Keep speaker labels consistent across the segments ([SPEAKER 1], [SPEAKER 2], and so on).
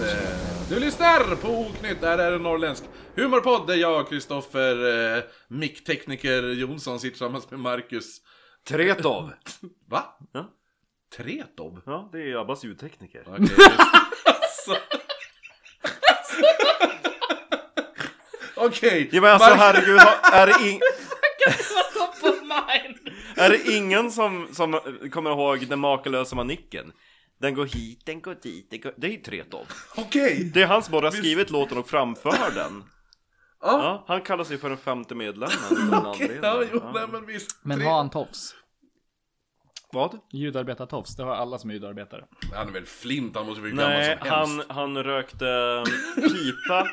[SPEAKER 1] eh. Du lyssnar på Oknytt, där är en norrländsk humorpodd där jag, Kristoffer, eh, micktekniker Jonsson sitter tillsammans med Marcus.
[SPEAKER 2] Tretov.
[SPEAKER 1] Va?
[SPEAKER 3] Ja.
[SPEAKER 1] Tretob?
[SPEAKER 3] Ja, det är Abbas ljudtekniker.
[SPEAKER 1] Okej, just- alltså. Okej,
[SPEAKER 3] Ja, men alltså
[SPEAKER 1] Marcus-
[SPEAKER 3] herregud, har- är det, ing-
[SPEAKER 4] Top of mind!
[SPEAKER 3] är det ingen som, som kommer ihåg den makalösa manicken? Den går hit, den går dit, den går... Det är ju Tretow.
[SPEAKER 1] okej!
[SPEAKER 3] Det är han som bara har skrivit låten och framför den.
[SPEAKER 1] Ja,
[SPEAKER 3] Ja, han kallar sig för den femte medlemmen. av den
[SPEAKER 1] okej, ja,
[SPEAKER 3] anledningen.
[SPEAKER 1] jo,
[SPEAKER 3] Ja.
[SPEAKER 1] nej men visst.
[SPEAKER 5] Men
[SPEAKER 1] Tre-
[SPEAKER 5] har han tofs?
[SPEAKER 3] Vad?
[SPEAKER 5] Ljudarbetartofs, det har alla som är ljudarbetare.
[SPEAKER 1] Han är väl flint, han måste bli gammal
[SPEAKER 3] Nej,
[SPEAKER 1] som
[SPEAKER 3] han,
[SPEAKER 1] helst.
[SPEAKER 3] han rökte pipa.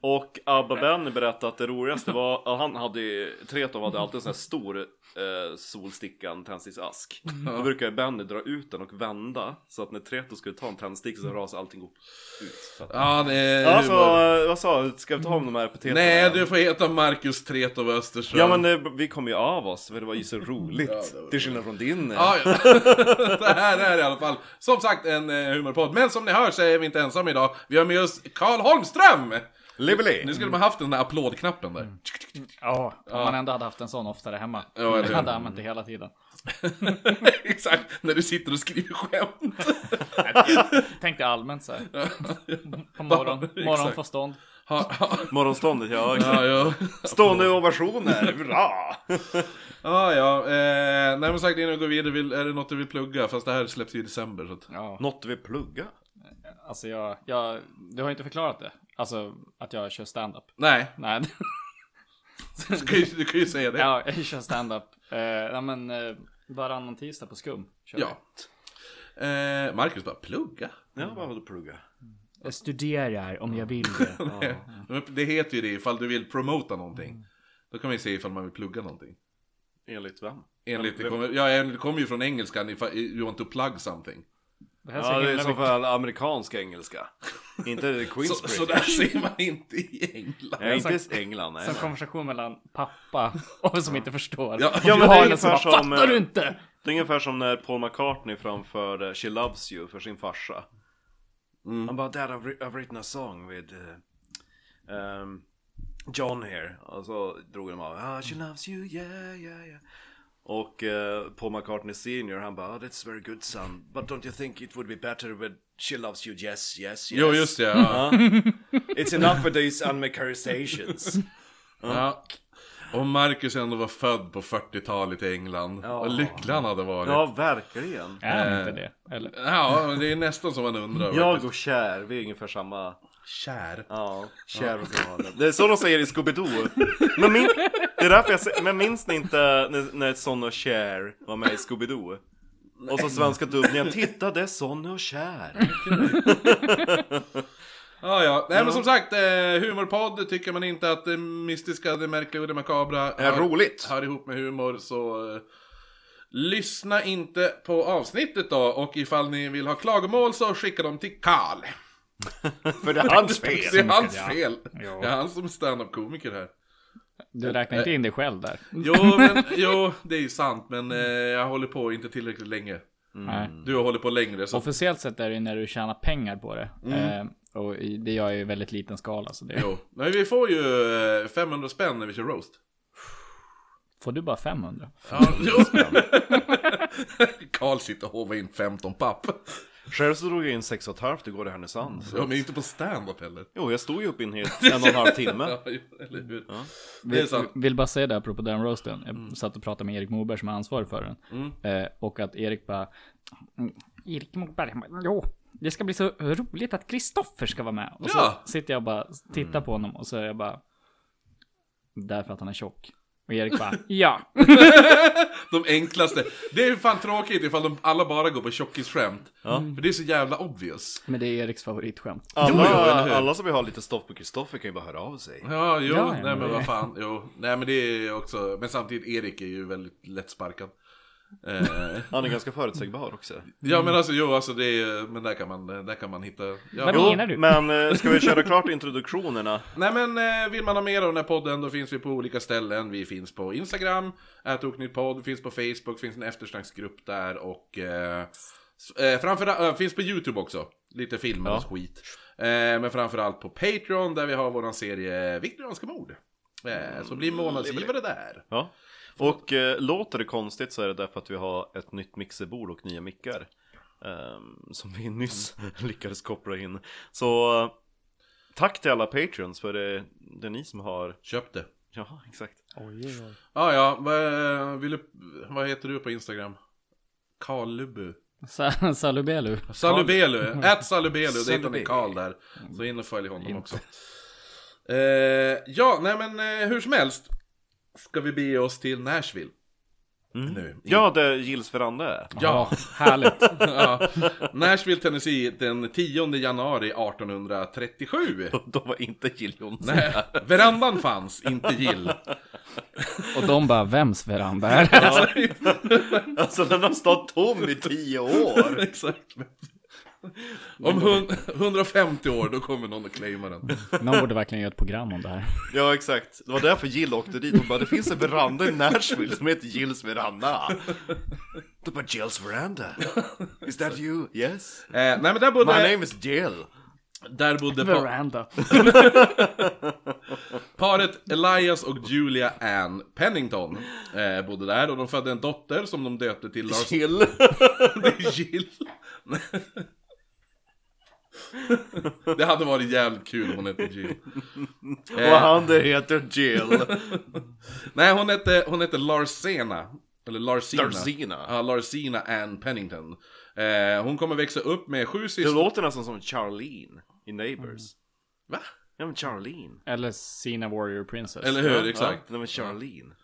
[SPEAKER 3] Och Abba Ben berättade att det roligaste var, han hade ju, Tretow hade alltid en sån här stor eh, solstickan tändsticksask.
[SPEAKER 1] Mm.
[SPEAKER 3] Då brukade Benny dra ut den och vända, så att när Tretow skulle ta en tändsticka så rasade allting upp ut. Så att,
[SPEAKER 1] Ja, det är
[SPEAKER 3] alltså,
[SPEAKER 1] humor.
[SPEAKER 3] vad sa du? Ska vi ta om de här epiteten?
[SPEAKER 1] Nej,
[SPEAKER 3] igen?
[SPEAKER 1] du får heta Marcus Tretob Östersund.
[SPEAKER 3] Ja men det, vi kom ju av oss, för det var ju så roligt.
[SPEAKER 1] Ja, det var
[SPEAKER 3] till skillnad från din. eh,
[SPEAKER 1] Ja, ja. det här är i alla fall som sagt en eh, humorpodd. Men som ni hör så är vi inte ensamma idag. Vi har med oss Karl Holmström! Nu
[SPEAKER 3] Lively!
[SPEAKER 1] skulle man haft den där applådknappen där.
[SPEAKER 5] Ja, om man ändå hade haft en sån oftare hemma.
[SPEAKER 1] eller hur?
[SPEAKER 5] det hade han inte hela tiden.
[SPEAKER 1] Exakt, när du sitter och skriver skämt.
[SPEAKER 5] Tänkte allmänt så här. På morgon,
[SPEAKER 1] exakt.
[SPEAKER 5] morgonförstånd.
[SPEAKER 1] Ha, ha,
[SPEAKER 3] Morgonståndet, ja.
[SPEAKER 1] ja, ja.
[SPEAKER 3] Stående ovationer, hurra!
[SPEAKER 1] ja, ja. Eh, nej men sagt innan vi går vidare, vill, är det något du vill plugga? Fast det här släpps ju i december. Så att...
[SPEAKER 5] Ja,
[SPEAKER 3] Något vi plugga?
[SPEAKER 5] alltså jag, jag, du har ju inte förklarat det. Alltså att jag kör stand-up.
[SPEAKER 1] Nej,
[SPEAKER 5] Nej,
[SPEAKER 1] du kan, ju, du kan ju säga det.
[SPEAKER 5] ja, jag kör stand-up. Eh, nej men eh, varannan tisdag på skum. Kör
[SPEAKER 1] Ja. Eh, Marcus bara, plugga?
[SPEAKER 3] Ja, vad vill du plugga?
[SPEAKER 5] Jag studerar om jag vill det.
[SPEAKER 1] Det heter ju det ifall du vill promota någonting. Då kan man ju se ifall man vill plugga någonting.
[SPEAKER 3] Enligt vem?
[SPEAKER 1] Enligt, det kommer, ja, det kommer ju från engelskan, if I, you want to plug something.
[SPEAKER 5] Det här är så
[SPEAKER 3] Ja, det är
[SPEAKER 5] Alltså, himla
[SPEAKER 3] som
[SPEAKER 5] mycket.
[SPEAKER 3] för amerikansk engelska. inte
[SPEAKER 1] Så,
[SPEAKER 3] Queens
[SPEAKER 1] så där ser man inte i England.
[SPEAKER 3] Nej, inte i England. Nej.
[SPEAKER 5] Som konversation mellan pappa och som inte förstår.
[SPEAKER 1] Ja,
[SPEAKER 5] Och
[SPEAKER 3] ja, men det är
[SPEAKER 5] Johannes
[SPEAKER 3] ungefär
[SPEAKER 5] som bara,
[SPEAKER 3] som,
[SPEAKER 5] Fattar
[SPEAKER 3] eh,
[SPEAKER 5] du inte?
[SPEAKER 3] Det är ungefär som när Paul McCartney framförde She Loves You för sin farsa.
[SPEAKER 5] Mm.
[SPEAKER 3] Han bara, Dad, I've, wri- I've written a song with eh, ehm, John here. Och så drog de av, ah, She Loves You, yeah, yeah, yeah. Och eh, Paul McCartney senior, han bara, oh, That's very good son. But don't you think it would be better with She Loves You, yes, yes, yes.
[SPEAKER 1] Jo, just det. Ja.
[SPEAKER 3] It's enough with these unmacarizations.
[SPEAKER 1] Ja. Och Marcus ändå var född på 40-talet i England. Vad lycklig han hade varit. Ja.
[SPEAKER 3] ja, verkligen.
[SPEAKER 5] Är han inte
[SPEAKER 1] Eh,
[SPEAKER 5] det? Eller?
[SPEAKER 1] men det är nästan som man undrar.
[SPEAKER 3] Jag och kär, vi är ungefär samma.
[SPEAKER 1] Kär.
[SPEAKER 3] Ja, kär och galen. Det är så de säger i Scooby-Doo. Men, min, det är därför jag, sä- men minns ni inte när, när Sonny och Cher var med i Scooby-Doo? Och så svenska dubbningen, titta det är Sonny och Cher.
[SPEAKER 1] Ja, ja. Nej, men som sagt, eh, humorpodd. Tycker man inte att det mystiska, det märkliga och det makabra hör-
[SPEAKER 3] roligt.
[SPEAKER 1] hör ihop med humor så eh, lyssna inte på avsnittet då. Och ifall ni vill ha klagomål så skicka dem till Karl.
[SPEAKER 3] För det är hans fel.
[SPEAKER 1] Det är hans fel. Det är han som är standup-komiker här. eh,
[SPEAKER 5] Du räknar inte in dig själv där?
[SPEAKER 1] Jo, men, jo, det är ju sant, men eh, jag håller på inte tillräckligt länge.
[SPEAKER 5] Nej.
[SPEAKER 1] Du har hållit på längre, så... Mm.
[SPEAKER 5] Officiellt sett är det ju när du tjänar pengar på det. Eh, och i- det gör jag ju i väldigt liten skala. Så det...
[SPEAKER 1] Jo. Nej, vi får ju eh, 500 spänn när vi kör roast.
[SPEAKER 5] Får du bara 500?
[SPEAKER 1] Ja, jo. Karl sitter och håvar in 15 papp.
[SPEAKER 3] Själv så drog jag in sex och ett halvt igår i Härnösand.
[SPEAKER 1] Ja, men inte på stand-up heller.
[SPEAKER 3] Jo, jag stod ju upp i en, hel, en och en halv timme.
[SPEAKER 1] Ja, ju- eller hur? Det är sant. Mm.
[SPEAKER 5] Vill bara säga det apropå den roasten. Jag satt och pratade med Erik Moberg som är ansvarig för den. Eh, och att Erik bara... Mm, Erik Moberg, han bara, jo. Det ska bli så roligt att Kristoffer ska vara med. Och
[SPEAKER 1] Ja. Mm.
[SPEAKER 5] så sitter jag och bara tittar på honom och så är jag bara... Därför att han är tjock. Och Erik bara, ja.
[SPEAKER 1] De enklaste. Det är ju fan tråkigt ifall de alla bara går på tjockisskämt. Mm. För det är så jävla obvious.
[SPEAKER 5] Men det är Eriks favoritskämt.
[SPEAKER 3] Alla,
[SPEAKER 1] jo, eller hur?
[SPEAKER 3] alla som vill ha lite stoff på Kristoffer kan ju bara höra av sig.
[SPEAKER 1] Ja, jo,
[SPEAKER 5] Ja, ja,
[SPEAKER 1] nej men,
[SPEAKER 5] men det-
[SPEAKER 1] vad fan, jo. Nej men det är också, men samtidigt, Erik är ju väldigt lättsparkad. Eh,
[SPEAKER 3] Han är ganska förutsägbar också.
[SPEAKER 1] ja
[SPEAKER 5] Mm.
[SPEAKER 1] men alltså, jo alltså det är, men där kan man, där kan man hitta. Ja.
[SPEAKER 5] Men-
[SPEAKER 1] Jo.
[SPEAKER 5] menar du?
[SPEAKER 3] Men eh, ska vi köra klart introduktionerna?
[SPEAKER 1] Nej men eh, vill man ha mer av den här podden då finns vi på olika ställen. Vi finns på Instagram, podd, finns på Facebook, finns en eftersnacksgrupp där och eh, s- eh, framför, eh, finns på YouTube också. Lite filmer och skit. Eh, men framförallt på Patreon där vi har vår serie Viktorianska mord. Eh, så bli månadsgivare där.
[SPEAKER 3] Ja. Och eh, låter det konstigt så är det därför att vi har ett nytt mixerbord och nya mickar. ehm, som vi nyss lyckades koppla in. Så eh, tack till alla patreons för det, det är ni som har...
[SPEAKER 1] Köp det.
[SPEAKER 3] Ja, exakt.
[SPEAKER 1] Ah, ja, vad, eh, vill du, vad heter du på Instagram? Kalubu.
[SPEAKER 5] Sa- Salubelu.
[SPEAKER 1] Salubelu, ät Salubelu, det heter han i Karl där. Så in och följ honom också. Eh, ja, nej men eh, hur som helst ska vi bege oss till Nashville. Nu.
[SPEAKER 3] Mm. Ja, det är Gills veranda är.
[SPEAKER 1] Ja,
[SPEAKER 5] Härligt.
[SPEAKER 1] ja. Nashville, Tennessee den 10 januari 1837.
[SPEAKER 3] Då var inte Jill Johnson.
[SPEAKER 1] Nej, verandan fanns, inte Gill.
[SPEAKER 5] Och de bara, vems veranda är det?
[SPEAKER 3] Alltså den har stått tom i tio år.
[SPEAKER 1] Exakt. Om hun- 150 år, då kommer någon att claima den. Eh,
[SPEAKER 5] Någon borde verkligen göra ett program om det här.
[SPEAKER 3] Ja, exakt. Det var därför Jill åkte dit. Hon bara, det finns en veranda i Nashville som heter Jills veranda. Då bara, Jills veranda? Is that you? Yes?
[SPEAKER 1] Eh, nej men där
[SPEAKER 3] My
[SPEAKER 1] bodde,
[SPEAKER 3] name is Jill.
[SPEAKER 1] där bodde pa-
[SPEAKER 5] Veranda.
[SPEAKER 1] Paret Elias och Julia Ann Pennington eh, bodde där och de födde en dotter som de döpte till Lars Eh.
[SPEAKER 3] Jill.
[SPEAKER 1] Gill. Det hade varit jävligt kul om hon hette Jill.
[SPEAKER 3] Och han det heter Jill.
[SPEAKER 1] Nej, hon hette, hon hette Larsena. Eller Larsina.
[SPEAKER 3] Larsina.
[SPEAKER 1] Ja, Larsina Ann Pennington. Eh, hon kommer växa upp med sju
[SPEAKER 3] Det
[SPEAKER 1] systrar.
[SPEAKER 3] låter nästan som Charlene i Neighbors.
[SPEAKER 1] Va?
[SPEAKER 3] Ja, men Charlene.
[SPEAKER 5] Eller Sina Warrior Princess.
[SPEAKER 1] Eller hur, exakt. Mm.
[SPEAKER 3] Ja, nej, men Charlene.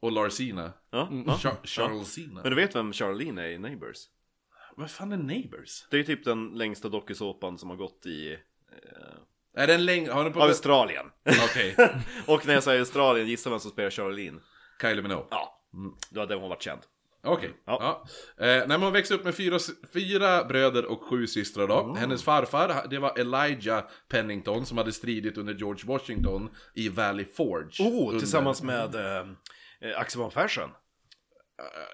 [SPEAKER 1] Och Larsina.
[SPEAKER 3] Ja, ja.
[SPEAKER 1] Char- Charlesina.
[SPEAKER 3] Men du vet vem Charlene är i Neighbors?
[SPEAKER 1] Vad fan är Neighbors?
[SPEAKER 3] Det är typ den längsta dokusåpan som har gått i
[SPEAKER 1] Är den längre? Har den på...
[SPEAKER 3] Australien.
[SPEAKER 1] Okej.
[SPEAKER 3] Och när jag säger Australien, gissa vem som spelar Charlene?
[SPEAKER 1] Kylie Minogue.
[SPEAKER 3] Ja, det var där hon var känd.
[SPEAKER 1] Okej. Ja.
[SPEAKER 3] Ja.
[SPEAKER 1] Eh, nej, men hon växte upp med fyra, fyra bröder och sju systrar då. Hennes farfar, det var Elijah Pennington som hade stridit under George Washington i Valley Forge. under...
[SPEAKER 3] Oh, med eh, Axel von Fersen.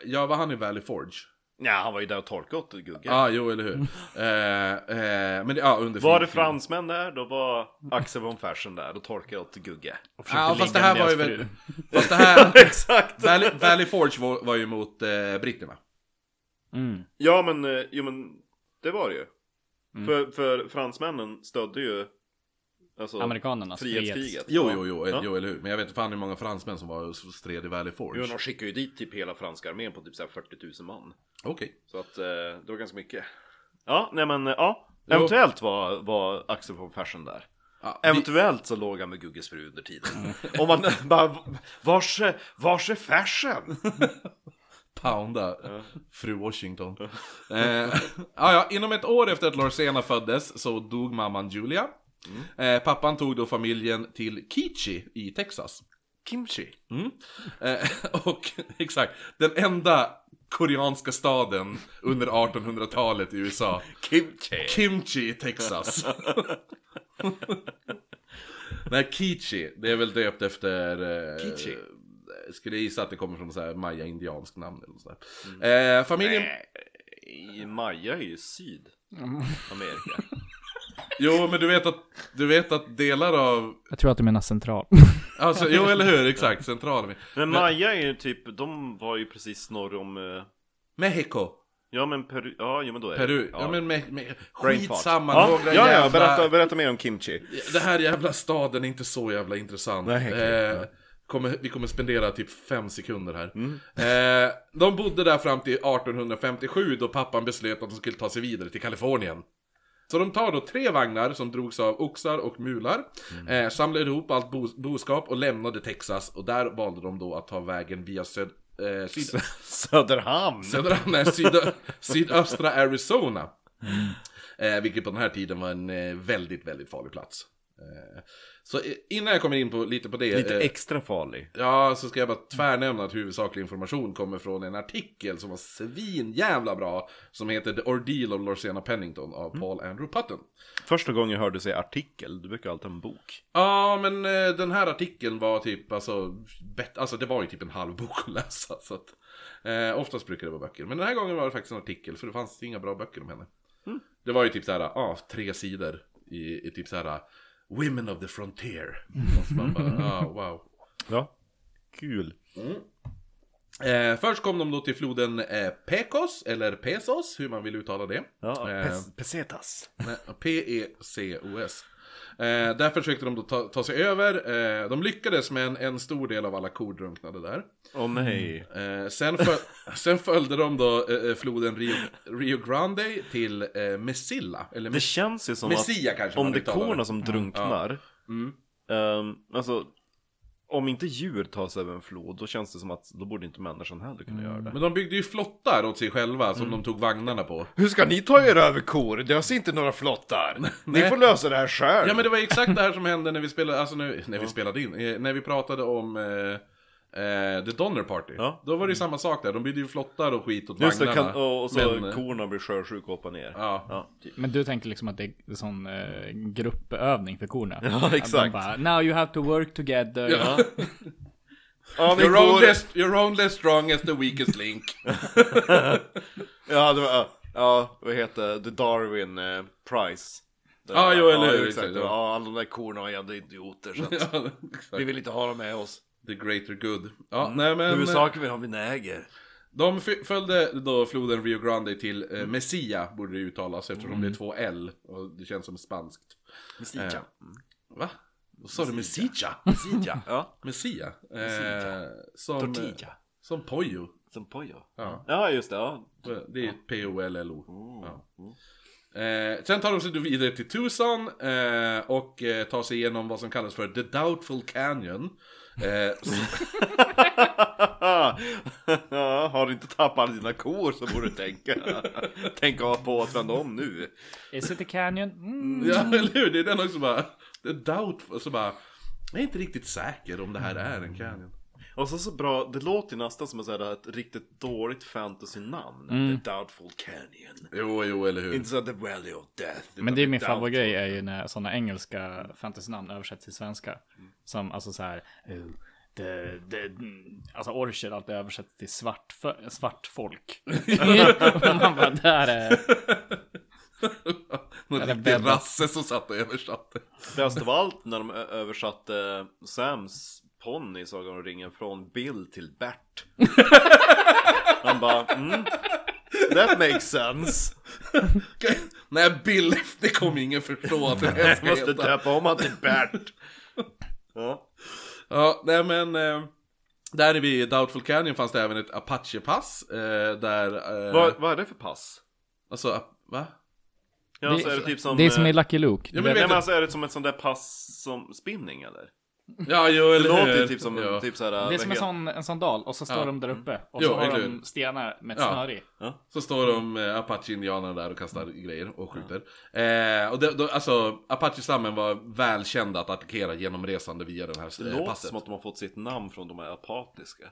[SPEAKER 1] Ja, var han i Valley Forge?
[SPEAKER 3] Ja, han var ju där och torkade åt Gugge.
[SPEAKER 1] Ja, ah, jo, eller hur? eh, eh, men det- ja, under...
[SPEAKER 3] Var det fransmän där, då var Axel von Fersen där och torkade åt Gugge.
[SPEAKER 1] Ja, fast det
[SPEAKER 5] ligga
[SPEAKER 1] här
[SPEAKER 5] med
[SPEAKER 1] var ju
[SPEAKER 5] deras
[SPEAKER 1] väl... Fast det här...
[SPEAKER 3] Exakt!
[SPEAKER 1] Valley, Valley Forge var, var ju mot eh, britterna.
[SPEAKER 5] Mm.
[SPEAKER 3] Ja, men, eh, jo, men det var det ju. För, för fransmännen stödde ju alltså,
[SPEAKER 5] Amerikanernas
[SPEAKER 3] frihetskriget.
[SPEAKER 1] Jo, jo, jo,
[SPEAKER 3] Ja.
[SPEAKER 1] jo, eller hur? Men jag vet inte fan hur många fransmän som var och stred i Valley Forge.
[SPEAKER 3] Jo, de skickade ju dit typ hela franska armén på typ så här 40 000 man.
[SPEAKER 1] Okej.
[SPEAKER 3] Så att eh, det var ganska mycket. Ja, nej men eh, ja. Eventuellt var, var Axel von Fersen där.
[SPEAKER 1] Ja, vi-
[SPEAKER 3] Eventuellt så låg han med Gugges fru under tiden. Om man bara, vars är, vars är Fersen?
[SPEAKER 1] pounda fru Washington. Eh, ja, ja, inom ett år efter att Larsena föddes så dog mamman Julia. Eh, pappan tog då familjen till Kichi i Texas.
[SPEAKER 3] Kimchi.
[SPEAKER 1] Eh, och exakt, den enda koreanska staden under 1800-talet i USA.
[SPEAKER 3] Kimchi.
[SPEAKER 1] Kimchi i Texas. Nej, Kichi, det är väl döpt efter... Eh,
[SPEAKER 3] Kichi.
[SPEAKER 1] Skulle jag gissa att det kommer från så här maya-indiansk namn eller nåt sånt där. eh, familjen...
[SPEAKER 3] Nej, Eh, Maja är ju
[SPEAKER 1] Mm.
[SPEAKER 3] Sydamerika.
[SPEAKER 1] Jo, men du vet att, du vet att delar av...
[SPEAKER 5] Jag tror att du menar central.
[SPEAKER 1] Alltså, jo, eller hur? Exakt, central.
[SPEAKER 3] Men Maja är ju typ, de var ju precis norr om, eh,
[SPEAKER 1] Mexiko.
[SPEAKER 3] ja men Peru, ja jo, men då är
[SPEAKER 1] Peru.
[SPEAKER 3] det.
[SPEAKER 1] Ja, men me, me,
[SPEAKER 3] Brain fart.
[SPEAKER 1] skitsamma.
[SPEAKER 3] Ja,
[SPEAKER 1] Några
[SPEAKER 3] ja, ja,
[SPEAKER 1] jävla...
[SPEAKER 3] berätta, berätta mer om Kimchi.
[SPEAKER 1] Det här jävla staden är inte så jävla intressant.
[SPEAKER 3] Nej, okej.
[SPEAKER 1] eh, kommer, vi kommer spendera typ fem sekunder här.
[SPEAKER 3] Mm.
[SPEAKER 1] Eh, de bodde där fram till 1857 då pappan beslöt att de skulle ta sig vidare till Kalifornien. Så de tar då tre vagnar som drogs av oxar och mular, eh, samlade ihop allt bo boskap och lämnade Texas och där valde de då att ta vägen via söd... Eh, syd...
[SPEAKER 3] Söderhamn.
[SPEAKER 1] Södra, nej, sydö, sydöstra Arizona. Eh, vilket på den här tiden var en eh, väldigt, väldigt farlig plats. Eh, så eh, innan jag kommer in på, lite på det.
[SPEAKER 3] Lite
[SPEAKER 1] eh,
[SPEAKER 3] extra farlig.
[SPEAKER 1] Ja, så ska jag bara tvärnämna att huvudsaklig information kommer från en artikel som var svinjävla bra. Som heter The Ordeal of Lorsena Pennington av Paul Andrew Patton.
[SPEAKER 3] Första gången jag hörde säga artikel, du brukar alltid ha en bok.
[SPEAKER 1] Ja, men eh, den här artikeln var typ, alltså, bet- alltså det var ju typ en halv bok att läsa. Så att, eh, oftast brukar det vara böcker, men den här gången var det faktiskt en artikel, för det fanns inga bra böcker om henne. Det var ju typ så här, ja, tre sidor i, i typ så här Women of the Frontier. Och så man bara, ah, wow.
[SPEAKER 6] Ja. Kul.
[SPEAKER 1] Eh, först kom de då till floden eh, Pecos, eller Pesos, hur man vill uttala det.
[SPEAKER 3] Ja,
[SPEAKER 1] Eh,
[SPEAKER 3] pes- pesetas.
[SPEAKER 1] Nej, P-E-C-O-S. Eh, där försökte de då ta, ta sig över. Eh, de lyckades men en stor del av alla kor drunknade där.
[SPEAKER 3] Åh nej.
[SPEAKER 6] Mm.
[SPEAKER 1] Eh, sen, föl- sen följde de då eh, eh, floden Rio, Rio Grande till eh, Mesilla. Eller
[SPEAKER 3] Det
[SPEAKER 1] Mes-
[SPEAKER 3] känns ju som
[SPEAKER 1] Messia
[SPEAKER 3] att
[SPEAKER 1] kanske
[SPEAKER 3] om
[SPEAKER 1] man
[SPEAKER 3] det är
[SPEAKER 1] uttalar
[SPEAKER 3] korna
[SPEAKER 1] det. Mm.
[SPEAKER 3] som drunknar.
[SPEAKER 6] Mm.
[SPEAKER 3] ehm, alltså, om inte djur tar sig över en flod, då känns det som att då borde inte människan heller kunna göra det.
[SPEAKER 6] Mm.
[SPEAKER 1] Men de byggde ju flottar åt sig själva
[SPEAKER 3] Mm.
[SPEAKER 1] som de tog vagnarna på.
[SPEAKER 6] Hur ska ni ta er över kor? Det finns inte några flottar. ni får lösa det här själv.
[SPEAKER 1] Ja men det var ju exakt det här som hände när vi spelade, alltså nu, när vi spelade in, eh, när vi pratade om eh, eh, The Donner Party.
[SPEAKER 3] Ja.
[SPEAKER 1] Då var det ju samma sak där, de byggde ju flottar och skit åt
[SPEAKER 3] Just det,
[SPEAKER 1] vagnarna.
[SPEAKER 3] kan, och, och så
[SPEAKER 1] eh,
[SPEAKER 3] korna blir sjösjuka och hoppar ner.
[SPEAKER 1] Ja.
[SPEAKER 3] typ.
[SPEAKER 5] Men du tänker liksom att det är en sån eh, gruppövning för korna?
[SPEAKER 3] Ja,
[SPEAKER 5] Att de
[SPEAKER 3] exakt.
[SPEAKER 5] bara, Now you have to work together. Ja.
[SPEAKER 6] ja, vi
[SPEAKER 1] You're
[SPEAKER 6] går...
[SPEAKER 1] only, you're only strong as the weakest link.
[SPEAKER 6] ja, det var, ja, vad heter The Darwin eh, Prize. Det-
[SPEAKER 1] Ja, jo, eller
[SPEAKER 6] ja,
[SPEAKER 1] hur,
[SPEAKER 6] Exakt.
[SPEAKER 1] exakt, ja.
[SPEAKER 6] Ja, alla de där korna var jävla idioter så att
[SPEAKER 1] ja,
[SPEAKER 6] vi
[SPEAKER 1] exakt.
[SPEAKER 6] vill inte ha dem med oss.
[SPEAKER 1] The greater good. Ja,
[SPEAKER 3] Mm.
[SPEAKER 1] nej men. eh,
[SPEAKER 6] Huvudsaken vi har vi näger.
[SPEAKER 1] De fy- följde då floden Rio Grande till eh,
[SPEAKER 3] Mm.
[SPEAKER 1] Messia, borde det uttalas eftersom det är två L. Och det känns som spanskt.
[SPEAKER 5] Eh.
[SPEAKER 3] Messia.
[SPEAKER 1] Va? Vad sa du? Messilla?
[SPEAKER 3] Messia. Ja,
[SPEAKER 1] Messia? Eh,
[SPEAKER 3] Mesilla.
[SPEAKER 1] som...
[SPEAKER 5] eh,
[SPEAKER 3] tortilla.
[SPEAKER 1] Som Poyo.
[SPEAKER 3] Som pojo.
[SPEAKER 1] Ja.
[SPEAKER 3] Ja, just det. Ja.
[SPEAKER 1] Det är ju P-O-L-L-O.
[SPEAKER 5] Mm.
[SPEAKER 1] Ja. Eh, sen tar de sig då vidare till Tucson eh, och eh, tar sig igenom vad som kallas för The Doubtful Canyon. Eh,
[SPEAKER 3] Mm.
[SPEAKER 1] s-
[SPEAKER 6] Ja, har du inte tappat alla dina kor så borde du tänka. tänka på att vända om nu.
[SPEAKER 5] Is it a canyon? Mm.
[SPEAKER 1] ja, eller hur? Det är den också bara... The Doubtful, så bara... Jag är inte riktigt säker om det här är en canyon.
[SPEAKER 3] Och så så bra, det låter ju nästan som ett, så här, ett riktigt dåligt fantasy-namn.
[SPEAKER 5] Mm.
[SPEAKER 3] The Doubtful Canyon.
[SPEAKER 1] Jo, jo, eller hur?
[SPEAKER 3] Inte så här The Valley of Death.
[SPEAKER 5] Men det är min
[SPEAKER 3] utan The Doubtful-
[SPEAKER 5] favoritgrej är ju när sådana engelska fantasynamn översätts till svenska.
[SPEAKER 1] Mm.
[SPEAKER 5] Som alltså så här. eh, The, the, mm, alltså orcher alltid översätts till svart, för, svart folk. Och man bara, där är...
[SPEAKER 1] Någon
[SPEAKER 5] Eller
[SPEAKER 1] riktig
[SPEAKER 5] Bebba.
[SPEAKER 1] rasse som satt och översatte.
[SPEAKER 3] Bäst av allt när de ö- översatte eh, Sams ponny i Sagan om ringen från Bill till Bert. Han bara mm, that makes sense.
[SPEAKER 1] Nej, Bill, det kommer ingen förstå att det här ska
[SPEAKER 3] Jag måste
[SPEAKER 1] heta.
[SPEAKER 3] döpa om han till Bert. Ja.
[SPEAKER 1] Ja, nej men... Eh, där är vi i Doubtful Canyon fanns det även ett Apache-pass. Eh, där... Eh,
[SPEAKER 3] Vad, vad är det för pass?
[SPEAKER 1] Alltså, ap- va?
[SPEAKER 3] Ja, det, så är det typ som...
[SPEAKER 5] det är som i
[SPEAKER 3] eh,
[SPEAKER 5] Lucky Luke.
[SPEAKER 1] Ja, men
[SPEAKER 3] Nej,
[SPEAKER 1] vet
[SPEAKER 3] men
[SPEAKER 1] du-
[SPEAKER 3] alltså är det som ett sånt där pass som spinning eller?
[SPEAKER 1] Ja, jo,
[SPEAKER 3] Det
[SPEAKER 1] eller
[SPEAKER 3] låter
[SPEAKER 1] hur?
[SPEAKER 3] ju typ som
[SPEAKER 1] ja.
[SPEAKER 3] en typ såhär...
[SPEAKER 5] det är som en sån, en sån dal och så står
[SPEAKER 1] Ja.
[SPEAKER 5] de där uppe och
[SPEAKER 1] Jo,
[SPEAKER 5] så har
[SPEAKER 1] eller
[SPEAKER 5] de
[SPEAKER 1] hur?
[SPEAKER 5] stenar med ett
[SPEAKER 1] Ja.
[SPEAKER 5] snöre i.
[SPEAKER 1] Så står de eh, Apache-indianerna där och kastar grejer och skjuter. Eh, och det, då, alltså, Apache-stammen var välkända att attackera genomresande via den här
[SPEAKER 3] Det
[SPEAKER 1] eh,
[SPEAKER 3] låter
[SPEAKER 1] passet.
[SPEAKER 3] som att de har fått sitt namn från de här apatiska.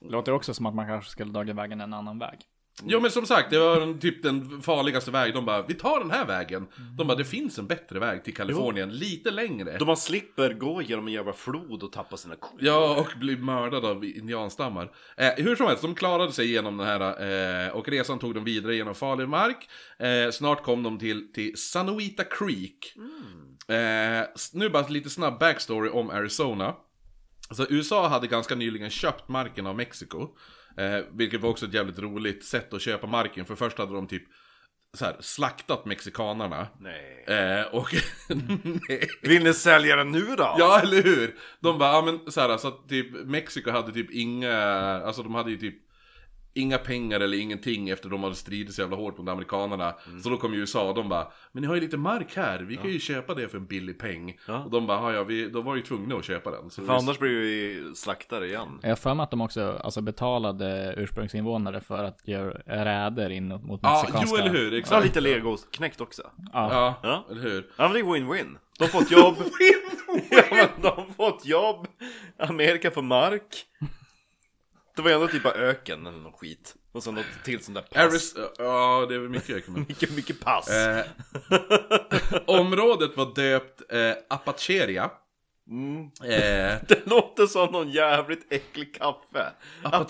[SPEAKER 5] Låter också som att man kanske skulle dra vägen en annan väg.
[SPEAKER 1] Jo men som sagt, det var den, typ den farligaste vägen. De bara, vi tar den här vägen. De bara, det finns en bättre väg till Kalifornien, lite längre.
[SPEAKER 3] Då man slipper gå genom en jävla flod och tappa sina kor.
[SPEAKER 1] Ja, och bli mördad av indianstammar. Eh, hur som helst, de klarade sig genom den här eh, och resan tog dem vidare genom farlig mark. Eh, snart kom de till, till Sanoita Creek. Eh, s- nu bara lite snabb backstory om Arizona. Så USA hade ganska nyligen köpt marken av Mexiko. Eh, vilket var också ett jävligt roligt sätt att köpa marken, för först hade de typ så här, slaktat mexikanerna.
[SPEAKER 3] Nej.
[SPEAKER 1] Eh, och... Nej.
[SPEAKER 6] Vill ni sälja den nu då?
[SPEAKER 1] Ja, eller hur? De bara, ja men så här, så att typ Mexiko hade typ inga, alltså de hade ju typ inga pengar eller ingenting efter de hade stridit så jävla hårt mot amerikanerna.
[SPEAKER 3] Mm.
[SPEAKER 1] Så då kom ju USA och de bara, men ni har ju lite mark här, vi kan ju köpa det för en billig peng.
[SPEAKER 3] Ja.
[SPEAKER 1] Och de bara, "Ja, ja, vi, de var ju tvungna att köpa den. Så
[SPEAKER 3] För annars blir vi slaktare igen.
[SPEAKER 5] Jag har för mig att de också alltså, betalade ursprungsinvånare för att göra räder in mot
[SPEAKER 1] Ja,
[SPEAKER 5] mexikanska.
[SPEAKER 1] jo eller hur,
[SPEAKER 3] Ja,
[SPEAKER 1] exakt.
[SPEAKER 3] lite legoknäckt också.
[SPEAKER 5] Ja.
[SPEAKER 1] Ja,
[SPEAKER 3] Ja.
[SPEAKER 1] eller hur.
[SPEAKER 3] Ja, men det är win-win. De har fått jobb. ja, men de har fått jobb. Amerika får mark. Det var ju ändå typ bara öken eller någon skit. Och sen något till sånt där pass.
[SPEAKER 1] Aris, ja, det är väl mycket jag kommer
[SPEAKER 3] Mycket, mycket pass.
[SPEAKER 1] Eh, Området var döpt eh, Apacheria. Eh,
[SPEAKER 3] Mm. Det låter som någon jävligt äcklig kaffe.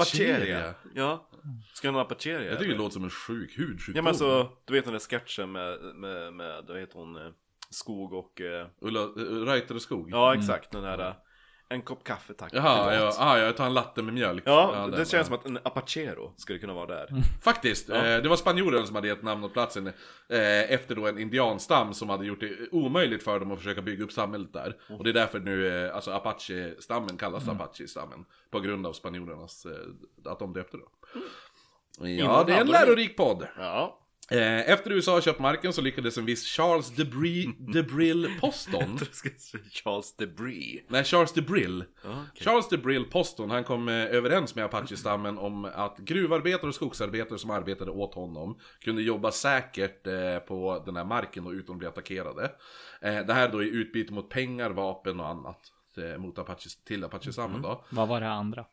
[SPEAKER 1] Apacheria.
[SPEAKER 3] Ja. Ska jag ha en apacheria? alltså,
[SPEAKER 1] jag tycker det låter som en sjuk hudsjukdom.
[SPEAKER 3] Ja men alltså, du vet den där sketchen med, med, med vad heter hon, eh, skog och... eh,
[SPEAKER 1] Ulla, eh, Reuter och Skog?
[SPEAKER 3] ja, exakt. Den där... eh, En kopp kaffe tack.
[SPEAKER 1] Mm. Jaha,
[SPEAKER 3] Förlåt.
[SPEAKER 1] ja, ah, jag tar en latte med mjölk.
[SPEAKER 3] Ja, det
[SPEAKER 1] den,
[SPEAKER 3] känns som att en apachero skulle kunna vara där.
[SPEAKER 1] Mm. Faktiskt, eh, det var spanjoren som hade gett namn åt platsen eh, efter då en indianstam som hade gjort det omöjligt för dem att försöka bygga upp samhället där.
[SPEAKER 3] Mm.
[SPEAKER 1] Och det är därför nu, eh, alltså apache-stammen kallas apache-stammen. På grund av spanjorernas, eh, att de döpte det.
[SPEAKER 3] Mm.
[SPEAKER 1] Ja, det är en lärorik podd.
[SPEAKER 3] Ja.
[SPEAKER 1] Eh, efter USA köpt marken så lyckades en viss Charles Debris, Debrill Poston
[SPEAKER 3] Ska jag säga Charles Debris.
[SPEAKER 1] Nej, Charles DeBrill. Charles DeBrill Poston, han kom eh, överens med Apache-stammen om att gruvarbetare och skogsarbetare som arbetade åt honom kunde jobba säkert eh, på den här marken och utan att bli attackerade. Eh, det här då i utbyte mot pengar, vapen och annat. eh, Mot Apache, till
[SPEAKER 3] Mhm.
[SPEAKER 1] Apache-stammen då.
[SPEAKER 5] Vad var det andra?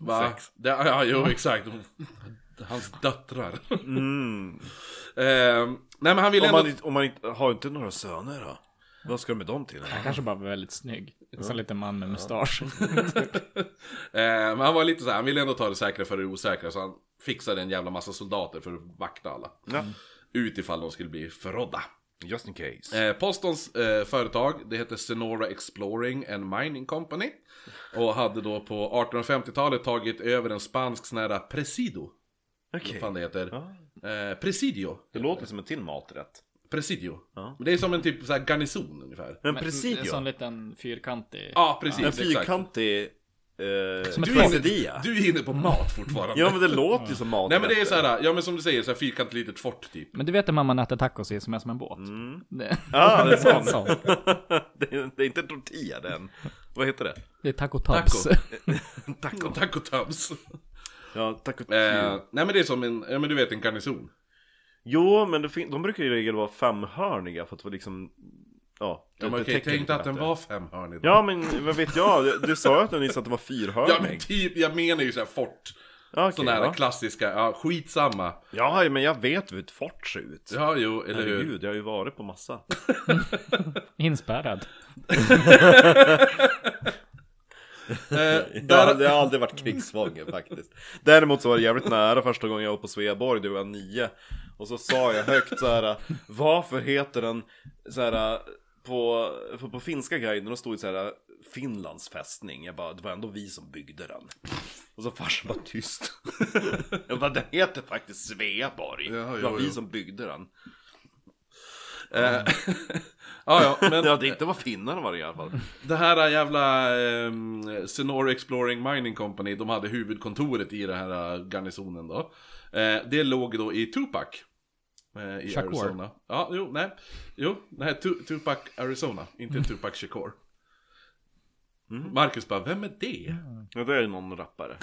[SPEAKER 1] Va? Det, ja, jo exakt. Hans döttrar. eh, nej men han ville
[SPEAKER 3] Mm. Om
[SPEAKER 1] ändå...
[SPEAKER 3] man, inte, om man inte, har inte några söner då? Vad ska de med dem till?
[SPEAKER 1] Mm.
[SPEAKER 5] Han kanske bara var väldigt snygg. En sån liten man med mustasch.
[SPEAKER 1] Eh, men han var lite så här, han ville ändå ta det säkra för det osäkra så han fixade en jävla massa soldater för att vakta alla.
[SPEAKER 7] Ja.
[SPEAKER 1] Ut ifall de skulle bli förrådda.
[SPEAKER 7] Just in case.
[SPEAKER 1] Eh, Postons eh, företag, det hette Sonora Exploring and Mining Company. Och hade då på 1850-talet tagit över en spansk sån här presido. Vad fan det heter. Eh, presidio.
[SPEAKER 3] Det låter som en till maträtt.
[SPEAKER 1] Presidio. Men Det är som en typ så här garnison ungefär.
[SPEAKER 3] Men
[SPEAKER 5] En
[SPEAKER 3] presidio?
[SPEAKER 5] sån liten fyrkantig.
[SPEAKER 1] Ja, precis.
[SPEAKER 3] En
[SPEAKER 1] exakt.
[SPEAKER 3] fyrkantig... Eh,
[SPEAKER 5] Som ett
[SPEAKER 1] Du är,
[SPEAKER 3] presidia?
[SPEAKER 1] inne, du är inne på mat fortfarande.
[SPEAKER 3] Ja men det låter ju som maträtt.
[SPEAKER 1] Nej men det är så här, ja men som du säger, så här fyrkantigt litet fort typ.
[SPEAKER 5] Men du vet när mamman äter tacos i som är som en båt?
[SPEAKER 1] Mm.
[SPEAKER 5] Det,
[SPEAKER 3] Ja, det är
[SPEAKER 5] det är en
[SPEAKER 3] sån.
[SPEAKER 5] sån.
[SPEAKER 3] det, är, det är inte en tortilla den. Vad heter det?
[SPEAKER 5] Det är taco tubs.
[SPEAKER 1] Taco. Taco, taco tubs.
[SPEAKER 3] Ja, taco
[SPEAKER 1] Eh, nej men det är som en, ja men du vet en garnison.
[SPEAKER 3] Jo, men det fin- de brukar ju i regel vara femhörniga för att vara liksom... Ja,
[SPEAKER 1] Ja, men
[SPEAKER 3] det
[SPEAKER 1] okej,
[SPEAKER 3] täcker
[SPEAKER 1] tänk
[SPEAKER 3] lite
[SPEAKER 1] dig att den
[SPEAKER 3] bättre.
[SPEAKER 1] var femhörnig då.
[SPEAKER 3] Ja, men vad vet jag? Du, du sa ju att den nyss att den var fyrhörnig.
[SPEAKER 1] Ja men typ, jag menar ju såhär fort.
[SPEAKER 3] Ja, okej,
[SPEAKER 1] Sådana här
[SPEAKER 3] ja.
[SPEAKER 1] klassiska, ja skitsamma.
[SPEAKER 3] ja, men jag vet hur ett fort ser ut.
[SPEAKER 1] Ja jo, eller hur?
[SPEAKER 3] Herregud, jag har ju varit på massa.
[SPEAKER 5] Inspärrad.
[SPEAKER 1] Eh,
[SPEAKER 3] Ja,
[SPEAKER 1] där,
[SPEAKER 3] det har aldrig varit krigsfånge faktiskt. Däremot så var det jävligt nära första gången jag var på Sveaborg, det var nio. Och så sa jag högt så här, varför heter den så här, på, på, på finska guiden, då stod det så här, Finlands fästning. Jag bara, det var ändå vi som byggde den. Och så farsan bara tyst. Jag bara, den heter faktiskt Sveaborg.
[SPEAKER 1] Ja,
[SPEAKER 3] det
[SPEAKER 1] jo,
[SPEAKER 3] var vi
[SPEAKER 1] jo.
[SPEAKER 3] som byggde den.
[SPEAKER 1] eh, ja, ja, men
[SPEAKER 3] Ja, det inte var finnarna var det i alla fall.
[SPEAKER 1] det här jävla eh, Sonora Exploring Mining Company, de hade huvudkontoret i den här garnisonen då. Eh, det låg då i Tupac. Eh, I
[SPEAKER 5] Shakur.
[SPEAKER 1] Arizona. Ja, jo, nej. Jo, nej, Tu- Tupac Arizona, inte Tupac Shakur. Marcus bara, vem är det?
[SPEAKER 3] Ja, det är ju någon rappare.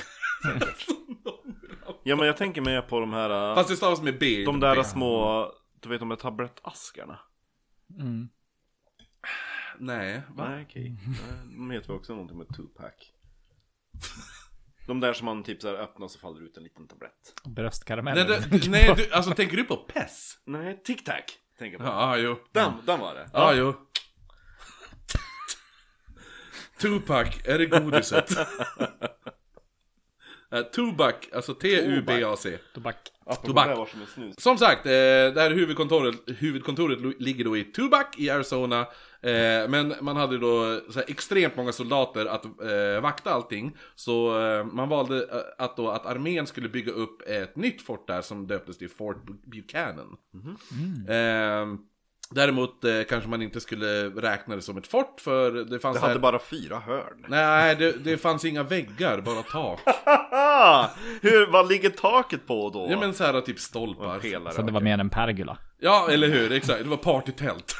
[SPEAKER 3] ja, men jag tänker mer på de här... äh,
[SPEAKER 1] Fast det stavas med B. inte
[SPEAKER 3] De
[SPEAKER 1] med
[SPEAKER 3] där
[SPEAKER 1] P.
[SPEAKER 3] små, du vet de där tablettaskarna?
[SPEAKER 5] Mm.
[SPEAKER 1] Nej, va?
[SPEAKER 3] Nej okej, Nej, de heter väl också någonting med Tupac De där som man typ så här öppnar så faller ut en liten tablett
[SPEAKER 5] Bröstkaramell.
[SPEAKER 1] Nej, du, nej du, alltså tänker du på PESS?
[SPEAKER 3] Nej, Tic Tac tänker jag på
[SPEAKER 1] Ja, ah, jo.
[SPEAKER 3] Den, den var det!
[SPEAKER 1] Ja, jo. Tupac, är det godiset? Eh, Tubac, alltså T-U-B-A-C.
[SPEAKER 5] Tobak.
[SPEAKER 3] Apropå
[SPEAKER 1] Tupac.
[SPEAKER 3] det här var som en snus
[SPEAKER 1] Som sagt, eh, det här huvudkontoret, huvudkontoret lo- ligger då i Tubac i Arizona. Eh, men man hade då så här extremt många soldater att eh, vakta allting. Så eh, man valde eh, att, då, att armén skulle bygga upp ett nytt fort där som döptes till Fort Buchanan. Eh, däremot eh, kanske man inte skulle räkna det som ett fort för det fanns...
[SPEAKER 3] Det
[SPEAKER 1] så här-
[SPEAKER 3] hade bara fyra hörn
[SPEAKER 1] Nej, det, det fanns inga väggar, bara tak.
[SPEAKER 3] Haha! Hur, vad ligger taket på då?
[SPEAKER 1] Ja men så här typ stolpar.
[SPEAKER 3] Pelare.
[SPEAKER 5] Så det var mer en pergola.
[SPEAKER 1] Ja, eller hur? Exakt. Det var partytält.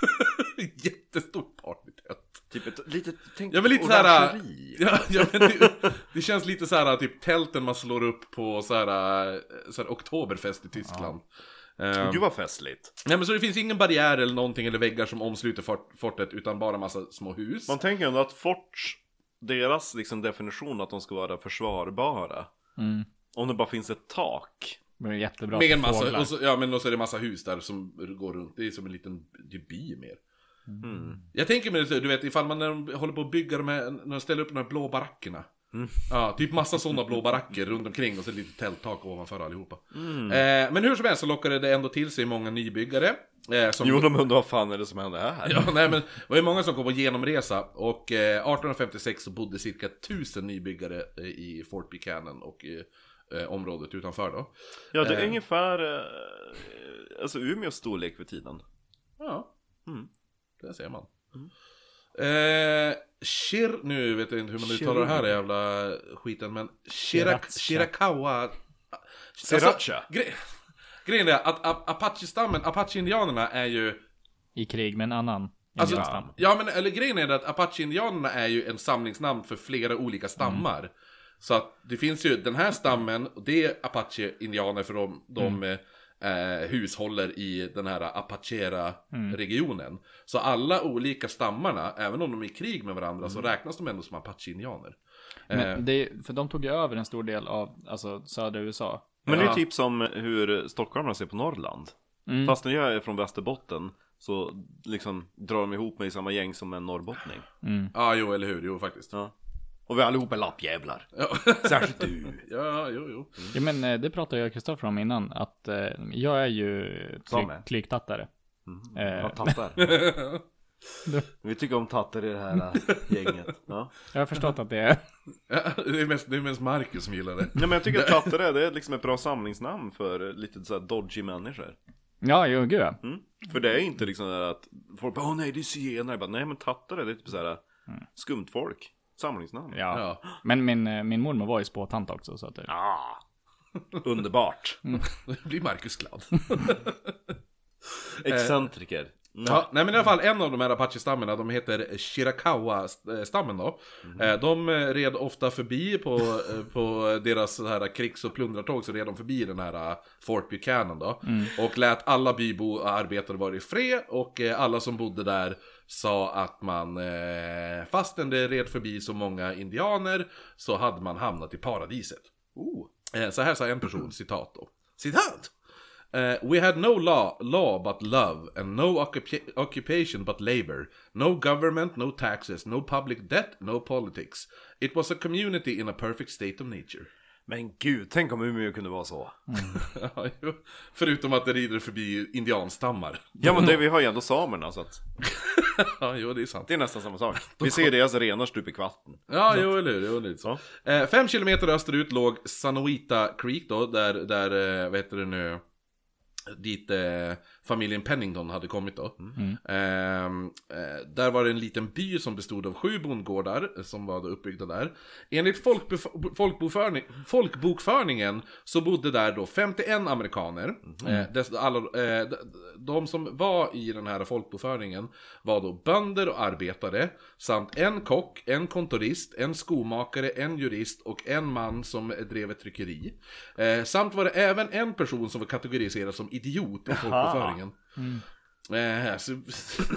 [SPEAKER 1] Jättestort partytält.
[SPEAKER 3] Typ ett litet, tänk
[SPEAKER 1] Jag vill lite såhär...
[SPEAKER 3] äh,
[SPEAKER 1] Ja, ja, men det, det känns lite såhär typ tälten man slår upp på såhär, såhär oktoberfest i Tyskland. Ehm,
[SPEAKER 3] Gud vad festligt
[SPEAKER 1] nej men så det finns ingen barriär eller någonting eller väggar som omsluter fort, fortet utan bara massa små hus.
[SPEAKER 3] Man tänker ändå att forts, deras liksom definition att de ska vara försvarbara
[SPEAKER 5] Mm.
[SPEAKER 3] Om det bara finns ett tak
[SPEAKER 5] Det var ju jättebra
[SPEAKER 1] Med
[SPEAKER 5] för
[SPEAKER 1] en massa,
[SPEAKER 5] fåglar.
[SPEAKER 1] och så, ja men och så är det massa hus där som går runt, det är som en liten det är by mer. Jag tänker mig det så, du vet ifall man när de håller på att bygga de här, när de ställer upp de här blå barackerna. Ja, typ massa sådana blå baracker runt omkring och så lite tälttak ovanför allihopa. Eh, men hur som helst så lockade det ändå till sig många nybyggare. Eh, som
[SPEAKER 8] Jo, de undrar vad fan är det som händer här?
[SPEAKER 1] Ja, nej, men det var ju många som kom på genomresa och eh, 1856 så bodde cirka 1000 nybyggare eh, i Fort Buchanan och i eh, området utanför då.
[SPEAKER 3] Ja, det är ungefär eh, alltså Umeås storlek för tiden.
[SPEAKER 1] Ja, det ser man. Eh, Shir, nu vet jag inte hur man uttalar det här jävla skiten, men Shirak-
[SPEAKER 5] Sriracha.
[SPEAKER 1] Shirakawa... Alltså,
[SPEAKER 3] Sriracha.
[SPEAKER 1] gre- grejen är att a- Apache-stammen, Apache-indianerna är ju...
[SPEAKER 5] I krig med en annan
[SPEAKER 1] Alltså,
[SPEAKER 5] indianstam.
[SPEAKER 1] ja, men eller grejen är det att Apache-indianerna är ju en samlingsnamn för flera olika stammar. Så att det finns ju den här stammen, och det är Apache-indianer för de, de eh, hushåller i den här Apachera-regionen. Så alla olika stammarna, även om de är i krig med varandra, så räknas de ändå som Apache-indianer. Eh,
[SPEAKER 5] Men det, för de tog ju över en stor del av alltså, södra USA.
[SPEAKER 3] Men det
[SPEAKER 1] Ja.
[SPEAKER 3] är typ som hur stockholmarna ser på Norrland.
[SPEAKER 5] Mm.
[SPEAKER 3] Fast när jag är från Västerbotten så liksom drar de ihop mig i samma gäng som en norrbottning.
[SPEAKER 1] Ja, jo, eller hur, jo faktiskt.
[SPEAKER 3] Ja.
[SPEAKER 8] Och vi allihop är lappjävlar.
[SPEAKER 1] Ja,
[SPEAKER 8] Särskilt du.
[SPEAKER 1] ja jo, jo.
[SPEAKER 5] Ja, men eh, det pratade jag och Kristoffer om innan, att eh, jag är ju klyk,
[SPEAKER 8] Same.
[SPEAKER 5] klyktattare.
[SPEAKER 1] Mm.
[SPEAKER 5] Eh,
[SPEAKER 8] tattar. Vi tycker om tattar i det här äh, gänget. Ja.
[SPEAKER 5] jag har förstått att det är...
[SPEAKER 1] Ja, det är mest, det är mest Marcus som gillar det.
[SPEAKER 3] Nej men jag tycker att tattare det är liksom ett bra samlingsnamn för lite så här dodgy människor.
[SPEAKER 5] Ja, jo, gud ja.
[SPEAKER 3] Mm. För det är inte liksom där att folk bara åh nej det är zigenare. Jag Bara, nej men tattare det är typ så här skumt folk. Samlingsnamn.
[SPEAKER 5] ja.
[SPEAKER 1] Mm. Ja.
[SPEAKER 5] Men min, eh, min mormor var ju spåtant också, så att det...
[SPEAKER 3] Ah, underbart.
[SPEAKER 1] Då blir Marcus glad.
[SPEAKER 8] Excentriker.
[SPEAKER 1] Eh.
[SPEAKER 3] Mm.
[SPEAKER 1] Ja, nej men i alla fall en av de här Apache-stammarna, de heter Shirakawa-stammen då. Eh, De eh, red ofta förbi på, eh, på deras så här krigs och plundrartåg så red de förbi den här eh, Fort Buchanan då. Och lät alla bybo och arbetare vara i fred och eh, alla som bodde där sa att man, eh, fastän det red förbi så många indianer så hade man hamnat i paradiset. Eh, Så här sa en person, citat då. Citat! Uh, we had no law, law but love, and no occupa- occupation but labor, no government, no taxes, no public debt, no politics. It was a community in a perfect state of nature.
[SPEAKER 8] Men gud, tänk om Umeå kunde vara så.
[SPEAKER 1] Ja, jo. Förutom att det rider förbi indianstammar.
[SPEAKER 3] Ja men det, vi har ju ändå samerna så att
[SPEAKER 1] Ja, jo, det är sant.
[SPEAKER 3] det är nästan samma sak. Vi ser deras renar stup i kvatten.
[SPEAKER 1] Ja, jo, eller hur. Jo, det är så. Eh, fem kilometer österut låg Sanoita Creek då, där, där eh, vad heter det nu, dit eh, familjen Pennington hade kommit då. Ehm, eh, där var det en liten by som bestod av sju bondgårdar eh, som var då uppbyggda där. Enligt folkbef- folkbokförning, folkbokföringen så bodde där då 51 amerikaner. Eh, dess, alla, eh, de, de som var i den här folkbokföringen var då bönder och arbetare samt en kock, en kontorist, en skomakare, en jurist och en man som drev ett tryckeri. Eh, samt var det även en person som var kategoriserad som idiot i folkbokföringen. Eh, så,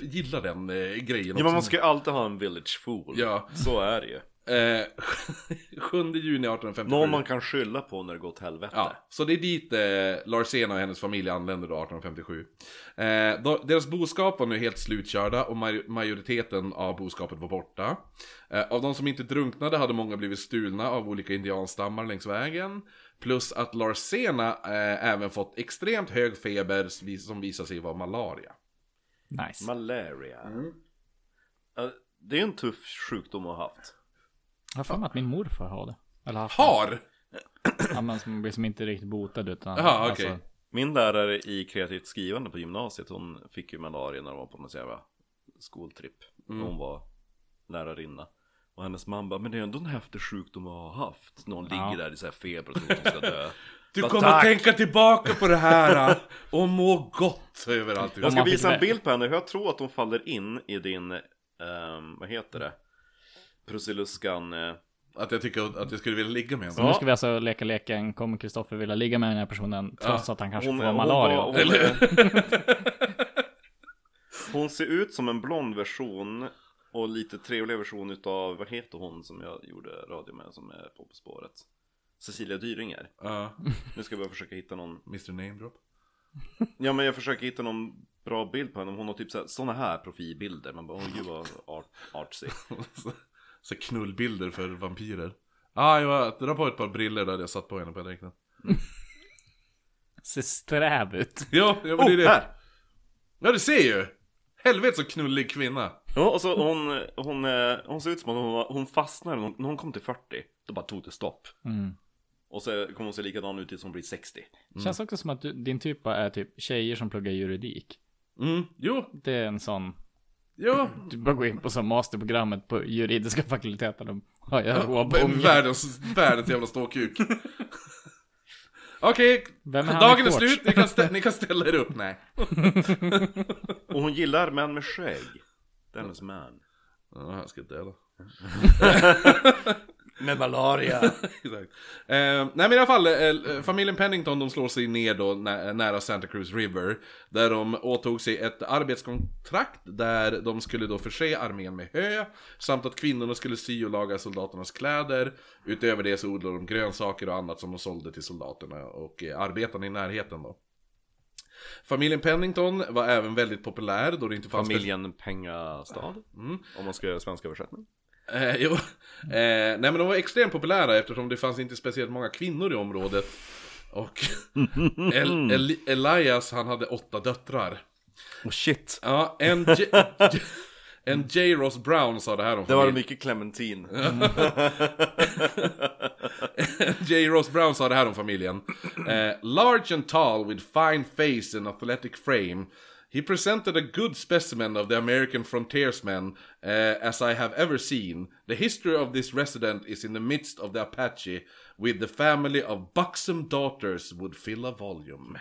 [SPEAKER 1] gillar den eh, grejen
[SPEAKER 3] Ja
[SPEAKER 1] också.
[SPEAKER 3] men man ska ju alltid ha en village fool.
[SPEAKER 1] Ja.
[SPEAKER 3] Så är det ju.
[SPEAKER 1] Eh, 7 juni 1857.
[SPEAKER 3] Någon man kan skylla på när det går åt helvete.
[SPEAKER 1] Ja, så det är dit eh, Larsena och hennes familj anländer då 1857. Eh, då, deras boskap var nu helt slutkörda och maj- majoriteten av boskapet var borta. Eh, av de som inte drunknade hade många blivit stulna av olika indianstammar längs vägen. Plus att Larsena eh, även fått extremt hög feber som- som visade sig vara malaria.
[SPEAKER 5] Nice.
[SPEAKER 3] Malaria.
[SPEAKER 5] Mm.
[SPEAKER 3] Ja, Det är en tuff sjukdom att ha haft.
[SPEAKER 5] Jag har för mig att min morfar har det. Eller haft det.
[SPEAKER 1] Har!
[SPEAKER 5] Ja, men som blir som inte riktigt botad utan... alltså,
[SPEAKER 1] Jaha, okej.
[SPEAKER 3] Min lärare i kreativt skrivande på gymnasiet, hon fick ju malaria när hon var på någon sån jävla skoltripp.
[SPEAKER 5] Mm.
[SPEAKER 3] Hon var lärarinna. Och hennes mamma bara, men det är ändå en häftig sjukdom att ha haft. Någon ligger där i så här feber och tror att hon ska dö.
[SPEAKER 1] Du
[SPEAKER 3] Vad
[SPEAKER 1] kommer
[SPEAKER 3] tack!
[SPEAKER 1] tänka tillbaka på det här eh, och må gott överallt.
[SPEAKER 3] Jag ska
[SPEAKER 5] man fick
[SPEAKER 3] visa en
[SPEAKER 5] vä-
[SPEAKER 3] bild på henne, för jag tror att hon faller in i din, ehm, vad heter det? Prusiluskan. eh,
[SPEAKER 1] Att jag tycker att jag skulle vilja ligga med
[SPEAKER 5] Så
[SPEAKER 1] henne.
[SPEAKER 5] nu ska vi alltså leka leken, kommer Kristoffer vilja ligga med den här personen trots att han kanske
[SPEAKER 3] Hon,
[SPEAKER 5] får
[SPEAKER 3] hon,
[SPEAKER 5] malaria?
[SPEAKER 3] var- hon, eller? hon ser ut som en blond version och lite trevlig version utav, vad heter hon som jag gjorde radio med som är på På spåret? Cecilia Dyringer.
[SPEAKER 1] Ja,
[SPEAKER 3] Nu ska jag bara försöka hitta någon,
[SPEAKER 1] Mr Namedrop.
[SPEAKER 3] ja men jag försöker hitta någon bra bild på henne. Hon har typ sådana här profilbilder. Man bara, åh gud vad art, artsy.
[SPEAKER 1] så knullbilder för vampyrer. Ah, jag var- dra på ett par briller där jag satt på henne på räknat.
[SPEAKER 5] Ser sträv ut.
[SPEAKER 1] Ja, ja men det är
[SPEAKER 3] Oh,
[SPEAKER 5] Oh,
[SPEAKER 1] det. Ja, du ser ju! Helvete så knullig kvinna.
[SPEAKER 3] Ja, och så hon, hon, eh, hon ser ut som att hon, hon fastnade när hon, när hon kom till 40. Då bara tog det stopp.
[SPEAKER 5] Mm.
[SPEAKER 3] Och så kommer hon se likadan ut tills hon blir 60.
[SPEAKER 5] Känns också som att du, din typ är typ tjejer som pluggar juridik.
[SPEAKER 1] Mm, jo,
[SPEAKER 5] Det är en sån.
[SPEAKER 1] ja.
[SPEAKER 5] Du bara går in på som masterprogrammet på juridiska fakulteten. De har ju
[SPEAKER 1] Vem-
[SPEAKER 5] råbången.
[SPEAKER 1] Världens, världens jävla ståkuk. Okej,
[SPEAKER 5] Vem är han i
[SPEAKER 1] dagen är
[SPEAKER 5] shorts?
[SPEAKER 1] slut, ni kan, stä- ni kan ställa er upp. Nej.
[SPEAKER 3] Och hon gillar män med skägg. Den is man.
[SPEAKER 1] Ja, han ska döda.
[SPEAKER 9] Med malaria.
[SPEAKER 1] Exakt. Eh, nej men i alla fall, eh, familjen Pennington de slår sig ner då nä- nära Santa Cruz River. Där de åtog sig ett arbetskontrakt där de skulle då förse armén med hö. Samt att kvinnorna skulle sy och laga soldaternas kläder. Utöver det så odlade de grönsaker och annat som de sålde till soldaterna och eh, arbetarna i närheten då. Familjen Pennington var även väldigt populär då det inte fanns...
[SPEAKER 3] Familjen Pengastad. Mm. Om man ska göra svensk översättning.
[SPEAKER 1] Eh, jo.
[SPEAKER 3] Mm.
[SPEAKER 1] Eh, nej men de var extremt populära eftersom det fanns inte speciellt många kvinnor i området. Och El- El- Elias han hade åtta döttrar.
[SPEAKER 9] Oh, shit.
[SPEAKER 1] Ja, en J- en J. Ross Brown sa det här om
[SPEAKER 3] Det var
[SPEAKER 1] familjen.
[SPEAKER 3] mycket Clementine.
[SPEAKER 1] J. Ross Brown sa det här om familjen. Eh, large and tall with fine face and athletic frame. He presented a good specimen of the American frontiersman eh, as I have ever seen. The history of this resident is in the midst of the Apache with the family of buxom daughters would fill a volume.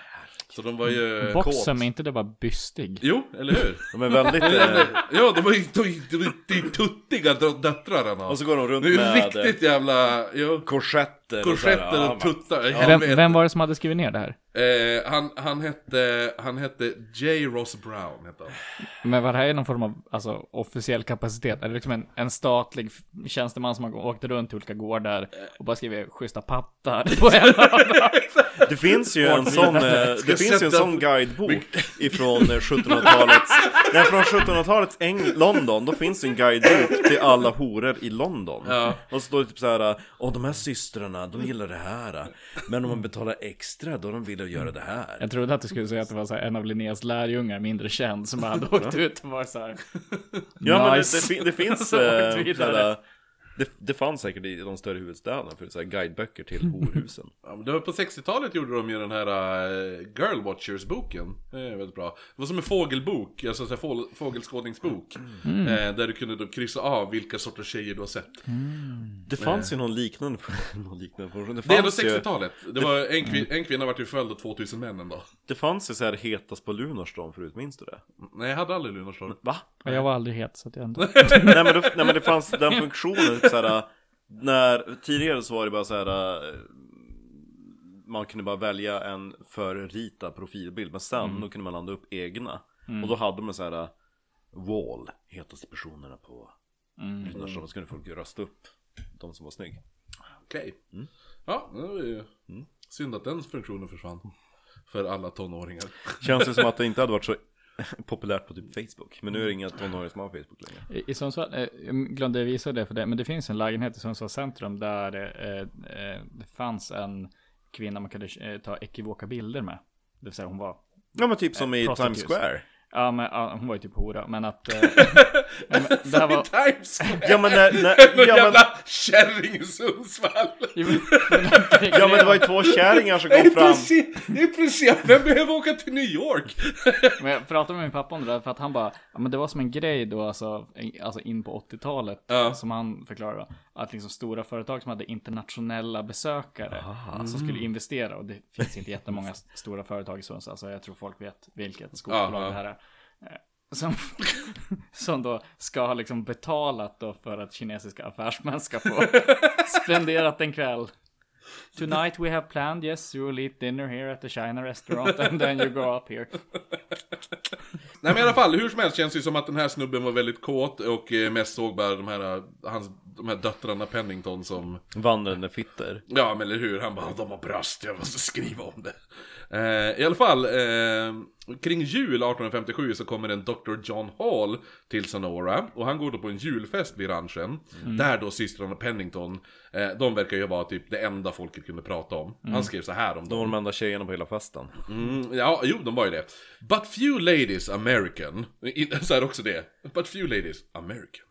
[SPEAKER 1] Så de var
[SPEAKER 5] Mm,
[SPEAKER 1] ju...
[SPEAKER 5] Boxum, är inte det bara bystig?
[SPEAKER 1] Jo, eller hur?
[SPEAKER 3] De är väldigt... Eh,
[SPEAKER 1] ja, de var ju de, de, de, tuttiga dö- döttrar han har.
[SPEAKER 3] och så går de runt
[SPEAKER 1] Det är ju
[SPEAKER 3] med
[SPEAKER 1] riktigt jävla... Jo.
[SPEAKER 9] Korsetter.
[SPEAKER 1] Korsetter och tuttar.
[SPEAKER 5] Vem,
[SPEAKER 1] Helvete.
[SPEAKER 5] vem var det som hade skrivit ner det här?
[SPEAKER 1] Eh, han, han, hette, han hette J. Ross Brown. Hette han.
[SPEAKER 5] Men var det här är någon form av alltså, officiell kapacitet? Är det liksom en, en statlig f- tjänsteman som har gå- åkt runt till olika gårdar och bara skrivit schyssta pattar på en
[SPEAKER 3] Det finns ju en sån, eh, det finns ju en
[SPEAKER 1] sätta-
[SPEAKER 3] sån guidebok ifrån eh, 1700-talets, nej från 1700-talets Eng- London, då finns det en guidebok till alla horor i London.
[SPEAKER 1] Ja.
[SPEAKER 3] Och så står det typ såhär, åh de här systrarna, de gillar det här, men om man betalar extra då de vill göra det här.
[SPEAKER 5] Jag trodde att du skulle säga att det var så här, en av Linnés lärjungar, mindre känd, som hade åkt ut och var så här.
[SPEAKER 3] Ja men det,
[SPEAKER 5] Nice.
[SPEAKER 3] det, fin- det finns,
[SPEAKER 5] Så åkte
[SPEAKER 3] eh,
[SPEAKER 5] vi vidare.
[SPEAKER 3] såhär, det, det fanns säkert i de större huvudstäderna för såhär guideböcker till horhusen.
[SPEAKER 1] Ja, men det var på 60-talet gjorde de ju den här eh, Girl Watchers-boken. Det är väldigt bra. Det var som en fågelbok, alltså så här fål- fågelskådningsbok. Eh, där du kunde då kryssa av vilka sorters tjejer du har sett.
[SPEAKER 3] Det fanns ju någon liknande, någon liknande, det
[SPEAKER 1] Det är ändå
[SPEAKER 3] fanns ju
[SPEAKER 1] 60-talet. Det var en, kvin- en kvinna vart ju följd av 2000 män en dag.
[SPEAKER 3] Det fanns ju så här hetas på Lunarstorm förut, minns du det?
[SPEAKER 1] Nej, jag hade aldrig Lunarstorm.
[SPEAKER 3] Va?
[SPEAKER 5] Och jag var aldrig het, så att jag inte...
[SPEAKER 3] nej, men då, nej men det fanns den funktionen, typ så här, när, tidigare så var det bara så här. eh, Man kunde bara välja en förrita profilbild, men sen då kunde man landa upp egna Och då hade man så här eh, Wall, hetaste personerna på Lunarstorm, så kunde folk rösta upp de som var snygg
[SPEAKER 1] Okej. Ja, det var ju synd att den funktionen försvann. För alla tonåringar.
[SPEAKER 3] Känns det som att det inte hade varit så populärt på typ Facebook Men nu är det inga tonåringar som har Facebook längre
[SPEAKER 5] I, i Sundsvall, eh, jag glömde visa det för det, men det finns en lägenhet i Sundsvalls centrum där eh, eh, det fanns en kvinna man kunde eh, ta ekivoka bilder med. Det vill säga hon var
[SPEAKER 3] Ja men typ som i Times
[SPEAKER 5] prostitutes.
[SPEAKER 3] Square
[SPEAKER 5] Ja, men ja, hon var ju typ hora, men att... Eh, nej, men det här var...
[SPEAKER 1] Times Square!
[SPEAKER 3] Ja men, när, när,
[SPEAKER 1] Någon
[SPEAKER 3] ja, men
[SPEAKER 1] jävla kärring i Sundsvall!
[SPEAKER 3] Ja men det var ju två kärringar som kom fram
[SPEAKER 1] Intresserad, vem behöver åka till New York?
[SPEAKER 5] Men jag pratade med min pappa om det där för att han bara, ja men det var som en grej då alltså, en- alltså in på 80-talet
[SPEAKER 1] Ja.
[SPEAKER 5] som han förklarade då, att liksom stora företag som hade internationella besökare som skulle investera och det finns inte jättemånga s- stora företag i Sundsvall så jag tror folk vet vilket
[SPEAKER 1] Ja,
[SPEAKER 5] skogsbolag
[SPEAKER 1] ja.
[SPEAKER 5] det här är. Eh, Som, som då ska ha liksom betalat då för att kinesiska affärsmän ska få spenderat en kväll. Tonight we have planned, yes, you will eat dinner here at the China restaurant and then you go up here.
[SPEAKER 1] Nej men i alla fall, hur som helst känns det ju som att den här snubben var väldigt kåt och eh, mest såg bara de här, eh, hans, de här döttrarna Pennington som
[SPEAKER 3] Vandrande fitter
[SPEAKER 1] Ja men eller hur, han bara de har bröst, jag måste skriva om det Eh, I alla fall, eh, kring jul 1857 så kommer en Dr. John Hall till Sonora och han går då på en julfest vid ranchen. Där då systrarna Pennington, eh, de verkar ju vara typ det enda folket kunde prata om. Han skrev så här om dem.
[SPEAKER 3] De var de enda tjejerna på hela festen.
[SPEAKER 1] Mm, ja, jo, de var ju det. But few ladies American. I- Så här också det. But few ladies American.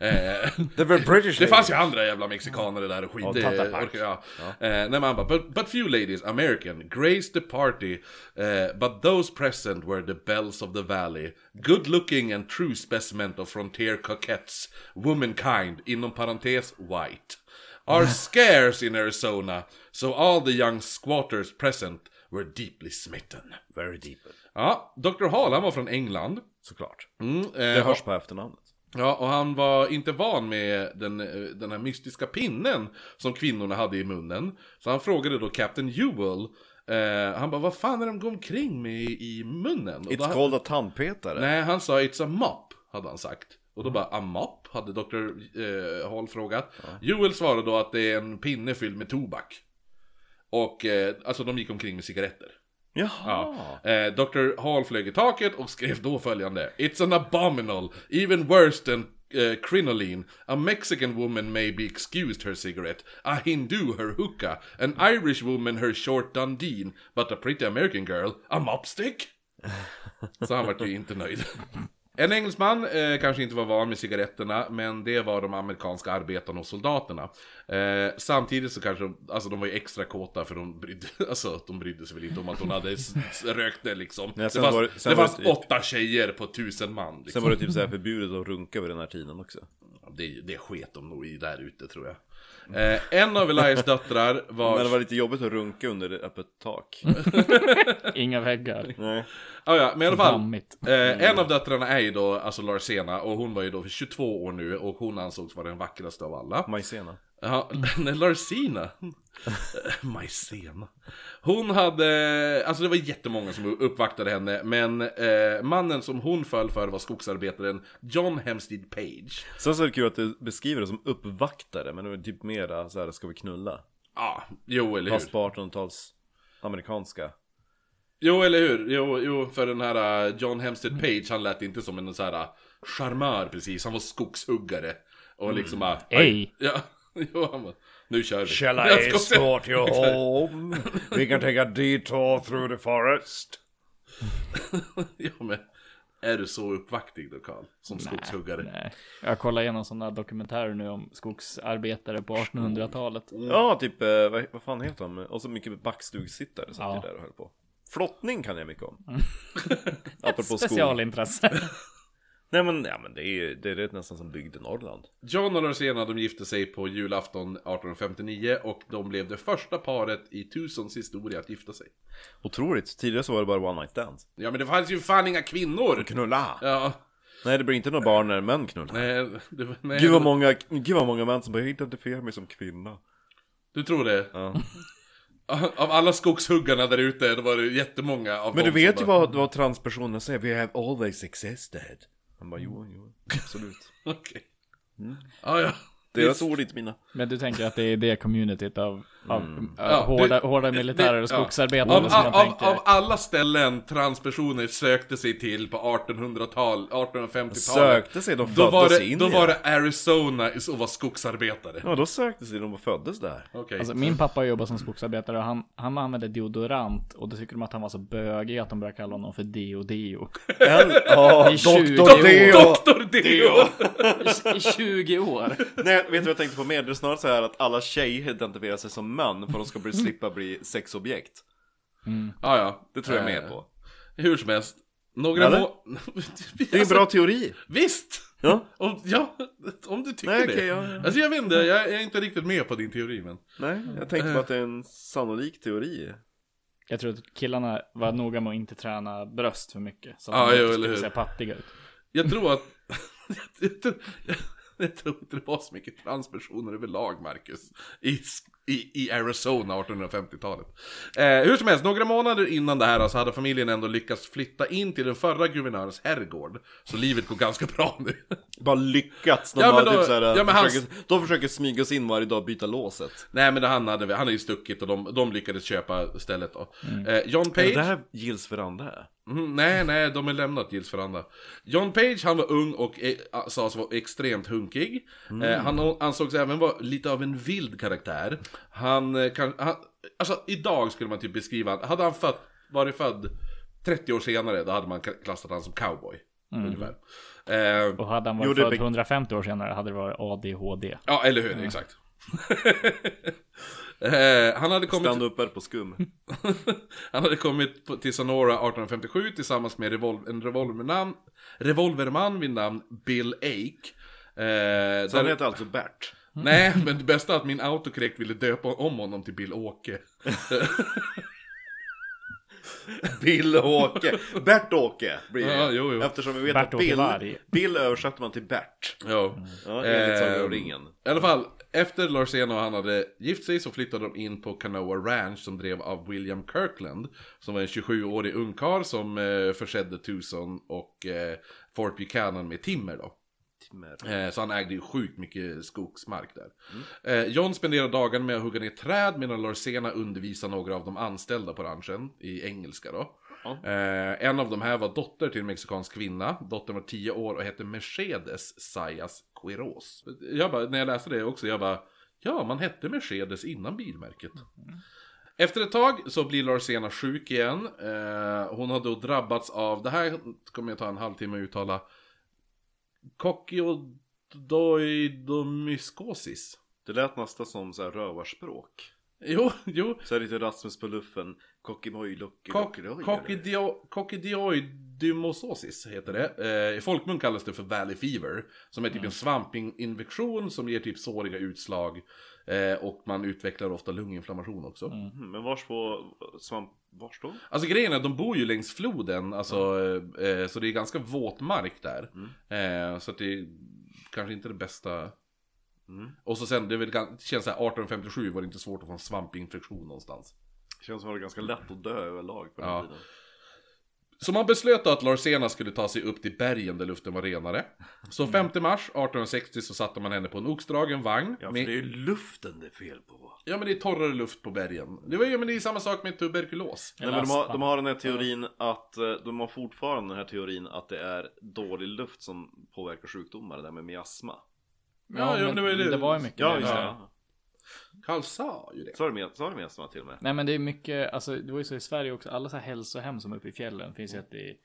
[SPEAKER 1] Eh,
[SPEAKER 3] Det var British
[SPEAKER 1] det fanns ju andra jävla mexikanare där och skit.
[SPEAKER 3] Och
[SPEAKER 1] det
[SPEAKER 3] Tatapac.
[SPEAKER 1] orkar jag. Eh, nej, man bara, but, but few ladies American graced the party, eh, but those present were the bells of the valley. Good looking and true specimen of frontier coquettes, womankind, inom parentes white, are scarce in Arizona, so all the young squatters present were deeply smitten.
[SPEAKER 3] Very deep.
[SPEAKER 1] Ja, Dr. Hall, han var från England.
[SPEAKER 3] Såklart.
[SPEAKER 1] Mm, eh,
[SPEAKER 3] Det hörs på efternamnet.
[SPEAKER 1] Ja, och han var inte van med den, eh, den här mystiska pinnen som kvinnorna hade i munnen. Så han frågade då Captain Ewell, eh, han bara vad fan är de går omkring med i i munnen? Och då
[SPEAKER 3] It's called a tandpetare.
[SPEAKER 1] Nej, han sa it's a mop, hade han sagt. Och då bara a mop, hade Dr. Eh, Hall frågat. Ewell svarade då att det är en pinne fylld med tobak. Och eh, alltså de gick omkring med cigaretter.
[SPEAKER 3] Jaha.
[SPEAKER 1] Ja. Eh, Dr. Hall flög i taket och skrev då följande. It's an abominal, even worse than eh, crinoline. A Mexican woman may be excused her cigarette. A Hindu her hookah. An Irish woman her short dundeen. But a pretty American girl, a mopstick. Så han vart ju inte nöjd. En engelsman eh, kanske inte var van med cigaretterna, men det var de amerikanska arbetarna och soldaterna. Eh, samtidigt så kanske de, alltså de var ju extra kåta för de brydde, alltså, de brydde sig väl inte om att hon hade s- s- rökt det liksom.
[SPEAKER 3] Nej,
[SPEAKER 1] det
[SPEAKER 3] sen
[SPEAKER 1] fanns,
[SPEAKER 3] var
[SPEAKER 1] det,
[SPEAKER 3] det- sen var
[SPEAKER 1] fanns
[SPEAKER 3] det typ-
[SPEAKER 1] åtta tjejer på tusen man. Liksom.
[SPEAKER 3] Sen var det typ så här förbjudet att runka vid den här tiden också.
[SPEAKER 1] Det, det sket de nog i där ute tror jag. Eh, en av Elias döttrar var...
[SPEAKER 3] Men det var lite jobbigt att runka under ett öppet tak.
[SPEAKER 1] Mm.
[SPEAKER 5] Inga väggar.
[SPEAKER 3] Nej.
[SPEAKER 1] Ah, ja, men i alla fall.
[SPEAKER 5] Dammigt.
[SPEAKER 1] Eh, en av döttrarna är ju då alltså Larsena och hon var ju då 22 år nu och hon ansågs vara den vackraste av alla.
[SPEAKER 3] Majsena.
[SPEAKER 1] Ja, nej, Larsina. Majsena. Hon hade, alltså det var jättemånga som uppvaktade henne, men eh, mannen som hon föll för var skogsarbetaren John Hemstead Page.
[SPEAKER 3] Sen så är det kul att du beskriver det som uppvaktare, men det var typ mera så här, ska vi knulla?
[SPEAKER 1] Ja, jo eller hur.
[SPEAKER 3] Fast på 1800-tals amerikanska.
[SPEAKER 1] Jo eller hur, jo, jo för den här eh, John Hemstead Page, han lät inte som en så här eh, charmör precis, han var skogshuggare. Och liksom bara...
[SPEAKER 5] Ej.
[SPEAKER 1] Ja, jo han bara, nu kör vi.
[SPEAKER 10] Shall I
[SPEAKER 1] Jag ska se-
[SPEAKER 10] escort you home? We can take a detour through the forest.
[SPEAKER 1] Ja men, är du så uppvaktig då Karl? Som skogshuggare?
[SPEAKER 5] Nej. Jag kollar igenom sådana dokumentärer nu om skogsarbetare på 1800-talet.
[SPEAKER 3] Ja, typ, eh, vad, vad fan heter de? Och så mycket backstugsittare satt
[SPEAKER 5] Ja.
[SPEAKER 3] ju där och höll på. Flottning kan jag mycket om. Apropå skog.
[SPEAKER 5] Specialintresse.
[SPEAKER 3] Nej men, ja, men det är ju det är rätt nästan som bygd i Norrland.
[SPEAKER 1] John och Rosena de gifte sig på julafton 1859 och de blev det första paret i Tusons historia att gifta sig.
[SPEAKER 3] Otroligt, tidigare så var det bara one night stands.
[SPEAKER 1] Ja men det fanns ju fan inga kvinnor!
[SPEAKER 3] Knulla!
[SPEAKER 1] Ja,
[SPEAKER 3] Nej det blir inte några barn när män knullar.
[SPEAKER 1] nej, du, nej.
[SPEAKER 3] Gud vad, många, gud vad många män som bara "Jag identifierar mig som kvinna.
[SPEAKER 1] Du tror det?
[SPEAKER 3] Ja.
[SPEAKER 1] Av alla skogshuggarna där ute, då var det jättemånga av
[SPEAKER 3] Men du
[SPEAKER 1] dem
[SPEAKER 3] vet ju
[SPEAKER 1] som
[SPEAKER 3] vad, vad transpersoner säger, we have always existed. Han bara jo, jo, absolut.
[SPEAKER 1] bara... Okej. Ja, ja.
[SPEAKER 3] Deras ord, inte mina.
[SPEAKER 5] Men du tänker att det är det communityt av, av äh,
[SPEAKER 1] Ja,
[SPEAKER 5] hårda,
[SPEAKER 1] det-
[SPEAKER 5] hårda militärer och
[SPEAKER 1] Det- ja.
[SPEAKER 5] skogsarbetare
[SPEAKER 1] Av,
[SPEAKER 5] som jag
[SPEAKER 1] av, av,
[SPEAKER 5] tänker.
[SPEAKER 1] av alla ställen transpersoner sökte sig till på 1800-tal, 1850-talet.
[SPEAKER 3] Sökte sig, de
[SPEAKER 1] Då var
[SPEAKER 3] föddes
[SPEAKER 1] det,
[SPEAKER 3] in
[SPEAKER 1] då
[SPEAKER 3] i
[SPEAKER 1] var
[SPEAKER 3] det.
[SPEAKER 1] det Arizona och var skogsarbetare.
[SPEAKER 3] Ja, då sökte sig de och föddes där.
[SPEAKER 1] Okej.
[SPEAKER 5] Alltså, min pappa jobbade som skogsarbetare och han, han använde deodorant och då tyckte de att han var så bögig att de började kalla honom för Deo Deo.
[SPEAKER 3] Ja,
[SPEAKER 5] I 20
[SPEAKER 3] doktor
[SPEAKER 5] år.
[SPEAKER 3] Deo!
[SPEAKER 1] Doktor Deo!
[SPEAKER 5] I 20 år.
[SPEAKER 3] Nej, vet du vad jag tänkte på mer? Det är snarare så här att alla tjejer identifierar sig som män för att de ska bli, slippa bli sexobjekt.
[SPEAKER 1] Ah, ja,
[SPEAKER 3] Det tror jag mer på.
[SPEAKER 1] Hur som helst. Några
[SPEAKER 3] Eller?
[SPEAKER 1] må... alltså,
[SPEAKER 3] Det är en bra teori.
[SPEAKER 1] Visst!
[SPEAKER 3] Ja.
[SPEAKER 1] Om, ja, om du tycker
[SPEAKER 3] Nej,
[SPEAKER 1] det.
[SPEAKER 3] okej, ja, ja.
[SPEAKER 1] Alltså jag vet inte, jag är inte riktigt med på din teori men.
[SPEAKER 3] Nej, jag tänkte bara att det är en sannolik teori.
[SPEAKER 5] Jag tror att killarna var noga med att inte träna bröst för mycket. Så att
[SPEAKER 1] Ja,
[SPEAKER 5] de
[SPEAKER 1] jo,
[SPEAKER 5] inte
[SPEAKER 1] eller
[SPEAKER 5] skulle
[SPEAKER 1] hur.
[SPEAKER 5] se pattiga ut.
[SPEAKER 1] Jag tror att... jag, tror, jag, tror inte det var så mycket transpersoner överlag, Marcus. I, s- I, i Arizona 1850-talet. Eh, hur som helst, några månader innan det här så hade familjen ändå lyckats flytta in till den förra guvernörens herrgård. Så livet går ganska bra nu.
[SPEAKER 3] Bara lyckats. De
[SPEAKER 1] Ja,
[SPEAKER 3] bara
[SPEAKER 1] men då-
[SPEAKER 3] typ såhär,
[SPEAKER 1] ja, men
[SPEAKER 3] försöker, de försöker smyga oss in varje dag och byta låset.
[SPEAKER 1] Nej men det han hade, han är ju stuckit och de, de lyckades köpa stället då. Eh, John Page...
[SPEAKER 3] här gills veranda?
[SPEAKER 1] Mm, nej, nej, de är lämnat Gills Veranda. John Page, han var ung och eh, sades vara extremt hunkig. Eh, han ansågs även vara lite av en vild karaktär. Han eh, kan... Han, alltså, idag skulle man typ beskriva... Hade han fött, varit född 30 år senare, då hade man klassat han som cowboy. Ungefär. Eh,
[SPEAKER 5] Och hade han
[SPEAKER 3] Jo,
[SPEAKER 5] varit
[SPEAKER 3] det är
[SPEAKER 5] född
[SPEAKER 3] bek-
[SPEAKER 5] 150 år senare hade det varit ADHD.
[SPEAKER 1] ja, eller hur? Exakt. eh, han hade kommit...
[SPEAKER 3] Stand upp här på skum.
[SPEAKER 1] Han hade kommit på- till Sonora 1857 tillsammans med revol- en revolvernamn, revolverman vid namn Bill Ake. Eh,
[SPEAKER 3] Så han
[SPEAKER 1] där-
[SPEAKER 3] heter alltså Bert.
[SPEAKER 1] Nej, men det bästa är att min autocorrect ville döpa om honom till Bill-Åke.
[SPEAKER 3] Bill-Åke. Bert-Åke blir det.
[SPEAKER 1] Ja, jo, jo.
[SPEAKER 3] Eftersom vi vet att
[SPEAKER 5] Bert-Åke
[SPEAKER 3] Bill,
[SPEAKER 5] Varg.
[SPEAKER 3] Bill översätter man till Bert.
[SPEAKER 1] Ja.
[SPEAKER 3] Ja, enligt
[SPEAKER 1] Ehm,
[SPEAKER 3] Sagan om ringen.
[SPEAKER 1] I alla fall, efter Larsén och han hade gift sig så flyttade de in på Canoa Ranch som drev av William Kirkland. Som var en 27-årig ungkarl som eh, försedde Tucson och eh, Fort Buchanan med timmer då. Eh, Så han ägde ju sjukt mycket skogsmark där. Eh, John spenderar dagarna med att hugga ner träd medan Larsena undervisar några av de anställda på ranchen i engelska då. Eh, en av de här var dotter till en mexikansk kvinna. Dottern var 10 år och hette Mercedes Sayas Quiroz. Jag bara, när jag läste det också, jag bara, ja man hette Mercedes innan bilmärket. Efter ett tag så blir Larsena sjuk igen. Eh, hon har då drabbats av, det här kommer jag ta en halvtimme att uttala, Kockiodoidomyskosis.
[SPEAKER 3] Det lät nästan som så här rövarspråk.
[SPEAKER 1] Jo, jo.
[SPEAKER 3] Så här lite Rasmus på luffen. Kockimojlocki.
[SPEAKER 1] Kock-
[SPEAKER 3] lockeroj, eller?
[SPEAKER 1] kokkidio- Kockidioidymososis heter det. Eh, I folkmun kallas det för Valley Fever. Som är typ en svampinfektion som ger typ såriga utslag. Eh, och man utvecklar ofta lunginflammation också.
[SPEAKER 3] Mm, Men vars på svamp... Vars då?
[SPEAKER 1] Alltså grejen är att de bor ju längs floden, alltså, eh, eh, så det är ganska våt mark där. Eh, så att det är kanske inte det bästa. Och så sen, det, är väl, gan- det känns så här 1857 var det inte svårt att få en svampinfektion någonstans.
[SPEAKER 3] Känns som att det var ganska lätt att dö överlag på den
[SPEAKER 1] Ja.
[SPEAKER 3] tiden.
[SPEAKER 1] Så man beslöt att Larsena skulle ta sig upp till bergen där luften var renare.
[SPEAKER 3] Mm.
[SPEAKER 1] Så 5 mars 1860 så satte man henne på en oxdragen vagn.
[SPEAKER 3] Ja, för
[SPEAKER 1] med,
[SPEAKER 3] det är ju luften det är fel på.
[SPEAKER 1] ja men det är torrare luft på bergen. Det, var, ju- men det är samma sak med tuberkulos.
[SPEAKER 3] Nej, men de, har, de har den här teorin att, eh, de har fortfarande den här teorin att det är dålig luft som påverkar sjukdomar, det där med miasma.
[SPEAKER 1] Ja,
[SPEAKER 5] Ja,
[SPEAKER 1] ja,
[SPEAKER 5] men
[SPEAKER 1] det var ju det.
[SPEAKER 5] det var ju mycket
[SPEAKER 3] Ja,
[SPEAKER 5] det.
[SPEAKER 3] just
[SPEAKER 5] Ja.
[SPEAKER 3] det.
[SPEAKER 1] Karl sa ju det.
[SPEAKER 3] Sa du mi- sa du miasma till och med?
[SPEAKER 5] Nej men det är mycket, alltså det var ju så i Sverige också, alla så här hälsohem som är uppe i fjällen finns ju ett i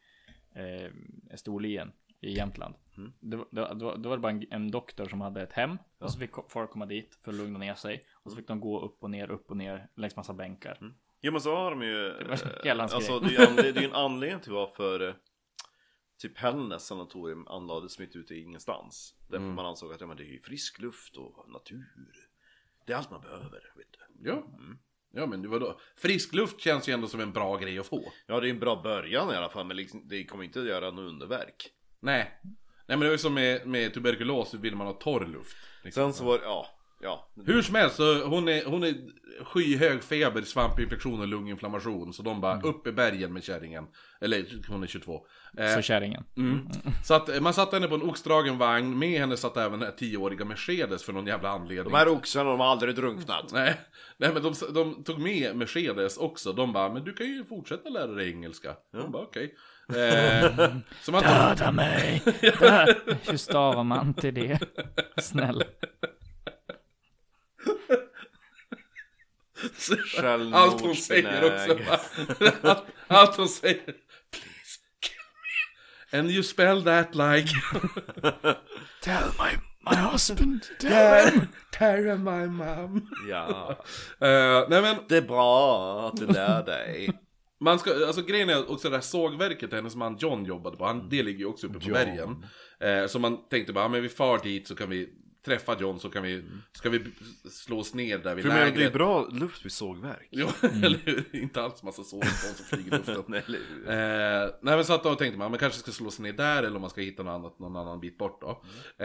[SPEAKER 5] eh, Storlien i Jämtland.
[SPEAKER 3] Mm.
[SPEAKER 5] Det, var- det, var- det var- det var bara en, en doktor som hade ett hem och så fick ko- folk komma dit för att lugna ner sig och så fick de gå upp och ner, upp och ner längs massa bänkar.
[SPEAKER 3] Jo men så har de ju...
[SPEAKER 5] var
[SPEAKER 3] eh,
[SPEAKER 5] hela hans
[SPEAKER 3] Alltså det är ju anle- det är ju en anledning till varför eh, typ Hällnäs sanatorium anlades mitt ute i ingenstans. Därför man ansåg att ja, men det är ju frisk luft och natur. Det är allt man behöver, vet du.
[SPEAKER 1] Ja.
[SPEAKER 3] Mm.
[SPEAKER 1] Ja men det var då. Frisk luft känns ju ändå som en bra grej att få.
[SPEAKER 3] Ja, det är en bra början i alla fall, men liksom, det kommer inte att göra något underverk.
[SPEAKER 1] Nej. Nej men det var ju som med, med tuberkulos, vill man ha torr luft. Liksom.
[SPEAKER 3] Sen så var det, ja, ja.
[SPEAKER 1] Hur som helst, så hon är, hon är skyhög feber, svampinfektion och lunginflammation. Så de bara,
[SPEAKER 3] Mm.
[SPEAKER 1] upp i bergen med kärringen. Eller hon är 22. Eh,
[SPEAKER 5] Så kärringen.
[SPEAKER 1] Mm. Så att eh, man satte henne på en oxdragen vagn, med henne satt även den här 10-åriga Mercedes för någon jävla anledning.
[SPEAKER 3] De här oxarna, de har aldrig drunknat.
[SPEAKER 1] Nej, nej men de, de tog med Mercedes också. De bara, men du kan ju fortsätta lära dig engelska. Hon bara, okej. Eh, så man tog,
[SPEAKER 5] Döda mig! Dö- Hur stavar man till det? Snälla.
[SPEAKER 1] allt hon säger också. bara- Allt, allt hon säger. Please, kill me. And you spell that like...
[SPEAKER 5] Tell my, my husband.
[SPEAKER 1] Tara my mom.
[SPEAKER 3] Ja,
[SPEAKER 1] Eh, nej men,
[SPEAKER 3] det är bra att du lär dig.
[SPEAKER 1] Man ska, alltså grejen är också det här sågverket, hennes man John jobbade på, han, det ligger ju också uppe på bergen. Eh, så man tänkte bara, ja, men vi far dit så kan vi träffa John så kan vi, ska vi b- slå oss ner där vid
[SPEAKER 3] För jag menar, det är
[SPEAKER 1] lägret.
[SPEAKER 3] bra luft vid sågverk.
[SPEAKER 1] Jo, eller hur? Inte alls massa sovspån som flyger i luften.
[SPEAKER 3] Nej, eller hur?
[SPEAKER 1] Eh, nej men så att då tänkte man, man kanske ska slå sig ner där eller om man ska hitta något annat, någon annan bit bort då.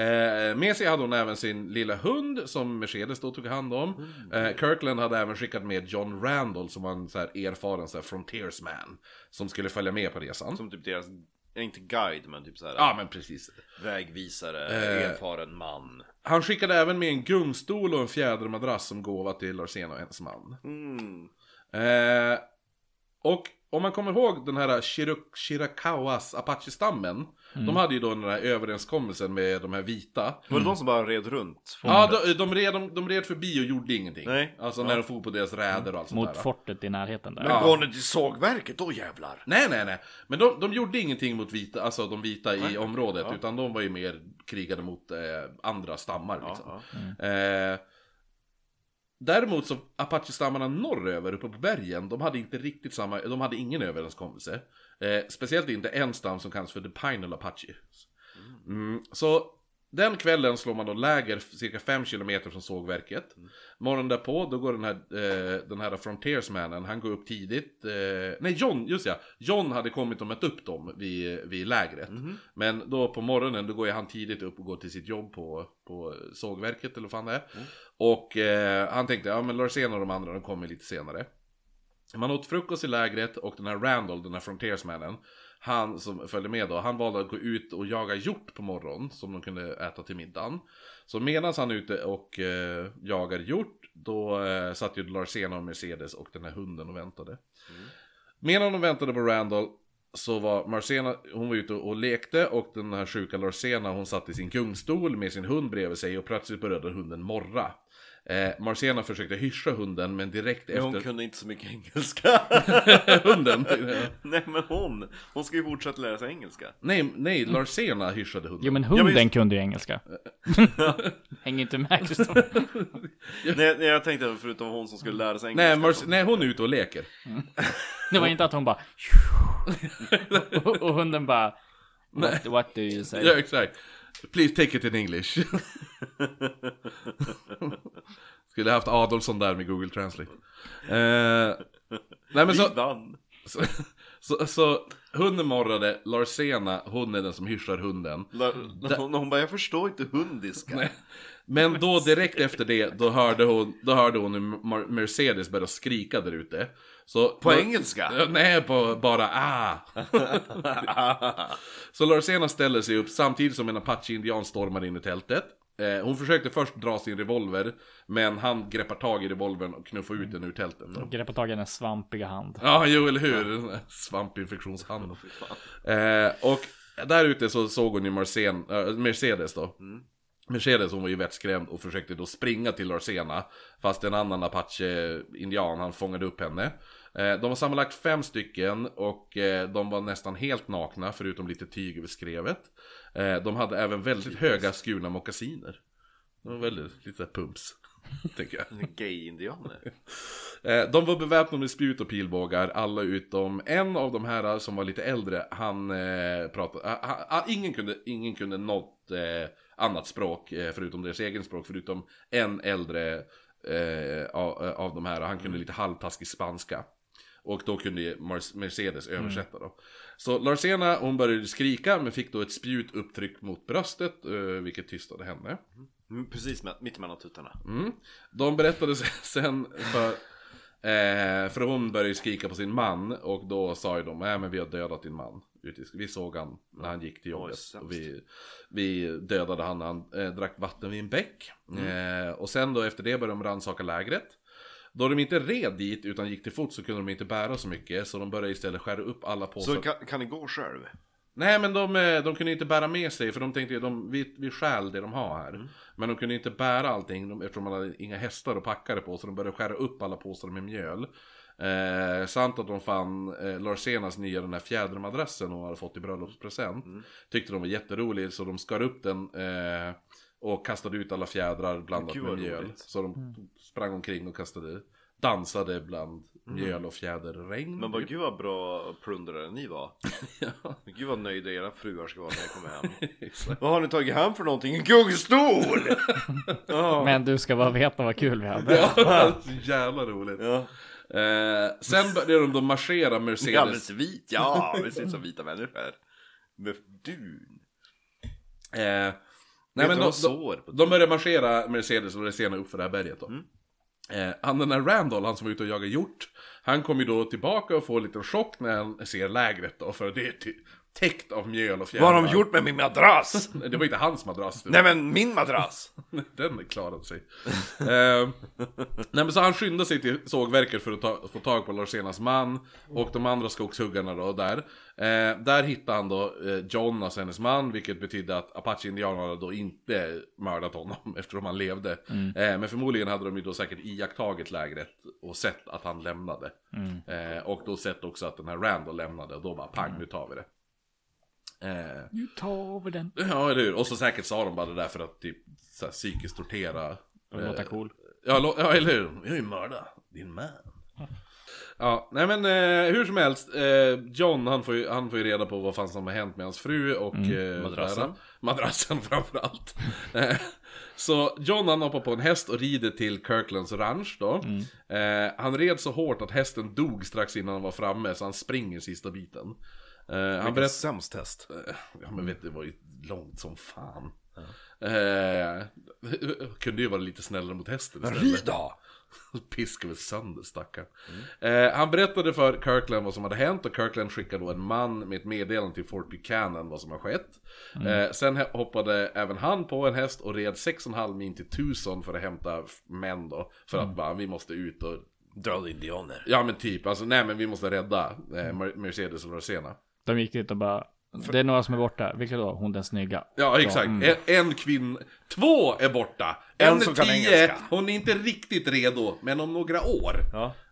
[SPEAKER 1] Eh, med sig hade hon även sin lilla hund som Mercedes då tog hand om. Eh, Kirkland hade även skickat med John Randall som var en så här erfaren så här frontiersman. Som skulle följa med på resan.
[SPEAKER 3] Som typ deras, ja, inte guide men typ såhär
[SPEAKER 1] Ja men precis.
[SPEAKER 3] vägvisare,
[SPEAKER 1] Eh.
[SPEAKER 3] erfaren man.
[SPEAKER 1] Han skickade även med en gungstol och en fjädermadrass som gåva till Larsen och hennes man.
[SPEAKER 3] Mm.
[SPEAKER 1] Eh, och om man kommer ihåg den här Shiro- Shirakawas Apache-stammen. De hade ju då den här överenskommelsen med de här vita.
[SPEAKER 3] Var det de som bara red runt?
[SPEAKER 1] Ja, de, de, red, de, de red förbi och gjorde ingenting.
[SPEAKER 3] Nej.
[SPEAKER 1] Alltså när de for på deras räder och allt sånt
[SPEAKER 5] Mot
[SPEAKER 1] där.
[SPEAKER 5] fortet i närheten där.
[SPEAKER 1] Ja.
[SPEAKER 3] Går ni till sågverket, då jävlar!
[SPEAKER 1] Nej, nej, nej. Men de, de gjorde ingenting mot vita, alltså de vita i området. Utan de var ju mer krigade mot eh, andra stammar liksom. Eh, däremot så Apache-stammarna norröver, uppe på bergen, de hade inte riktigt samma, de hade ingen överenskommelse. Eh, speciellt inte en stam som kallas för The Pinal Apache. Mm, så den kvällen slår man då läger cirka 5 kilometer från sågverket. Morgonen därpå, då går den här, eh, den här frontiersmannen, han går upp tidigt. Eh, nej, John, just ja. John hade kommit och mött upp dem vid, vid lägret. Men då på morgonen, då går ju han tidigt upp och går till sitt jobb på, på sågverket eller vad fan det är. Och eh, han tänkte, ja men Larsén och de andra, de kommer lite senare. Man åt frukost i lägret och den här Randall, den här frontiersmannen, han som följde med då, han valde att gå ut och jaga hjort på morgonen som de kunde äta till middagen. Så medan han är ute och eh, jagar hjort, då eh, satt ju Larsena och Mercedes och den här hunden och väntade.
[SPEAKER 3] Mm.
[SPEAKER 1] Medan de väntade på Randall så var Marcena, hon var ute och och lekte och den här sjuka Larsena hon satt i sin gungstol med sin hund bredvid sig och plötsligt började hunden morra. Eh, Marcena försökte hyscha hunden men direkt
[SPEAKER 3] Men
[SPEAKER 1] efter...
[SPEAKER 3] hon kunde inte så mycket engelska.
[SPEAKER 1] hunden.
[SPEAKER 3] Nej men hon, hon ska ju fortsätta lära sig engelska.
[SPEAKER 1] Nej, nej, Larsena hyschade hunden.
[SPEAKER 5] Mm. Jo men
[SPEAKER 3] Ja,
[SPEAKER 5] hunden
[SPEAKER 3] men just-
[SPEAKER 5] kunde ju engelska. Hänger inte med Kristoff.
[SPEAKER 3] Nej, nej jag tänkte förutom hon som skulle lära sig engelska.
[SPEAKER 1] Nej, Marce- nej, hon är ute och leker.
[SPEAKER 5] Det var inte att hon bara... och, och hunden bara... What, what do you say?
[SPEAKER 1] Ja, exakt. Please take it in English. Skulle haft Adolfsson där med Google Translate. Eh, nej men
[SPEAKER 3] Vi
[SPEAKER 1] så,
[SPEAKER 3] vann.
[SPEAKER 1] så, så, så hunden morrade, Larsena, hon är den som hyschar hunden.
[SPEAKER 3] La, hon, hon bara, jag förstår inte hundiska.
[SPEAKER 1] Men då direkt efter det, då hörde hon, då hörde hon hur Mar- Mercedes började skrika där ute. Så
[SPEAKER 3] På engelska?
[SPEAKER 1] Ja, Nej, på bara ah. så Larsena ställer sig upp samtidigt som en apache-indian stormar in i tältet. Eh, hon försökte först dra sin revolver, men han greppar tag i revolvern och knuffar ut den ur tältet. Då.
[SPEAKER 5] Greppa tag i hennes svampiga hand.
[SPEAKER 1] Ja, jo, eller hur? Svampinfektionshand. eh, och där ute så såg hon ju Marcen, eh, Mercedes då. Mercedes hon var ju vettskrämd och försökte då springa till Larsena. Fast en annan apache-indian han fångade upp henne. Eh, De var sammanlagt fem stycken och eh, de var nästan helt nakna förutom lite tyg över skrevet. Eh, De hade även väldigt höga skurna mockasiner. De var väldigt, lite pumps. Tänker jag.
[SPEAKER 3] Gay-indianer.
[SPEAKER 1] Eh, De var beväpnade med spjut och pilbågar, alla utom en av de här som var lite äldre, han eh, pratade, ah, ah, ah, ingen, kunde, ingen kunde något eh, annat språk eh, förutom deras egen språk, förutom en äldre eh, av, av de här, han kunde lite halvtaskig spanska. Och då kunde ju Mar- Mercedes översätta dem. Så Larsena, hon började skrika men fick då ett spjut upptryckt mot bröstet, eh, vilket tystade henne.
[SPEAKER 3] Mm, Precis med, mitt mellan tuttarna.
[SPEAKER 1] Mm. De berättade sen för... Eh, för hon började ju skrika på sin man och då sa ju de nej men vi har dödat din man. Ute i sk- Vi såg han när han gick till jobbet.
[SPEAKER 3] sämst.
[SPEAKER 1] Och vi, vi dödade han när han eh, drack vatten vid en bäck.
[SPEAKER 3] Mm.
[SPEAKER 1] Eh, och sen då efter det började de rannsaka lägret. Då de inte red dit utan gick till fots så kunde de inte bära så mycket så de började istället skära upp alla påsar.
[SPEAKER 3] Så kan, kan ni gå själv?
[SPEAKER 1] Nej men de, eh, de kunde inte bära med sig för de tänkte ju, de, vi, vi stjäl det de har här.
[SPEAKER 3] Mm.
[SPEAKER 1] Men de kunde inte bära allting de, eftersom de hade inga hästar och packare på så de började skära upp alla påsar med mjöl. Eh, samt att de fann eh, Larsenas nya den här fjädermadrassen hon hade fått i bröllopspresent.
[SPEAKER 3] Mm.
[SPEAKER 1] Tyckte de var jätterolig så de skar upp den eh, och kastade ut alla fjädrar blandat
[SPEAKER 3] Gud,
[SPEAKER 1] med
[SPEAKER 3] vad
[SPEAKER 1] mjöl.
[SPEAKER 3] roligt.
[SPEAKER 1] Så de sprang omkring och kastade dansade bland mjöl och fjäderregn.
[SPEAKER 3] Mm. Men vad gud vad bra plundrare ni var. Men Gud vad nöjda era fruar ska vara när jag kommer hem. vad har ni tagit hem för någonting? En gungstol!
[SPEAKER 5] Men du ska bara veta vad kul vi hade.
[SPEAKER 1] Ja, så jävla roligt.
[SPEAKER 3] Ja.
[SPEAKER 1] Eh, sen började de då marschera
[SPEAKER 3] Det är alldeles
[SPEAKER 1] Mercedes.
[SPEAKER 3] vit, ja vi ser ut som vita människor. Med dun.
[SPEAKER 1] Eh, nej,
[SPEAKER 3] Nej
[SPEAKER 1] men de, de,
[SPEAKER 3] sår på
[SPEAKER 1] de började marschera Mercedes och Resena upp för det här berget då.
[SPEAKER 11] Mm.
[SPEAKER 1] Eh, han den här Randall, han som var ute och jagade hjort, han kom ju då tillbaka och får lite chock när han ser lägret då, för det är ty- täckt av mjöl och fjärilar.
[SPEAKER 11] Vad har de gjort med min madrass?
[SPEAKER 1] Nej, Det var inte hans madrass.
[SPEAKER 11] Nej men min madrass!
[SPEAKER 1] Den klarade sig. eh, nej men så han skyndade sig till sågverket för att ta, få tag på Larsenas man och de andra skogshuggarna då där. Eh, där hittade han då eh, John, alltså hennes man, vilket betydde att Apache-indianerna då inte mördat honom eftersom han levde. Eh, men förmodligen hade de ju då säkert iakttagit lägret och sett att han lämnade.
[SPEAKER 5] Mm.
[SPEAKER 1] Eh, och då sett också att den här Randall lämnade och då bara pang, nu tar vi det. Eh,
[SPEAKER 5] Nu tar vi den.
[SPEAKER 1] Ja, eller hur. Och så säkert sa de bara det där för att typ så här, psykiskt tortera.
[SPEAKER 5] Och låta cool.
[SPEAKER 1] Ja, lo- ja eller hur. Jag är ju mörda. Din man. Ja, nej men eh, hur som helst. Eh, John han får, ju, han får ju reda på vad fan som har hänt med hans fru och... eh,
[SPEAKER 5] madrassen.
[SPEAKER 1] där. madrassen framförallt. Eh, så John han hoppar på en häst och rider till Kirklands ranch då. Eh, han red så hårt att hästen dog strax innan han var framme så han springer sista biten. Eh, han berätt...
[SPEAKER 3] sämst test.
[SPEAKER 1] Eh, Ja men vet du, det var ju långt som fan. Eh, kunde ju vara lite snällare mot hästen istället.
[SPEAKER 3] Rida!
[SPEAKER 1] Piskade väl sönder stackaren. Eh, han berättade för Kirkland vad som hade hänt och Kirkland skickade då en man med ett meddelande till Fort Buchanan vad som har skett. Eh, sen he- hoppade även han på en häst och red 6,5 mil till Tucson för att hämta f- män då. För att bara, vi måste ut och...
[SPEAKER 3] Döda indianer.
[SPEAKER 1] Ja men typ, alltså nej men vi måste rädda eh, Mer- Mercedes och Rosena.
[SPEAKER 5] De gick dit och bara, det är några som är borta. Vilka då? Hon den snygga.
[SPEAKER 1] Ja, exakt. En, en kvinna... Två är borta! En,
[SPEAKER 11] som
[SPEAKER 1] är
[SPEAKER 11] kan
[SPEAKER 1] tio,
[SPEAKER 11] engelska.
[SPEAKER 1] hon är inte riktigt redo, men om några år.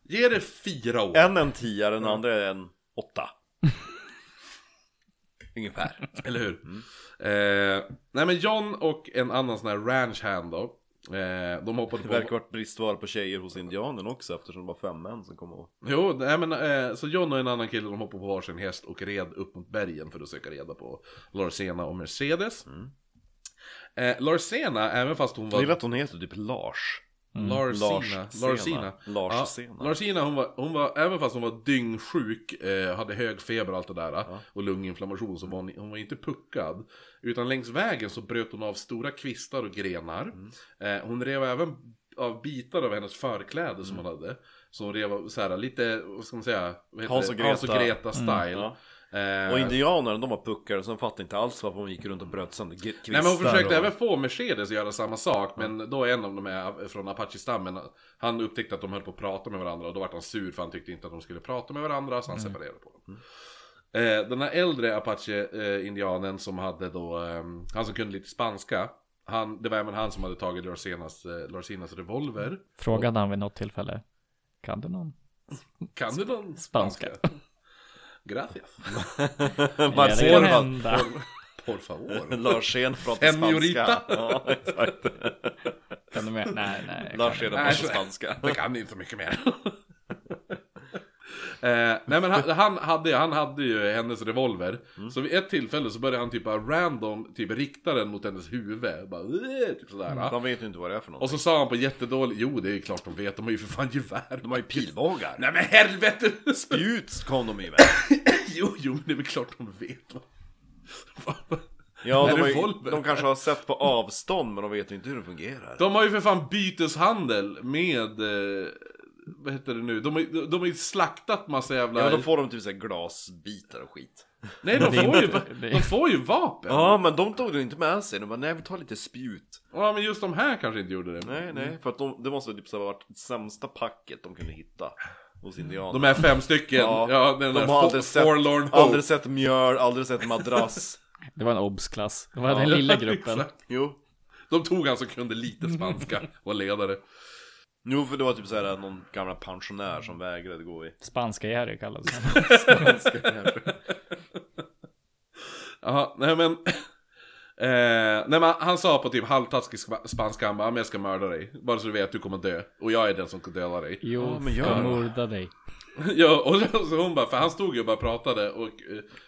[SPEAKER 1] Ge det fyra år.
[SPEAKER 3] En en tia, den andra är en åtta. Ungefär.
[SPEAKER 1] Eller hur?
[SPEAKER 3] Mm.
[SPEAKER 1] Eh, nej men John och en annan sån här ranch hand då. Eh, de hoppade
[SPEAKER 3] Det
[SPEAKER 1] på...
[SPEAKER 3] verkar varit bristvara på tjejer hos indianen också eftersom det var fem män som kom och...
[SPEAKER 1] Jo, nej men eh, så John och en annan kille de hoppade på varsin häst och red upp mot bergen för att söka reda på Larsena och Mercedes.
[SPEAKER 3] Mm.
[SPEAKER 1] Eh, Larsena, även fast hon var...
[SPEAKER 3] Jag gillar att hon heter typ Lars.
[SPEAKER 1] Larsina.
[SPEAKER 3] Mm. Lars
[SPEAKER 1] Larsina.
[SPEAKER 3] Sena. Lars
[SPEAKER 1] ja,
[SPEAKER 3] Sena.
[SPEAKER 1] Larsina, hon var, hon var, även fast hon var dyngsjuk, eh, hade hög feber och allt det där, och lunginflammation, så var hon, hon var inte puckad. Utan längs vägen så bröt hon av stora kvistar och grenar.
[SPEAKER 3] Mm.
[SPEAKER 1] Eh, hon rev även av bitar av hennes förkläde som
[SPEAKER 3] Mm.
[SPEAKER 1] hon hade. Så hon rev av så här, lite, vad ska man säga? Vad heter
[SPEAKER 3] Hans och
[SPEAKER 1] det? Hans och
[SPEAKER 3] Greta. Mm.
[SPEAKER 1] Greta style.
[SPEAKER 3] ja.
[SPEAKER 1] Eh,
[SPEAKER 3] Och indianerna de var puckare som fattade inte alls varför de gick runt och bröt sönder gr- kvistar.
[SPEAKER 1] Nej men hon försökte
[SPEAKER 3] och...
[SPEAKER 1] även få Mercedes att göra samma sak Men då en av dem är från Apache-stammen Han upptäckte att de höll på att prata med varandra Och då vart han sur för han tyckte inte att de skulle prata med varandra Så han separerade på dem eh, Den här äldre Apache-indianen som hade då eh, Han som kunde lite spanska han, Det var även han som hade tagit Larsinas, eh, Larsinas revolver
[SPEAKER 5] Frågade han vid något tillfälle. Kan du någon?
[SPEAKER 1] Kan du någon
[SPEAKER 5] Spanska.
[SPEAKER 1] Gracias
[SPEAKER 3] Bara
[SPEAKER 5] det
[SPEAKER 3] ser
[SPEAKER 5] kan
[SPEAKER 3] de att-
[SPEAKER 5] hända.
[SPEAKER 1] Por favor
[SPEAKER 3] Larsén pratar
[SPEAKER 1] Senorita.
[SPEAKER 3] spanska. Ja, exakt.
[SPEAKER 5] Kan du med? Nej, nej. jag kan
[SPEAKER 3] Larsén
[SPEAKER 5] inte.
[SPEAKER 3] pratar
[SPEAKER 1] så-
[SPEAKER 3] spanska.
[SPEAKER 1] Jag kan inte så mycket mer. eh, nej men han, han, hade, han hade ju hennes revolver.
[SPEAKER 3] Mm.
[SPEAKER 1] Så vid ett tillfälle så började han typ bara random typ rikta den mot hennes huvud. Bara, "Eh", typ sådär.
[SPEAKER 3] De vet ju inte vad det är för något.
[SPEAKER 1] Och så sa han på jättedålig, jo det är klart de vet, de har ju för fan gevär.
[SPEAKER 3] De har ju pilbågar.
[SPEAKER 1] Nej men helvete!
[SPEAKER 3] Spjut kom de ju med.
[SPEAKER 1] jo, jo, men det är väl klart de vet. vad-
[SPEAKER 3] Ja,
[SPEAKER 1] Med
[SPEAKER 3] de, har ju,
[SPEAKER 1] revolver.
[SPEAKER 3] de kanske har sett på avstånd men de vet ju inte hur det fungerar.
[SPEAKER 1] De har ju för fan byteshandel med, eh, vad heter det nu, de har, ju- de har ju slaktat massa jävla...
[SPEAKER 3] Ja, men då får de typ såhär glasbitar och skit.
[SPEAKER 1] Nej, de får, ju,
[SPEAKER 5] det-
[SPEAKER 1] de får ju vapen!
[SPEAKER 3] Ja, men de tog det inte med sig. De bara, nej vi tar lite spjut. Mm.
[SPEAKER 1] Ja men just de här kanske inte gjorde det.
[SPEAKER 3] Nej, nej. För att de, det måste ha typ så här varit det sämsta packet de kunde hitta hos indianerna.
[SPEAKER 1] De är fem stycken. Ja, den där
[SPEAKER 3] de har aldrig
[SPEAKER 1] for,
[SPEAKER 3] sett,
[SPEAKER 1] forlorn hope.
[SPEAKER 3] aldrig sett mjöl, aldrig sett madrass.
[SPEAKER 5] Det var en obs-klass. Det var den lilla gruppen.
[SPEAKER 1] Exakt.
[SPEAKER 3] jo.
[SPEAKER 1] De tog han som kunde lite spanska, var ledare.
[SPEAKER 3] Jo, för det var typ såhär någon gamla pensionär som vägrade gå i.
[SPEAKER 5] Spanska-Jerry kallas han.
[SPEAKER 1] Jaha, nej men. Eh, nej, men han sa på typ halvtaskig spa- spanska, han bara, "Men jag ska mörda dig. Bara så du vet, du kommer dö. Och jag är den som kommer döda dig.
[SPEAKER 5] Jo,
[SPEAKER 3] Ja, men
[SPEAKER 5] men
[SPEAKER 3] gör
[SPEAKER 5] jag
[SPEAKER 3] det.
[SPEAKER 5] mörda dig.
[SPEAKER 1] Ja, och så- så hon bara, för han stod ju och bara pratade och eh,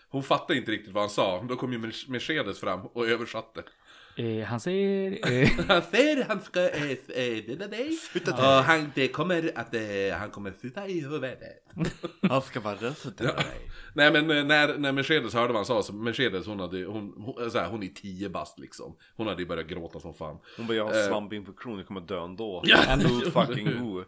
[SPEAKER 1] hon fattade inte riktigt vad han sa. Då kom ju Mer- Mercedes fram och översatte.
[SPEAKER 5] Eh, han säger... Eh,
[SPEAKER 1] Han säger han ska eh, eh, döda dig. Och han, det kommer att eh, han kommer sitta i huvudet.
[SPEAKER 3] Han ska vara rädd för dig.
[SPEAKER 1] Nej men eh, när, när Mercedes hörde vad han sa så Mercedes hon hade, hon, hon, så här, hon är tio bast liksom. Hon hade ju börjat gråta som fan.
[SPEAKER 3] Hon bara, jag har
[SPEAKER 1] Eh.
[SPEAKER 3] svampinfektion, jag kommer dö ändå.
[SPEAKER 1] Ja.
[SPEAKER 3] Who fucking who?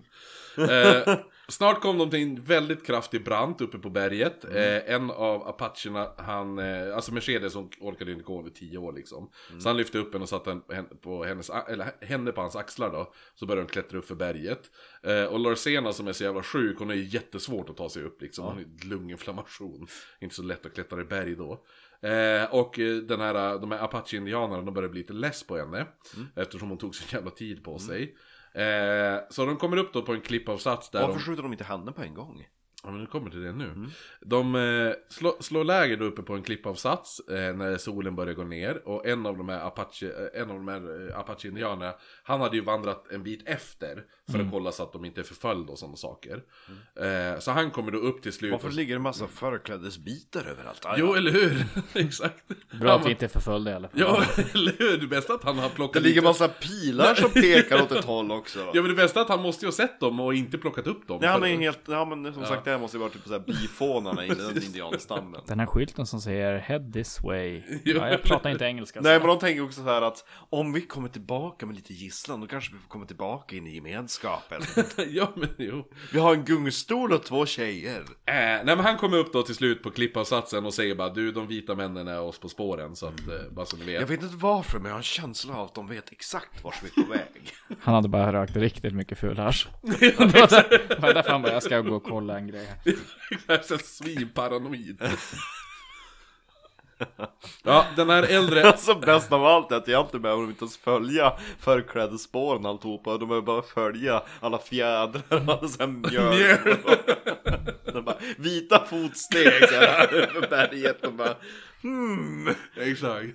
[SPEAKER 1] Eh, snart kom de till en väldigt kraftig brant uppe på berget. Eh, en av apacherna, han, eh, alltså Mercedes, hon orkade inte gå över tio år liksom. Så han lyfte upp henne och satte henne på hen- på hennes, a- eller henne på hans axlar då. Så började de klättra upp för berget. Eh, och Larsena som är så jävla sjuk, hon är ju jättesvårt att ta sig upp liksom. Hon har lunginflammation. Inte så lätt att klättra i berg då. Eh, och eh, den här, de här apache-indianerna, de började bli lite less på henne. Eftersom hon tog så jävla tid på sig. Eh, så de kommer upp då på en klippavsats där
[SPEAKER 3] Varför
[SPEAKER 1] de...
[SPEAKER 3] skjuter de inte henne på en gång?
[SPEAKER 1] Ja men nu kommer till det nu.
[SPEAKER 3] Mm.
[SPEAKER 1] De eh, slå, slår läger då uppe på en klippavsats eh, när solen börjar gå ner. Och en av de här apache, eh, en av de här eh, apache-indianerna, han hade ju vandrat en bit efter. För
[SPEAKER 3] Mm.
[SPEAKER 1] att kolla så att de inte är förföljda och sådana saker. Eh, så han kommer då upp till slut.
[SPEAKER 3] Varför
[SPEAKER 1] Och...
[SPEAKER 3] ligger det en massa förklädesbitar överallt? Aj,
[SPEAKER 1] Jo eller hur! Exakt.
[SPEAKER 5] bra att vi inte är förföljda i alla fall.
[SPEAKER 1] Ja eller hur! Det bästa att han har plockat
[SPEAKER 3] Det ligger
[SPEAKER 1] lite-
[SPEAKER 3] massa pilar som pekar åt ett håll också.
[SPEAKER 1] Ja men det bästa är att han måste ju ha sett dem och inte plockat upp dem.
[SPEAKER 3] Nej han är
[SPEAKER 1] För-
[SPEAKER 3] ju helt, ja men som sagt det här måste ju vara typ såhär bifånarna i den indianstammen.
[SPEAKER 5] Den här skylten som säger head this way. Ja, jag pratar inte engelska.
[SPEAKER 3] Nej men de tänker också så här att om vi kommer tillbaka med lite gisslan då kanske vi får komma tillbaka in i gemenskapen.
[SPEAKER 1] ja men jo.
[SPEAKER 3] Vi har en gungstol och två tjejer.
[SPEAKER 1] Äh, nej men han kommer upp då till slut på klippavsatsen och säger bara du de vita männen är oss på spåren så att eh, bara så ni
[SPEAKER 3] Jag
[SPEAKER 1] vet.
[SPEAKER 3] vet inte varför men jag har en känsla av att de vet exakt vart vi är på väg.
[SPEAKER 5] Han hade bara rökt riktigt mycket ful hasch. Det var så- det var därför han bara, jag ska gå och kolla en grej. här."
[SPEAKER 1] Jag är så svinparanoid. ja den här äldre.
[SPEAKER 3] Alltså bäst av allt är att egentligen behöver de inte ens följa förklädesspåren och alltihopa. De behöver bara följa alla fjädrar och alla sån här mjöl. De bara, vita fotsteg så här över berget. De bara, hmm.
[SPEAKER 1] Exakt.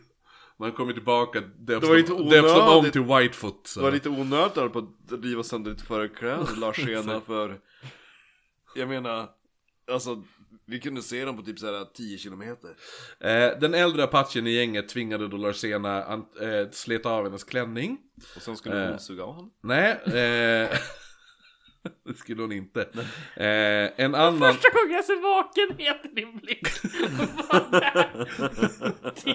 [SPEAKER 1] När han kommer tillbaka döps
[SPEAKER 3] Det var
[SPEAKER 1] de-
[SPEAKER 3] lite
[SPEAKER 1] döps de om
[SPEAKER 3] onödigt.
[SPEAKER 1] till Whitefoot. Så.
[SPEAKER 3] Det var lite onödigt där på att riva sönder ditt förkläde Lars-Ena för Jag menar Alltså vi kunde se dem på typ såhär 10 kilometer
[SPEAKER 1] Eh, den äldre apachen i gänget tvingade då Larsena att eh, sleta av hennes klänning.
[SPEAKER 3] Och sen skulle
[SPEAKER 1] Eh.
[SPEAKER 3] hon suga av honom
[SPEAKER 1] Nej, eh, det skulle hon inte. Eh, en annan...
[SPEAKER 4] Första gången jag ser vakenhet i din blick. Vad är det?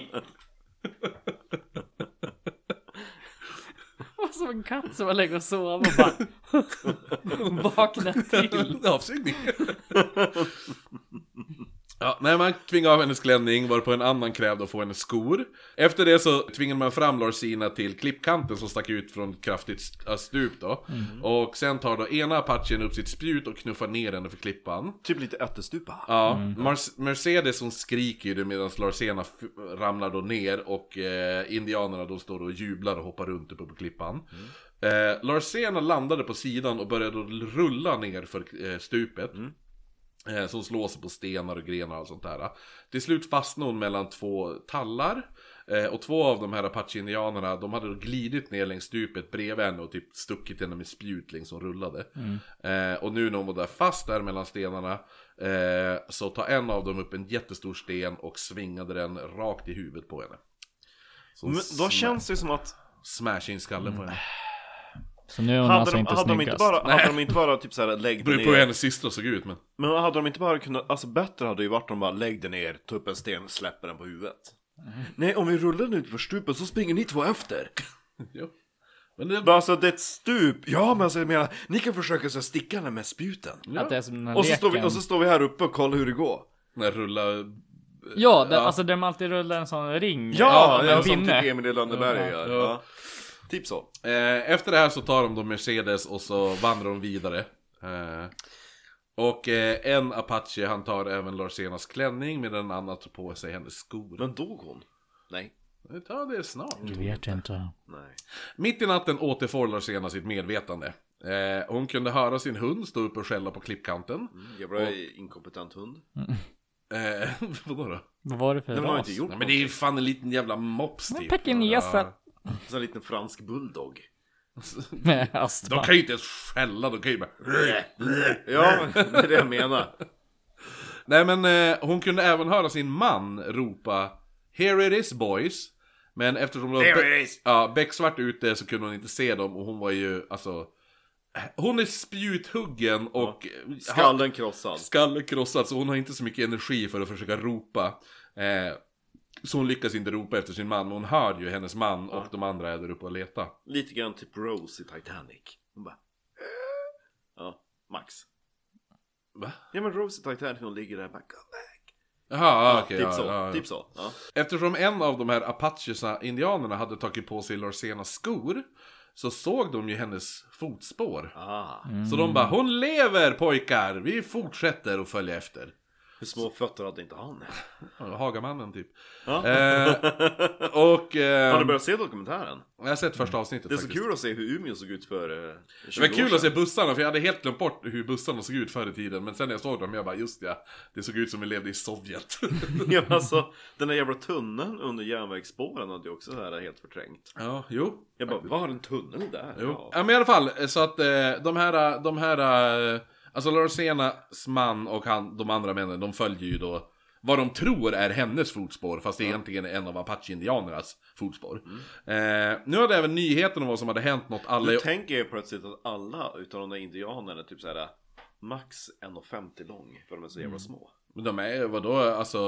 [SPEAKER 4] Det var som en katt som var länge och sov och bara vaknade till.
[SPEAKER 1] Avsugning. Ja, nej, man tvingade av hennes klänning, varpå en annan krävde att få hennes skor. Efter det så tvingade man fram Larsina till klippkanten som stack ut från ett kraftigt st- äh, stup då. Och sen tar då ena apachen upp sitt spjut och knuffar ner henne för klippan.
[SPEAKER 3] Typ lite ättestupa
[SPEAKER 1] Ja, Mar- Mercedes hon skriker ju det medan Larsena f- ramlar då ner och eh, indianerna de står och jublar och hoppar runt uppe på klippan. Eh, Larsena landade på sidan och började då rulla ner för eh, stupet. Eh, som slår sig på stenar och grenar och allt sånt där. Till slut fastnade hon mellan två tallar. Eh, och två av de här apache-indianerna, de hade då glidit ner längs stupet bredvid henne och typ stuckit henne med spjut längs hon rullade.
[SPEAKER 3] Mm.
[SPEAKER 1] Eh, och nu när hon var där fast där mellan stenarna eh, så tar en av dem upp en jättestor sten och svingade den rakt i huvudet på henne. Så hon
[SPEAKER 3] Men då
[SPEAKER 1] sma-
[SPEAKER 3] känns Mm. det som att
[SPEAKER 1] smash in skallen på henne.
[SPEAKER 5] Så nu är hon
[SPEAKER 3] Hade,
[SPEAKER 5] alltså
[SPEAKER 3] de,
[SPEAKER 5] inte
[SPEAKER 3] hade, de,
[SPEAKER 5] snyggast.
[SPEAKER 3] inte bara, hade de inte bara typ såhär lägg
[SPEAKER 1] Det
[SPEAKER 3] dig
[SPEAKER 1] beror på hur
[SPEAKER 3] ner
[SPEAKER 1] hennes systrar såg ut men...
[SPEAKER 3] Men hade de inte bara kunnat, alltså bättre hade ju varit om de bara lägg dig ner, ta upp en sten, släpper den på huvudet Nej om vi rullar den ut för stupet så springer ni två efter
[SPEAKER 1] Jo. Men det...
[SPEAKER 3] Men Alltså det är ett stup, ja men alltså jag menar, ni kan försöka så här sticka den med spjuten
[SPEAKER 5] Att det är som den här
[SPEAKER 3] Och så, står vi,
[SPEAKER 5] leken.
[SPEAKER 3] och så står vi här uppe och kollar hur det går.
[SPEAKER 1] När rulla...
[SPEAKER 5] Ja, den, alltså där de alltid rullar en sån ring.
[SPEAKER 3] Ja,
[SPEAKER 5] med en
[SPEAKER 3] som
[SPEAKER 5] pinne.
[SPEAKER 3] typ Emil i Lönneberga gör. Ja. Typ så.
[SPEAKER 1] Eh, efter det här så tar de då Mercedes och så vandrar de vidare. Eh, och eh, en Apache han tar även Larsenas klänning medan en annan tar på sig hennes skor.
[SPEAKER 3] Men dog hon? Nej.
[SPEAKER 1] Ta det snart.
[SPEAKER 5] Du vet inte.
[SPEAKER 3] Nej.
[SPEAKER 1] Mitt i natten återfår Larsena sitt medvetande. Eh,
[SPEAKER 3] Mm,
[SPEAKER 1] hon kunde höra sin hund stå upp och skälla på klippkanten.
[SPEAKER 3] Jävla inkompetent hund.
[SPEAKER 1] Eh, Eh, vadå då?
[SPEAKER 5] Vad var det för
[SPEAKER 3] Men har
[SPEAKER 5] ras?
[SPEAKER 3] inte gjort
[SPEAKER 1] Nej, men det är ju fan en liten jävla mops
[SPEAKER 4] Men
[SPEAKER 1] typ.
[SPEAKER 4] pekingesen.
[SPEAKER 3] En sån liten fransk bulldog.
[SPEAKER 5] Med
[SPEAKER 1] De
[SPEAKER 5] astma.
[SPEAKER 1] kan ju inte ens skälla, de kan ju bara...
[SPEAKER 3] Ja, det är det jag menar.
[SPEAKER 1] Nej men eh, hon kunde även höra sin man ropa Here it is boys Men eftersom det var
[SPEAKER 3] Here
[SPEAKER 1] bä-
[SPEAKER 3] it is.
[SPEAKER 1] ja, becksvart ute så kunde hon inte se dem och hon var ju alltså Hon är spjuthuggen och har-
[SPEAKER 3] Skallen krossad.
[SPEAKER 1] skallen krossad så hon har inte så mycket energi för att försöka ropa eh, Så hon lyckas inte ropa efter sin man men hon hör ju hennes man och de andra är där uppe och letar
[SPEAKER 3] Lite grann typ Rose i Titanic. Hon bara... "Äh?" Ja, Max.
[SPEAKER 1] Va?
[SPEAKER 3] Ja men Rose i Titanic hon ligger där och bara come back.
[SPEAKER 1] Jaha, Ah, okej
[SPEAKER 3] typ
[SPEAKER 1] ja,
[SPEAKER 3] så.
[SPEAKER 1] ja, ja.
[SPEAKER 3] Typ så. Ja.
[SPEAKER 1] Eftersom en av de här apachesna indianerna hade tagit på sig Larsenas skor så såg de ju hennes fotspår.
[SPEAKER 3] Ah,
[SPEAKER 1] Så
[SPEAKER 5] Mm.
[SPEAKER 1] de bara Hon lever pojkar! Vi fortsätter att följa efter.
[SPEAKER 3] hur små fötter hade inte han?
[SPEAKER 1] Ja, Hagamannen typ.
[SPEAKER 3] Ja.
[SPEAKER 1] Eh, och...
[SPEAKER 3] Har
[SPEAKER 1] Eh,
[SPEAKER 3] du börjat se dokumentären?
[SPEAKER 1] jag har sett första avsnittet
[SPEAKER 3] Det är så
[SPEAKER 1] faktiskt.
[SPEAKER 3] kul att se hur Umeå såg ut för eh, 20
[SPEAKER 1] Det var kul
[SPEAKER 3] år
[SPEAKER 1] att se
[SPEAKER 3] sedan.
[SPEAKER 1] bussarna, för jag hade helt glömt bort hur bussarna såg ut förr i tiden. Men sen när jag såg dem, jag bara just ja, det såg ut som vi levde i Sovjet.
[SPEAKER 3] Ja, men alltså, den där jävla tunneln under järnvägsspåren hade ju också så här helt förträngt.
[SPEAKER 1] ja, jo.
[SPEAKER 3] Jag bara, vad har en tunnel där?
[SPEAKER 1] Jo.
[SPEAKER 3] Ja.
[SPEAKER 1] Ja men i alla fall, så att eh, de här, de här, eh, alltså Larsenas man och han, de andra männen, de följer ju då vad de tror är hennes fotspår, fast det egentligen är en av Apache-indianernas fotspår.
[SPEAKER 3] Mm.
[SPEAKER 1] Eh, nu hade även nyheten om vad som hade hänt nått alla...
[SPEAKER 3] Nu tänker jag plötsligt att alla utan de där indianerna är typ så här max 1,50 lång för de är så
[SPEAKER 1] Mm.
[SPEAKER 3] jävla små.
[SPEAKER 1] Men De är ju vadå, alltså...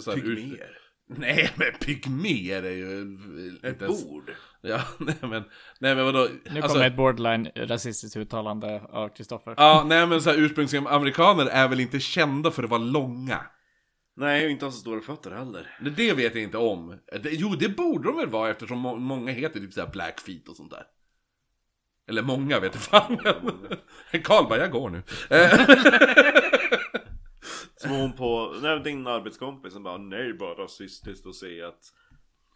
[SPEAKER 1] Så här, ut-
[SPEAKER 3] Pygmer.
[SPEAKER 1] Nej men pygmer är ju... inte
[SPEAKER 3] Ett
[SPEAKER 1] ens-
[SPEAKER 3] bord.
[SPEAKER 1] Ja, nej men, nej men vadå? alltså-
[SPEAKER 5] Nu
[SPEAKER 3] alltså-
[SPEAKER 5] kommer ett borderline rasistiskt uttalande av Kristoffer.
[SPEAKER 1] Ja, nej men så här, ursprungsamerikaner är väl inte kända för att vara långa?
[SPEAKER 3] Nej, och inte har så stora fötter heller.
[SPEAKER 1] Det, det vet jag inte om. Det, jo, det borde de väl vara eftersom må, många heter typ såhär Blackfeet och sånt där. Eller många vet jag fan. Karl bara, jag går nu. Eh,
[SPEAKER 3] Som hon på, nej, din arbetskompis som bara nej bara rasistiskt att säga att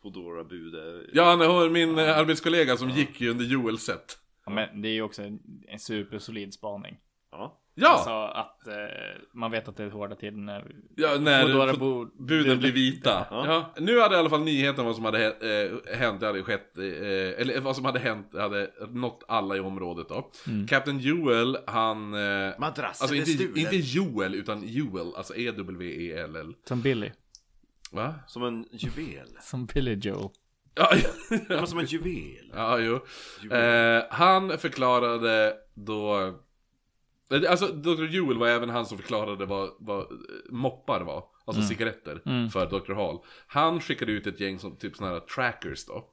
[SPEAKER 3] Foodora bud är...
[SPEAKER 1] ja, nej, hon- min eh, arbetskollega som gick ju under Joels set.
[SPEAKER 5] Ja, Men det är ju också en, en supersolid spaning.
[SPEAKER 3] Ja.
[SPEAKER 1] Ja!
[SPEAKER 5] Alltså att eh, man vet att det är hårda tider när
[SPEAKER 1] ja när
[SPEAKER 5] Foodora
[SPEAKER 1] fo-
[SPEAKER 5] bor-
[SPEAKER 1] buden blir vita. Ja. Nu hade i alla fall nyheten vad som hade eh, hänt, det hade skett, eh, eller vad som hade hänt hade nått alla i området då. Captain Joel, han... Eh,
[SPEAKER 3] Madrassen
[SPEAKER 1] alltså
[SPEAKER 3] är
[SPEAKER 1] inte,
[SPEAKER 3] stulen.
[SPEAKER 1] inte Joel, utan Joel, alltså E-W-E-L-L.
[SPEAKER 5] Som Billy.
[SPEAKER 1] Va?
[SPEAKER 3] Som en juvel.
[SPEAKER 5] Som Billy Joel.
[SPEAKER 1] Ja,
[SPEAKER 3] Men som en juvel.
[SPEAKER 1] ja jo. Eh, han förklarade då... Alltså, Dr. Jewel var även han som förklarade vad, vad eh, moppar var. Alltså cigaretter för Dr. Hall. Han skickade ut ett gäng som typ sådana här trackers då.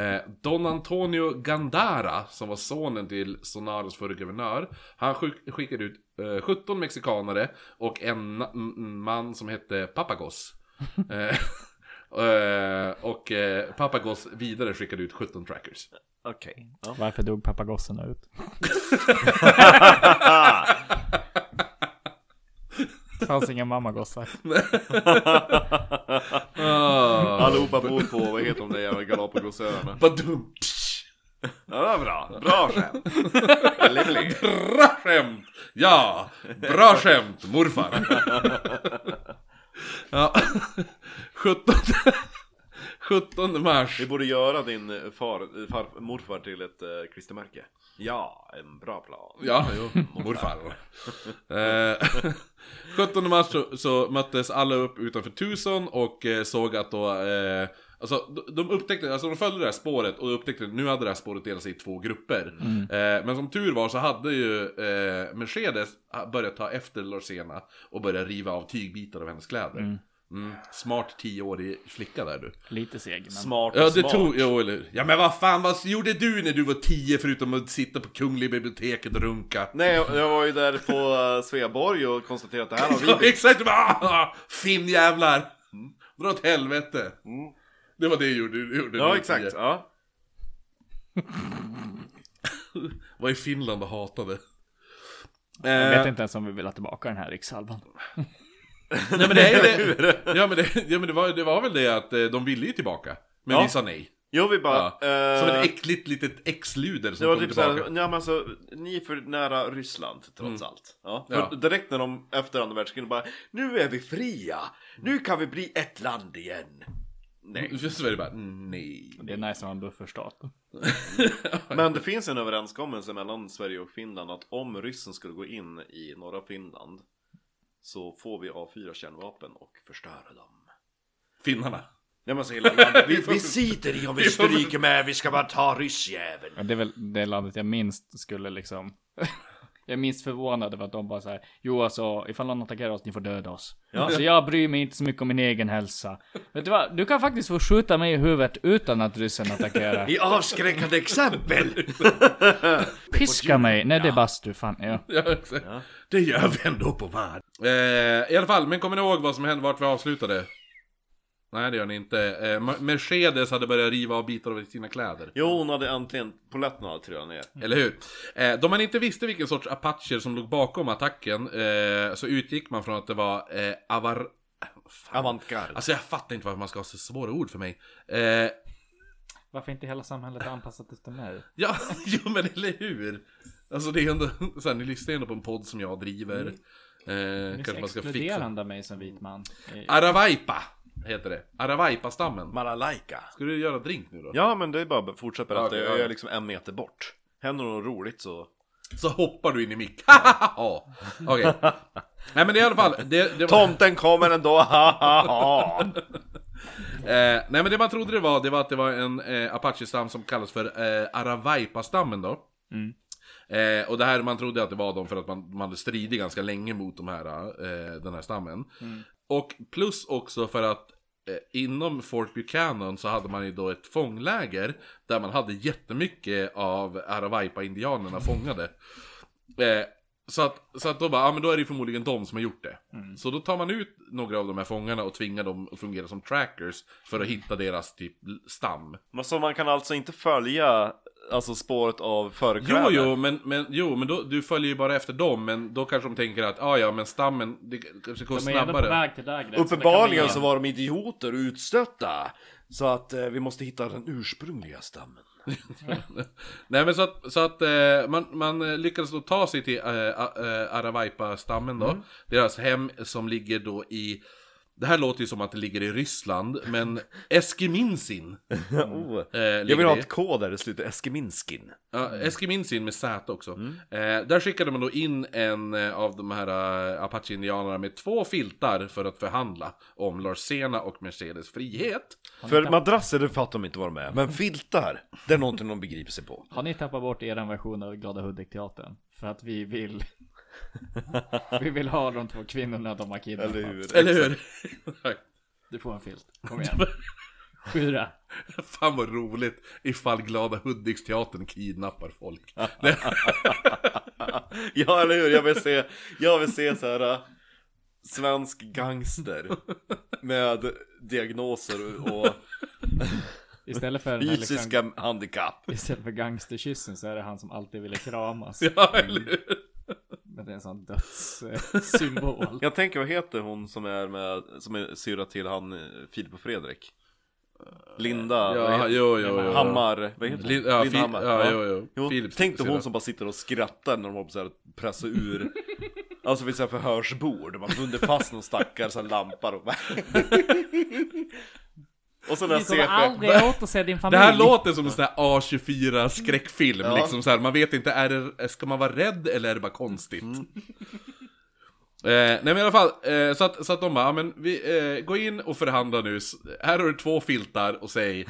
[SPEAKER 1] Eh, Don Antonio Gandara, som var sonen till Sonaros förre guvernör. Han skick- skickade ut eh, 17 mexikanare och en na- m- m- man som hette Papagos. eh, eh, och eh, Papagos vidare skickade ut 17 trackers.
[SPEAKER 3] Okej.
[SPEAKER 5] Varför dog papagossen ut? Det fanns inga mammagossar.
[SPEAKER 1] Ah.
[SPEAKER 3] Allihopa bor på, vad heter de där jävla Galapagosöarna?
[SPEAKER 1] Vad dumt!
[SPEAKER 3] Ja, det var bra. Bra skämt. Livlig.
[SPEAKER 1] Bra skämt! Ja! Bra skämt, morfar! ja. 17, 17 mars.
[SPEAKER 3] Vi borde göra din eh, far, eh, far, morfar till ett äh, klistermärke. Ja, en bra plan.
[SPEAKER 1] Ja, jo, morfar. Eh, 17 mars så, så möttes alla upp utanför Tucson och eh, såg att då... Eh, alltså, de- de upptäckte, alltså de följde det här spåret och upptäckte att nu hade det här spåret delat sig i två grupper. Eh, men som tur var så hade ju eh, Mercedes börjat ta efter Larsena och börjat riva av tygbitar av hennes kläder. Mm. Smart 10-årig flicka där du.
[SPEAKER 5] Lite seg, men...
[SPEAKER 3] Smart och
[SPEAKER 1] Ja, det
[SPEAKER 3] smart.
[SPEAKER 1] tog... Jo, eller hur? Ja, men vad fan, vad gjorde du när du var 10 förutom att sitta på Kungliga biblioteket och runka?
[SPEAKER 3] Nej, jag jag var ju där på eh, Sveaborg och konstaterade att det här har vi
[SPEAKER 1] Ja,
[SPEAKER 3] byggt.
[SPEAKER 1] exakt! Du bara, "Ah, ah, Finnjävlar! Dra åt helvete! Det var det du gjorde. Du gjorde
[SPEAKER 3] Mm. Ja,
[SPEAKER 1] nu.
[SPEAKER 3] exakt. Ja.
[SPEAKER 1] Var i Finland och hatade.
[SPEAKER 5] Jag
[SPEAKER 1] Eh,
[SPEAKER 5] vet inte ens om vi vill ha tillbaka den här rikssalvan.
[SPEAKER 1] nej, men det, är det, ja, men det, ja men det var, det var väl det att eh, de ville ju tillbaka. Men
[SPEAKER 3] Ja.
[SPEAKER 1] vi sa nej.
[SPEAKER 3] Jag vill bara...
[SPEAKER 1] Ja. Som
[SPEAKER 3] eh,
[SPEAKER 1] ett äckligt litet X-luder som
[SPEAKER 3] Det var
[SPEAKER 1] kommer
[SPEAKER 3] typ
[SPEAKER 1] tillbaka.
[SPEAKER 3] såhär, ja, men alltså, ni är för nära Ryssland trots allt. Mm. Ja, för
[SPEAKER 1] Ja.
[SPEAKER 3] Direkt när de efter andra världskriget bara, nu är vi fria, nu kan vi bli ett land igen. Nej.
[SPEAKER 1] För Sverige bara, mm. nej.
[SPEAKER 5] Det är nice att ha en bufferstat.
[SPEAKER 3] Men det finns en överenskommelse mellan Sverige och Finland att om ryssen skulle gå in i norra Finland så får vi avfyra kärnvapen och förstöra dem.
[SPEAKER 1] Finnarna.
[SPEAKER 3] Nej, men så hela landet, vi, vi sitter i om vi stryker med, vi ska bara ta ryssjäveln.
[SPEAKER 5] Ja, det är väl det landet jag minst skulle liksom. jag är minst förvånad över att de bara så här. Jo, alltså ifall någon attackerar oss, ni får döda oss. Så jag bryr mig inte så mycket om min egen hälsa. Vet du vad? Du kan faktiskt få skjuta mig i huvudet utan att ryssen attackerar.
[SPEAKER 3] I avskräckande exempel!
[SPEAKER 5] Piska mig. Nej, det är bastu. Fan, ja.
[SPEAKER 1] Ja, exakt. Det gör vi ändå på var. Eh, I alla fall, men kommer ni ihåg vad som hände vart vi avslutade? Nej, det gör ni inte. Eh, Ma- Mercedes hade börjat riva av bitar av sina kläder.
[SPEAKER 3] Jo, hon hade äntligen, polletten hade trillat ner.
[SPEAKER 1] Eller hur? Eh, då man inte visste vilken sorts apacher som låg bakom attacken eh, så utgick man från att det var eh, avar... Fan.
[SPEAKER 3] Avantgarde.
[SPEAKER 1] Alltså jag fattar inte varför man ska ha så svåra ord för mig. Eh,
[SPEAKER 5] Varför inte hela samhället anpassat efter mig?
[SPEAKER 1] ja, jo men eller hur? Alltså det är ändå, så här, ni lyssnar ju ändå på en podd som jag driver. Eh, kanske man ska fixa.
[SPEAKER 5] av mig som vit man.
[SPEAKER 1] Aravaipa heter det. Aravaipa-stammen.
[SPEAKER 3] Malalaika.
[SPEAKER 1] Ska du göra drink nu då?
[SPEAKER 3] Ja men det är bara att fortsätta berätta,
[SPEAKER 1] Okej,
[SPEAKER 3] jag
[SPEAKER 1] ja.
[SPEAKER 3] är liksom en meter bort. Händer något roligt så...
[SPEAKER 1] Så hoppar du in i mick. Okej. Nej men i alla fall. Det, det var...
[SPEAKER 3] Tomten kommer ändå, ha ha ha!
[SPEAKER 1] Eh, nej men det man trodde det var, det var att det var en eh, Apache-stam som kallas för eh, Aravaipa-stammen då. Eh, och det här man trodde att det var dem för att man, man hade stridit ganska länge mot de här, eh, den här stammen. Och plus också för att eh, inom Fort Buchanan så hade man ju då ett fångläger där man hade jättemycket av Aravaipa-indianerna fångade. Eh, så att, så att då bara, ja men då är det ju förmodligen de som har gjort det. Så då tar man ut några av de här fångarna och tvingar dem att fungera som trackers för att hitta deras typ l- stam.
[SPEAKER 3] Men så man kan alltså inte följa alltså spåret av
[SPEAKER 1] Jo,
[SPEAKER 3] förkläder?
[SPEAKER 1] jo, men, men, jo, men då, du följer ju bara efter dem, men då kanske de tänker att ah, ja, men stammen, det kanske går
[SPEAKER 5] De är ändå på
[SPEAKER 1] snabbare.
[SPEAKER 5] väg till lägret.
[SPEAKER 3] Uppenbarligen så var de idioter och utstötta. Så att eh, vi måste hitta den ursprungliga stammen.
[SPEAKER 1] Nej men så att, så att eh, man, man eh, lyckades då ta sig till eh, a- eh, Aravaipa-stammen då. Deras hem som ligger då i, det här låter ju som att det ligger i Ryssland, men Eskiminsin.
[SPEAKER 3] Oh.
[SPEAKER 1] Eh,
[SPEAKER 3] Jag
[SPEAKER 1] ligger
[SPEAKER 3] vill ha
[SPEAKER 1] det i.
[SPEAKER 3] ett K där det slutar Eskiminskin.
[SPEAKER 1] Ja, Eskiminsin med Z också. Eh, där skickade man då in en eh, av de här eh, Apache-indianerna med två filtar för att förhandla om Larsena och Mercedes frihet.
[SPEAKER 3] För madrasser, det fattar de inte vad de är. Men filtar, det är någonting de begriper sig på.
[SPEAKER 5] Har ni tappat bort er version av Glada Hudik-teatern? För att vi vill... vi vill ha de två kvinnorna de har kidnappat.
[SPEAKER 3] Eller hur?
[SPEAKER 1] Eller hur?
[SPEAKER 5] Du får en filt. Kom igen. Skyra.
[SPEAKER 1] Fan vad roligt ifall Glada Hudik-teatern kidnappar folk. Det-
[SPEAKER 3] Ja, eller hur? Jag vill se, jag vill se så här äh, svensk gangster med diagnoser och
[SPEAKER 5] Istället för, den här, liksom,
[SPEAKER 3] fysiska handikapp.
[SPEAKER 5] istället för gangsterkyssen så är det han som alltid ville kramas.
[SPEAKER 1] ja, eller hur?
[SPEAKER 5] Men det är en sån eh, dödssymbol.
[SPEAKER 3] Jag tänker, vad heter hon som är med, som är syra till han eh, Filip och Fredrik? Linda, vad
[SPEAKER 1] Ja,
[SPEAKER 3] heter,
[SPEAKER 1] jo, jo, jo.
[SPEAKER 3] Hammar, vad heter hon?
[SPEAKER 1] Lin- ja,
[SPEAKER 3] Linda
[SPEAKER 1] Fi-
[SPEAKER 3] Hammar,
[SPEAKER 1] ja, jo, jo. Philips
[SPEAKER 3] tänk dig
[SPEAKER 1] syra.
[SPEAKER 3] hon som bara sitter och skrattar när de håller på så här att pressa ur Alltså vid så här förhörsbord, man bunder fast någon stackare så här lampar och Och så när
[SPEAKER 4] Vi kommer
[SPEAKER 3] CP
[SPEAKER 4] aldrig återse din
[SPEAKER 1] Det
[SPEAKER 4] familj.
[SPEAKER 1] här låter som en sån här A24 skräckfilm,
[SPEAKER 3] Ja.
[SPEAKER 1] liksom så här, man vet inte, är det, ska man vara rädd eller är det bara konstigt?
[SPEAKER 3] Mm.
[SPEAKER 1] Eh, nej men i alla fall, eh, så, att, så att de bara, "Ja, men vi, eh, gå in och förhandla nu, S- här har du två filtar och säg,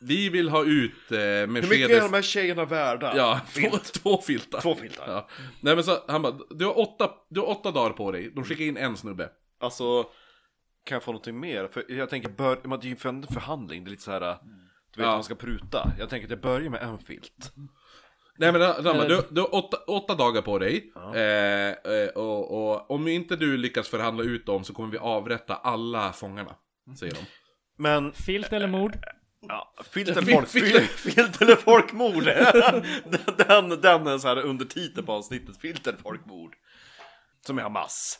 [SPEAKER 1] vi vill ha ut eh, Mercedes...
[SPEAKER 3] Hur mycket är de här tjejerna värda?
[SPEAKER 1] Ja, två, två filtar.
[SPEAKER 3] Två filtar.
[SPEAKER 1] Ja. Nej men så, han bara, du har, åtta, du har åtta dagar på dig, de skickar in en snubbe.
[SPEAKER 3] Alltså, kan jag få någonting mer? För jag tänker, bör, man, det är ju för en förhandling, det är lite så här. Du vet,
[SPEAKER 1] Ja.
[SPEAKER 3] man ska pruta. Jag tänker att jag börjar med en filt.
[SPEAKER 1] Nej men han bara, du, du har åtta, åtta dagar på dig. Eh, eh, och, och om inte du lyckas förhandla ut dem så kommer vi avrätta alla fångarna.
[SPEAKER 5] Mm.
[SPEAKER 1] Säger de.
[SPEAKER 3] Men,
[SPEAKER 4] Filt eller mord?
[SPEAKER 3] ja, filt eller,
[SPEAKER 1] Fil-
[SPEAKER 3] folk,
[SPEAKER 1] fil-
[SPEAKER 3] fil, filt eller folkmord! den, den, den är så här undertitel på avsnittet, filt eller folkmord. Som är Hamas.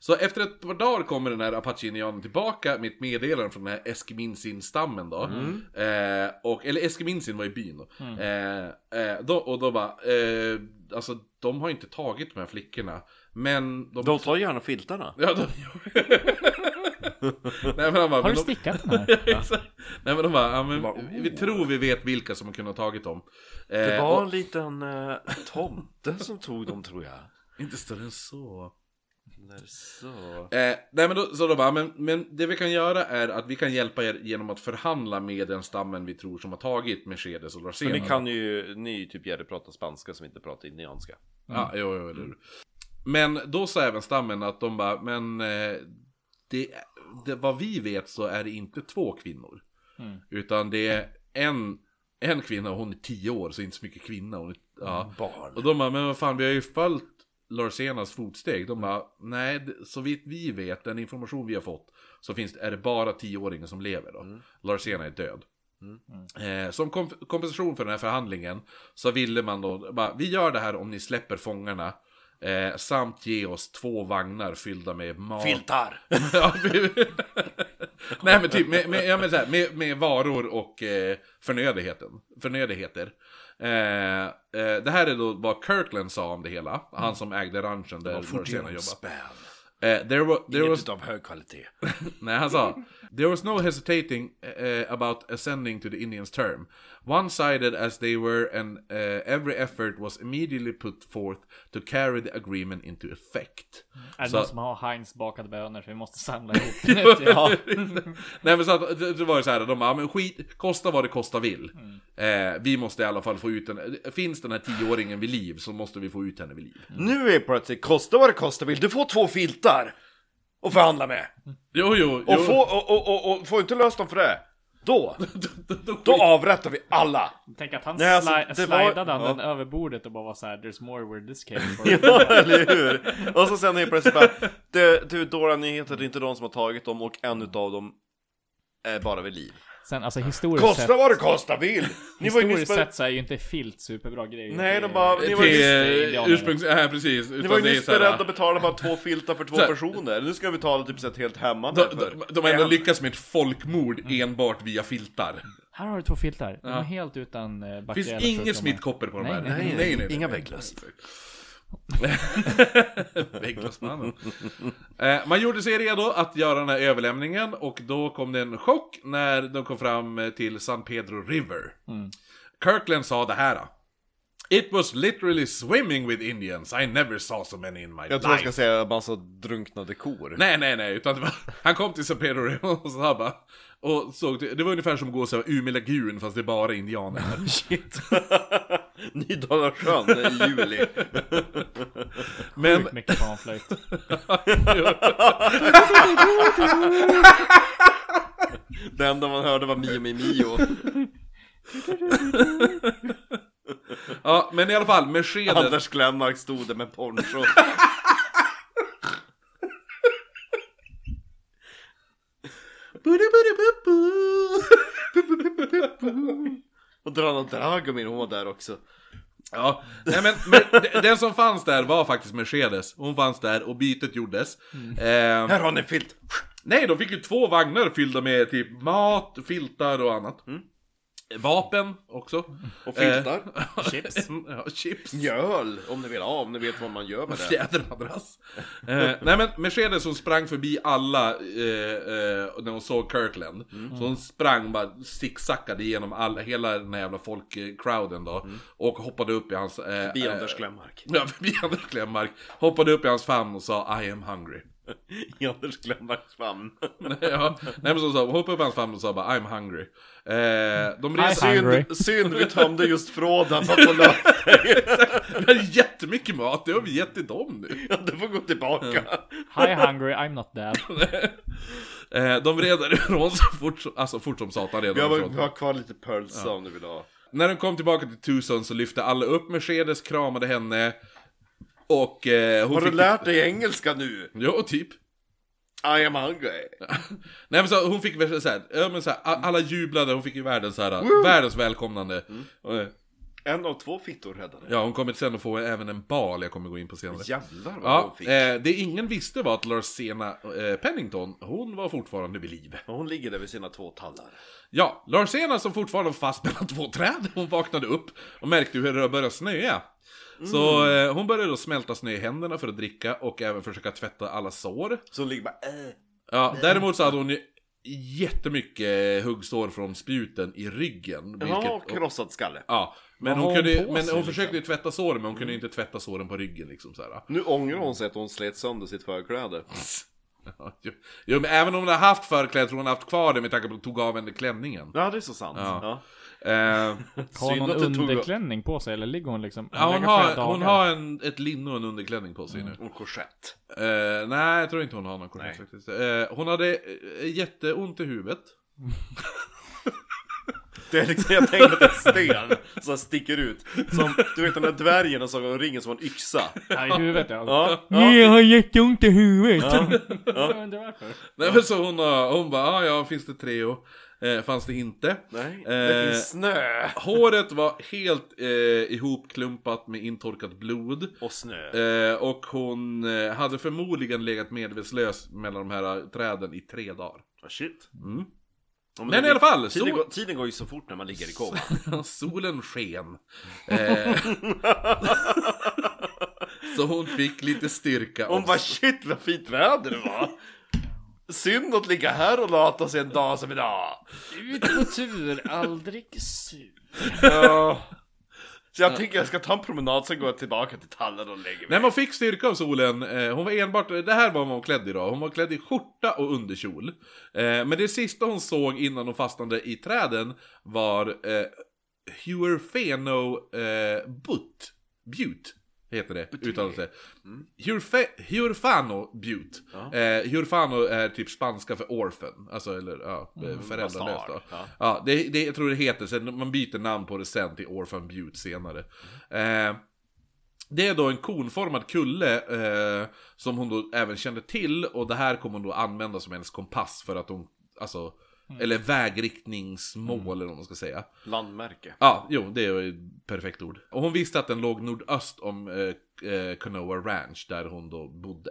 [SPEAKER 1] Så efter ett par dagar kommer den här Apache-indianen tillbaka med ett meddelande från den här Eskiminsin-stammen då.
[SPEAKER 5] Mm.
[SPEAKER 1] Eh, och, eller Eskiminsin var i byn då. Eh, eh, då och då bara, eh, alltså de har inte tagit de här flickorna. Men de...
[SPEAKER 3] De tar gärna filtarna.
[SPEAKER 1] Ja, de... Nej men han bara,
[SPEAKER 5] Har
[SPEAKER 1] men
[SPEAKER 5] du
[SPEAKER 1] de...
[SPEAKER 5] stickat den här?
[SPEAKER 1] Exakt. Nej men de bara, "Oh." ja, men vi- vi tror vi vet vilka som har kunnat ha tagit dem. Eh,
[SPEAKER 3] Det var
[SPEAKER 1] och-
[SPEAKER 3] en liten eh, tomte som tog dem tror jag.
[SPEAKER 1] Inte större än så.
[SPEAKER 3] Eller så.
[SPEAKER 1] Eh, nej men då, så då bara, men, men det vi kan göra är att vi kan hjälpa er genom att förhandla med den stammen vi tror som har tagit Mercedes och
[SPEAKER 3] För
[SPEAKER 1] Larsena.
[SPEAKER 3] ni kan ju, ni typ Jerry pratar spanska som inte pratar indianska.
[SPEAKER 1] Ja, jo, jo, eller hur. Men då sa även stammen att de bara, men eh, det, det, vad vi vet så är det inte två kvinnor. Utan det är en, en kvinna och hon är tio år så inte så mycket kvinna. Hon är, ja.
[SPEAKER 3] Barn.
[SPEAKER 1] Och de bara, men vad fan vi har ju följt Larsenas fotsteg. De bara, nej det- så vitt vi vet, den information vi har fått så finns det, är det bara tioåringen som lever då. Larsena är död. Eh, som kom- kompensation för den här förhandlingen så ville man då, bara, vi gör det här om ni släpper fångarna. Eh, samt ge oss två vagnar fyllda med mat.
[SPEAKER 3] Filtar!
[SPEAKER 1] Ja, vi- Nej men typ med, med, ja, men så här, med, med varor och eh, förnödenheten, förnödenheter. Eh, eh, det här är då vad Kirkland sa om det hela. Han som ägde ranchen där Mercena jobbade.
[SPEAKER 3] Spän.
[SPEAKER 1] Eh, there was, there was,
[SPEAKER 3] Inget av hög kvalitet.
[SPEAKER 1] nej, han sa. There was no hesitating eh, about ascending to the Indians term. One-sided as they were and eh, every effort was immediately put forth to carry the agreement into effect.
[SPEAKER 5] Är det
[SPEAKER 1] Så-
[SPEAKER 5] någon som har Heinz bakade bönor? För vi måste samla ihop det. ja.
[SPEAKER 1] Mm. Nej men så att, det, det var ju så här, de bara, "Ja, men skit, kosta vad det kosta vill. Eh, vi måste i alla fall få ut den, finns den här tioåringen vid liv så måste vi få ut henne vid liv.
[SPEAKER 3] Nu är plötsligt, kosta vad det kostar vill, du får två filtar! Och förhandla med!
[SPEAKER 1] Jo, jo,
[SPEAKER 3] Och få, och, och, och, och, får inte löst dem för det, då, då avrättar vi alla!
[SPEAKER 5] Tänk att han
[SPEAKER 3] Nej, alltså,
[SPEAKER 5] sli-
[SPEAKER 3] det var-
[SPEAKER 5] slidade han
[SPEAKER 3] ja.
[SPEAKER 5] den över bordet och bara var så här, There's more where this came from.
[SPEAKER 3] Eller hur? Och så sen är det plötsligt bara, du, du dåliga nyheter, det är inte de som har tagit dem och en utav dem är bara vid liv.
[SPEAKER 5] Sen alltså historiskt sett.
[SPEAKER 3] Kosta vad det kostar vill! Ni var ju nyss
[SPEAKER 5] Historiskt
[SPEAKER 3] bara,
[SPEAKER 5] sett så är ju inte filt superbra grej.
[SPEAKER 3] Nej,
[SPEAKER 5] Det-
[SPEAKER 3] de bara- ni
[SPEAKER 1] Till
[SPEAKER 3] var ju-
[SPEAKER 1] eh,
[SPEAKER 5] indianerna.
[SPEAKER 1] ursprungs... Ja, precis.
[SPEAKER 3] ni var ju
[SPEAKER 1] det är
[SPEAKER 3] nyss
[SPEAKER 1] så här,
[SPEAKER 3] beredda att betala bara två filtar för två
[SPEAKER 1] Så här.
[SPEAKER 3] personer, nu ska vi betala typ så ett helt
[SPEAKER 1] de,
[SPEAKER 3] hämmande för
[SPEAKER 1] de, de har ändå
[SPEAKER 3] en.
[SPEAKER 1] lyckats med ett folkmord enbart via filtar.
[SPEAKER 5] Här har du två filtar. De är helt utan eh,
[SPEAKER 1] Det
[SPEAKER 5] bakteriella
[SPEAKER 1] finns inga
[SPEAKER 5] sjukdomar.
[SPEAKER 1] smittkoppor på de
[SPEAKER 5] Nej,
[SPEAKER 1] här.
[SPEAKER 5] nej,
[SPEAKER 3] Inga vägglöss.
[SPEAKER 1] Vägglössmannen. Eh, Man gjorde sig redo att göra den här överlämningen och då kom det en chock när de kom fram eh, till San Pedro River.
[SPEAKER 3] Mm.
[SPEAKER 1] Kirkland sa det här. då. It was literally swimming with Indians, I never saw so many in my
[SPEAKER 3] Jag tror jag
[SPEAKER 1] life.
[SPEAKER 3] ska säga massa drunknade kor.
[SPEAKER 1] Nej, nej, nej, utan det var, han kom till San Pedro River och så här bara... Och såg, det det var ungefär som att gå och säga Umeå lagun fast det är bara indianer.
[SPEAKER 3] Shit. Nydalarsjön i juli.
[SPEAKER 1] Men
[SPEAKER 5] Sjukt mycket panflöjt.
[SPEAKER 3] Det enda man hörde var Mio Mio Mio.
[SPEAKER 1] Ja, men i alla fall, Mercedes...
[SPEAKER 3] Anders Glenmark stod där med poncho. Och Drana Dragomir, hon var där också.
[SPEAKER 1] Ja, nej men, men de- den som fanns där var faktiskt Mercedes. Hon fanns där och bytet gjordes. Eh,
[SPEAKER 3] Här har ni en filt!
[SPEAKER 1] nej, de fick ju två vagnar fyllda med typ mat, filtar och annat. Vapen också.
[SPEAKER 3] Och filtar.
[SPEAKER 1] Chips. ja, chips.
[SPEAKER 3] Mjöl, om ni vill. Ja, om ni vet vad man gör med det.
[SPEAKER 1] Fjädermadrass. Eh, nej men Mercedes hon sprang förbi alla eh, eh, när hon såg Kirkland. Så hon sprang bara zigzackade igenom alla, hela den här jävla folkcrowden då. Och hoppade upp i hans... Eh,
[SPEAKER 3] Bi
[SPEAKER 1] eh,
[SPEAKER 3] Anders Glenmark.
[SPEAKER 1] Ja, förbi Anders Glenmark. Hoppade upp i hans famn och sa I am hungry.
[SPEAKER 3] I Anders Glenmarks famn.
[SPEAKER 1] ja, nej men som sa, hoppade upp i hans famn och sa bara I'm hungry. Eh, de
[SPEAKER 5] I
[SPEAKER 1] reser
[SPEAKER 5] am
[SPEAKER 1] ju...
[SPEAKER 5] hungry.
[SPEAKER 3] Synd, synd, vi tömde just frådan för att få lön.
[SPEAKER 1] Det är jättemycket mat, det har vi gett till dem nu.
[SPEAKER 3] Ja, Du får gå tillbaka.
[SPEAKER 5] Hi hungry, I'm not dead.
[SPEAKER 1] Eh, de red därifrån så fort, som- alltså, fort som satan red
[SPEAKER 3] Vi har,
[SPEAKER 1] därifrån.
[SPEAKER 3] vi har kvar lite pölsa om du vill ha.
[SPEAKER 1] När de kom tillbaka till Tucson så lyfte alla upp Mercedes, kramade henne. Och eh, hon
[SPEAKER 3] Har du
[SPEAKER 1] fick...
[SPEAKER 3] lärt dig engelska nu?
[SPEAKER 1] Ja, typ.
[SPEAKER 3] I am hungry.
[SPEAKER 1] Nej men så, hon fick väl så här, ja, men så här, a- alla jublade, hon fick ju världens så här, världens välkomnande. Eh,
[SPEAKER 3] En av två fittor räddade.
[SPEAKER 1] Ja, hon kommer sen att få även en bal jag kommer gå in på senare.
[SPEAKER 3] Jävlar vad hon
[SPEAKER 1] Ja,
[SPEAKER 3] fick.
[SPEAKER 1] eh, det ingen visste var att Larsena eh, Pennington, hon var fortfarande vid liv.
[SPEAKER 3] Och Hon ligger där vid sina två tallar.
[SPEAKER 1] Ja, Larsena som fortfarande var fast mellan två träd, hon vaknade upp och märkte hur det började snöa. Så eh, hon började då smälta snö i händerna för att dricka och även försöka tvätta alla sår.
[SPEAKER 3] Så hon ligger bara äh.
[SPEAKER 1] Ja, däremot så hade hon ju jättemycket huggsår från spjuten i ryggen. Vilket,
[SPEAKER 3] Ja, krossad skalle.
[SPEAKER 1] ja, men
[SPEAKER 5] Vad
[SPEAKER 1] hon,
[SPEAKER 5] har
[SPEAKER 1] kunde,
[SPEAKER 5] hon på
[SPEAKER 1] men
[SPEAKER 5] sig,
[SPEAKER 1] hon försökte ju tvätta såren, men hon kunde ju inte tvätta såren på ryggen liksom så här.
[SPEAKER 3] Nu ångrar hon sig att hon slet sönder sitt förkläde.
[SPEAKER 1] Ja, jo. Jo, men även om hon har haft förkläde tror hon har haft kvar det med tanke på att hon tog av henne klänningen.
[SPEAKER 3] Ja, det är så sant.
[SPEAKER 1] Ja.
[SPEAKER 3] Ja.
[SPEAKER 1] Eh,
[SPEAKER 5] Har
[SPEAKER 3] Synd
[SPEAKER 5] hon
[SPEAKER 3] att det tog-
[SPEAKER 5] underklänning på sig eller ligger hon liksom?
[SPEAKER 1] ja, hon
[SPEAKER 5] lägger flera
[SPEAKER 1] har, hon
[SPEAKER 5] dagar. Mm.
[SPEAKER 1] har en, ett linne och en underklänning på sig nu.
[SPEAKER 3] Och korsett.
[SPEAKER 1] Eh, nej, jag tror inte hon har någon korsett faktiskt. Eh, hon hade eh, jätteont i huvudet.
[SPEAKER 3] Det är liksom, jag tänker att det är en sten som sticker ut. Som, du vet den där dvärgen som har ringen som en yxa.
[SPEAKER 5] Ja, i huvudet ja.
[SPEAKER 3] Ja, ja.
[SPEAKER 5] Nej, jag har jätteont i huvudet. Jag undrar varför.
[SPEAKER 1] Nej men så hon, har- hon bara, ah, ja finns det Treo? Eh, fanns det inte.
[SPEAKER 3] Nej, det
[SPEAKER 1] Eh,
[SPEAKER 3] finns snö.
[SPEAKER 1] håret var helt eh, ihopklumpat med intorkat blod.
[SPEAKER 3] Och snö.
[SPEAKER 1] Eh, och hon eh, hade förmodligen legat medvetslös mellan de här träden i tre dagar.
[SPEAKER 3] Ah, shit.
[SPEAKER 1] Mm.
[SPEAKER 3] Ja,
[SPEAKER 1] Men
[SPEAKER 3] det-
[SPEAKER 1] i alla fall,
[SPEAKER 3] Tiden,
[SPEAKER 1] sol,
[SPEAKER 3] går, tiden går ju så fort när man ligger i koma.
[SPEAKER 1] solen sken. Eh, så hon fick lite styrka.
[SPEAKER 3] Hon
[SPEAKER 1] och-
[SPEAKER 3] bara shit vad fint väder det var. Synd att ligga här och lata sig en dag som idag.
[SPEAKER 4] Ut på tur, aldrig sur.
[SPEAKER 3] Så jag tänker jag ska ta en promenad sen går jag tillbaka till tallen och lägger mig.
[SPEAKER 1] Nej, man fick styrka av solen. Eh, Hon var enbart, det här var vad hon var klädd idag. Hon var klädd i skjorta och underkjol. Eh, Men det sista hon såg innan hon fastnade i träden var eh, Huerfeno eh, Butt. Butte heter det, uttalas det. Huerfe- Huerfano Butte. Eh, Huerfano är typ spanska för orphan, alltså eller ja, föräldralös då.
[SPEAKER 3] Ja.
[SPEAKER 1] Ja, det, det, jag tror det heter, sen man byter namn på det sen till Orphan Butte senare. Eh, det är då en konformad kulle eh, som hon då även kände till och det här kommer hon då använda som hennes kompass för att hon, alltså, eller vägriktningsmål eller vad man ska säga.
[SPEAKER 3] Landmärke.
[SPEAKER 1] Ja, jo, det är ju ett perfekt ord. Och hon visste att den låg nordöst om eh, eh, Canoa Ranch, där hon då bodde.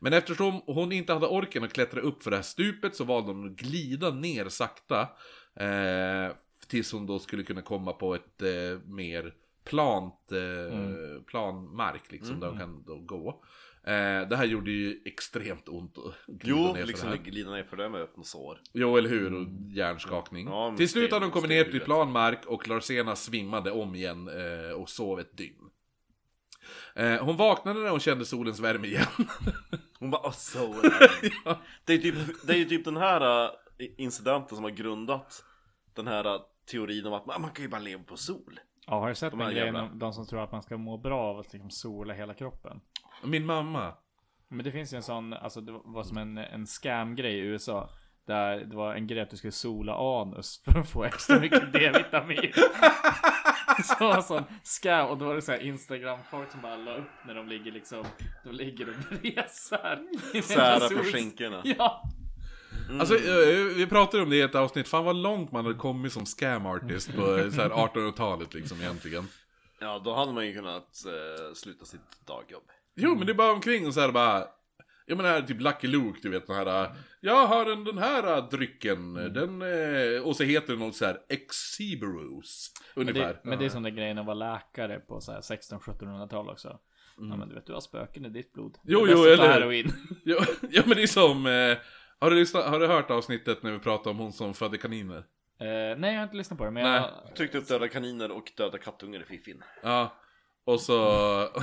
[SPEAKER 1] Men eftersom hon inte hade orken att klättra upp för det här stupet så valde hon att glida ner sakta. Eh, tills hon då skulle kunna komma på ett eh, mer plant, eh,
[SPEAKER 3] Mm.
[SPEAKER 1] planmark liksom, där hon kan då gå. Eh, det här gjorde ju extremt ont att glida
[SPEAKER 3] Jo,
[SPEAKER 1] ner för
[SPEAKER 3] liksom
[SPEAKER 1] det här.
[SPEAKER 3] glida ner för det med öppna sår.
[SPEAKER 1] Jo, eller hur? Och hjärnskakning.
[SPEAKER 3] Ja, men
[SPEAKER 1] till slut hade
[SPEAKER 3] sten-
[SPEAKER 1] de kommit ner till
[SPEAKER 3] stenhuvudet.
[SPEAKER 1] plan mark och Larsena svimmade om igen eh, och sov ett dygn. Eh, hon vaknade när hon kände solens värme igen.
[SPEAKER 3] Hon bara "Åh, så ja. det, är typ, det är ju typ den här äh, incidenten som har grundat den här äh, teorin om att man, man kan ju bara leva på sol.
[SPEAKER 5] Ja, har du sett
[SPEAKER 3] De
[SPEAKER 5] de,
[SPEAKER 3] här
[SPEAKER 5] den grejen
[SPEAKER 3] jävla-
[SPEAKER 5] om de som tror att man ska må bra av att liksom sola hela kroppen?
[SPEAKER 1] Min mamma.
[SPEAKER 5] Men det finns ju en sån, alltså det var som en, en scam-grej i USA. Där det var en grej att du skulle sola anus för att få extra mycket D-vitamin. Så var det en sån scam och då var det så här Instagram-folk som bara la upp när de ligger liksom, de ligger och bresar. i
[SPEAKER 3] Sära på
[SPEAKER 5] sols-
[SPEAKER 3] skinkorna. Mm.
[SPEAKER 5] Ja.
[SPEAKER 1] Alltså, eh, vi pratade om det i ett avsnitt. Fan vad långt man hade kommit som scam artist på eh, så här 1800-talet liksom egentligen.
[SPEAKER 3] Ja, då hade man ju kunnat eh, sluta sitt dagjobb.
[SPEAKER 1] Jo, men det är bara omkring och så här bara... Jag menar typ Lucky Luke, du vet den här... äh, Jag har den, den här äh, drycken, den... eh, Och så heter det något så här Exeberus,
[SPEAKER 5] Men
[SPEAKER 1] ungefär.
[SPEAKER 5] det, men det är som den grejen att vara läkare på så här 16-1700-tal också. Ja men du vet, du har spöken i ditt blod.
[SPEAKER 1] Mm. Jo,
[SPEAKER 5] Det är
[SPEAKER 1] jo,
[SPEAKER 5] bäst att ta
[SPEAKER 1] eller-
[SPEAKER 5] heroin.
[SPEAKER 1] Ja, ja, men det är som... eh, Har du, lyssnat, har du hört avsnittet när vi pratade om hon som födde kaniner?
[SPEAKER 5] Eh, nej, jag har inte lyssnat på det, men
[SPEAKER 1] Nej.
[SPEAKER 5] jag...
[SPEAKER 3] Tryckte upp döda kaniner och döda kattungar i fiffin.
[SPEAKER 1] Ja. Och så,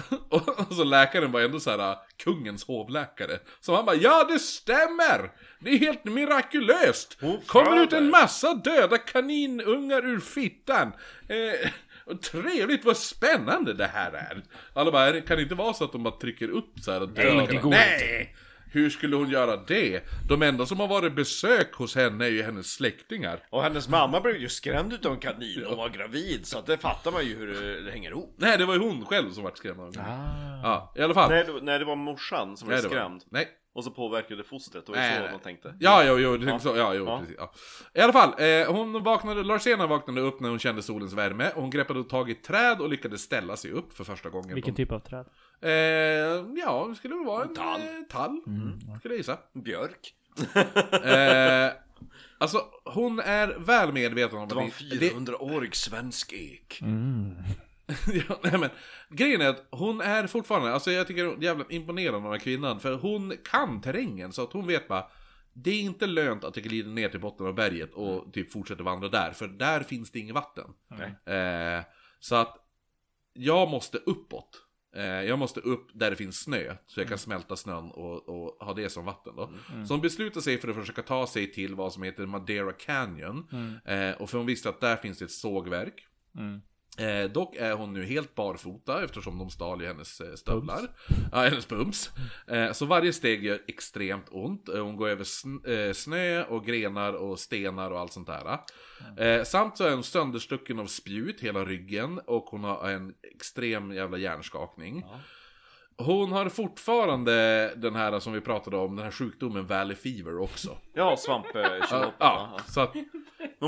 [SPEAKER 1] och, så läkaren var ändå så här äh, kungens hovläkare. Så han bara ja det stämmer! Det är helt mirakulöst!
[SPEAKER 3] Hon
[SPEAKER 1] Kommer ut
[SPEAKER 3] föder.
[SPEAKER 1] en massa döda kaninungar ur fittan! Eh, och trevligt vad spännande det här är! Alla bara, det kan inte vara så att de bara trycker upp så här och döda
[SPEAKER 5] det
[SPEAKER 1] kanin-
[SPEAKER 5] går
[SPEAKER 1] Nej! Hur skulle hon göra det? De enda som har varit besök hos henne är ju hennes släktingar.
[SPEAKER 3] Och hennes mamma blev ju skrämd utav en kanin och var gravid så att det fattar man ju hur det, det hänger ihop.
[SPEAKER 1] Nej,
[SPEAKER 5] Ah.
[SPEAKER 1] det var ju hon själv som vart skrämd av henne. Ja, i alla fall.
[SPEAKER 3] Nej det, nej, det var morsan som blev
[SPEAKER 1] Nej, det var-
[SPEAKER 3] skrämd.
[SPEAKER 1] Nej,
[SPEAKER 3] Och så påverkade fostret, det var
[SPEAKER 1] Nej,
[SPEAKER 3] ju så
[SPEAKER 1] nej.
[SPEAKER 3] man tänkte.
[SPEAKER 1] Ja, jo, jo, det-
[SPEAKER 3] Ja.
[SPEAKER 1] Så, ja, jo
[SPEAKER 3] Ja.
[SPEAKER 1] precis. Ja. I alla fall, eh, hon vaknade, Larsena vaknade upp när hon kände solens värme. Och hon greppade tag i ett träd och lyckades ställa sig upp för första gången.
[SPEAKER 12] Vilken
[SPEAKER 1] på-
[SPEAKER 12] typ av träd?
[SPEAKER 1] Eh, ja, det skulle väl vara en tall. Eh, tall
[SPEAKER 3] Mm.
[SPEAKER 1] Skulle jag gissa.
[SPEAKER 3] Björk.
[SPEAKER 1] Eh, alltså, hon är väl medveten om att...
[SPEAKER 3] Det var en
[SPEAKER 1] det- det-
[SPEAKER 3] 400-årig svensk ek.
[SPEAKER 5] Mm.
[SPEAKER 1] ja, nej, men, grejen är att hon är fortfarande, alltså jag tycker hon är jävla imponerande den här kvinnan. För hon kan terrängen så att hon vet bara. Det är inte lönt att jag glider ner till botten av berget och typ fortsätter vandra där. För där finns det inget vatten. Eh, så att jag måste uppåt. Eh, jag måste upp där det finns snö. Så jag kan smälta snön och, och ha det som vatten då. Så hon beslutar sig för att försöka ta sig till vad som heter Madeira Canyon. Eh, och för hon visste att där finns det ett sågverk.
[SPEAKER 12] Mm.
[SPEAKER 1] Eh, dock är hon nu helt barfota eftersom de stal ju hennes eh, stövlar. Ja, hennes pumps. Eh, så varje steg gör extremt ont. Eh, Hon går över sn- eh, snö och grenar och stenar och allt sånt där. Eh, samt så är hon sönderstucken av spjut hela ryggen och hon har en extrem jävla hjärnskakning. Hon har fortfarande den här som vi pratade om, den här sjukdomen Valley Fever också.
[SPEAKER 3] Ja, svamp. eh,
[SPEAKER 1] Ja,
[SPEAKER 3] kinopa.
[SPEAKER 1] ja, så att,
[SPEAKER 3] Men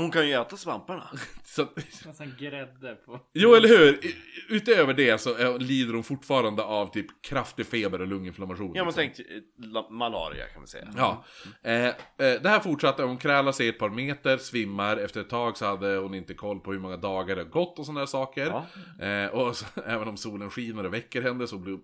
[SPEAKER 3] hon kan ju äta svamparna.
[SPEAKER 1] så att,
[SPEAKER 4] Nästan grädde på.
[SPEAKER 1] Jo, eller hur? I- Utöver det så eh, lider hon fortfarande av typ kraftig feber och lunginflammation.
[SPEAKER 3] Ja, men
[SPEAKER 1] liksom.
[SPEAKER 3] tänk eh, la- malaria kan man säga.
[SPEAKER 1] Ja. Eh, eh, det här fortsatte, hon krälade sig ett par meter, svimmar, efter ett tag så hade hon inte koll på hur många dagar det har gått och sådana där saker. Eh, och så, även om solen skiner och väcker henne så, blir,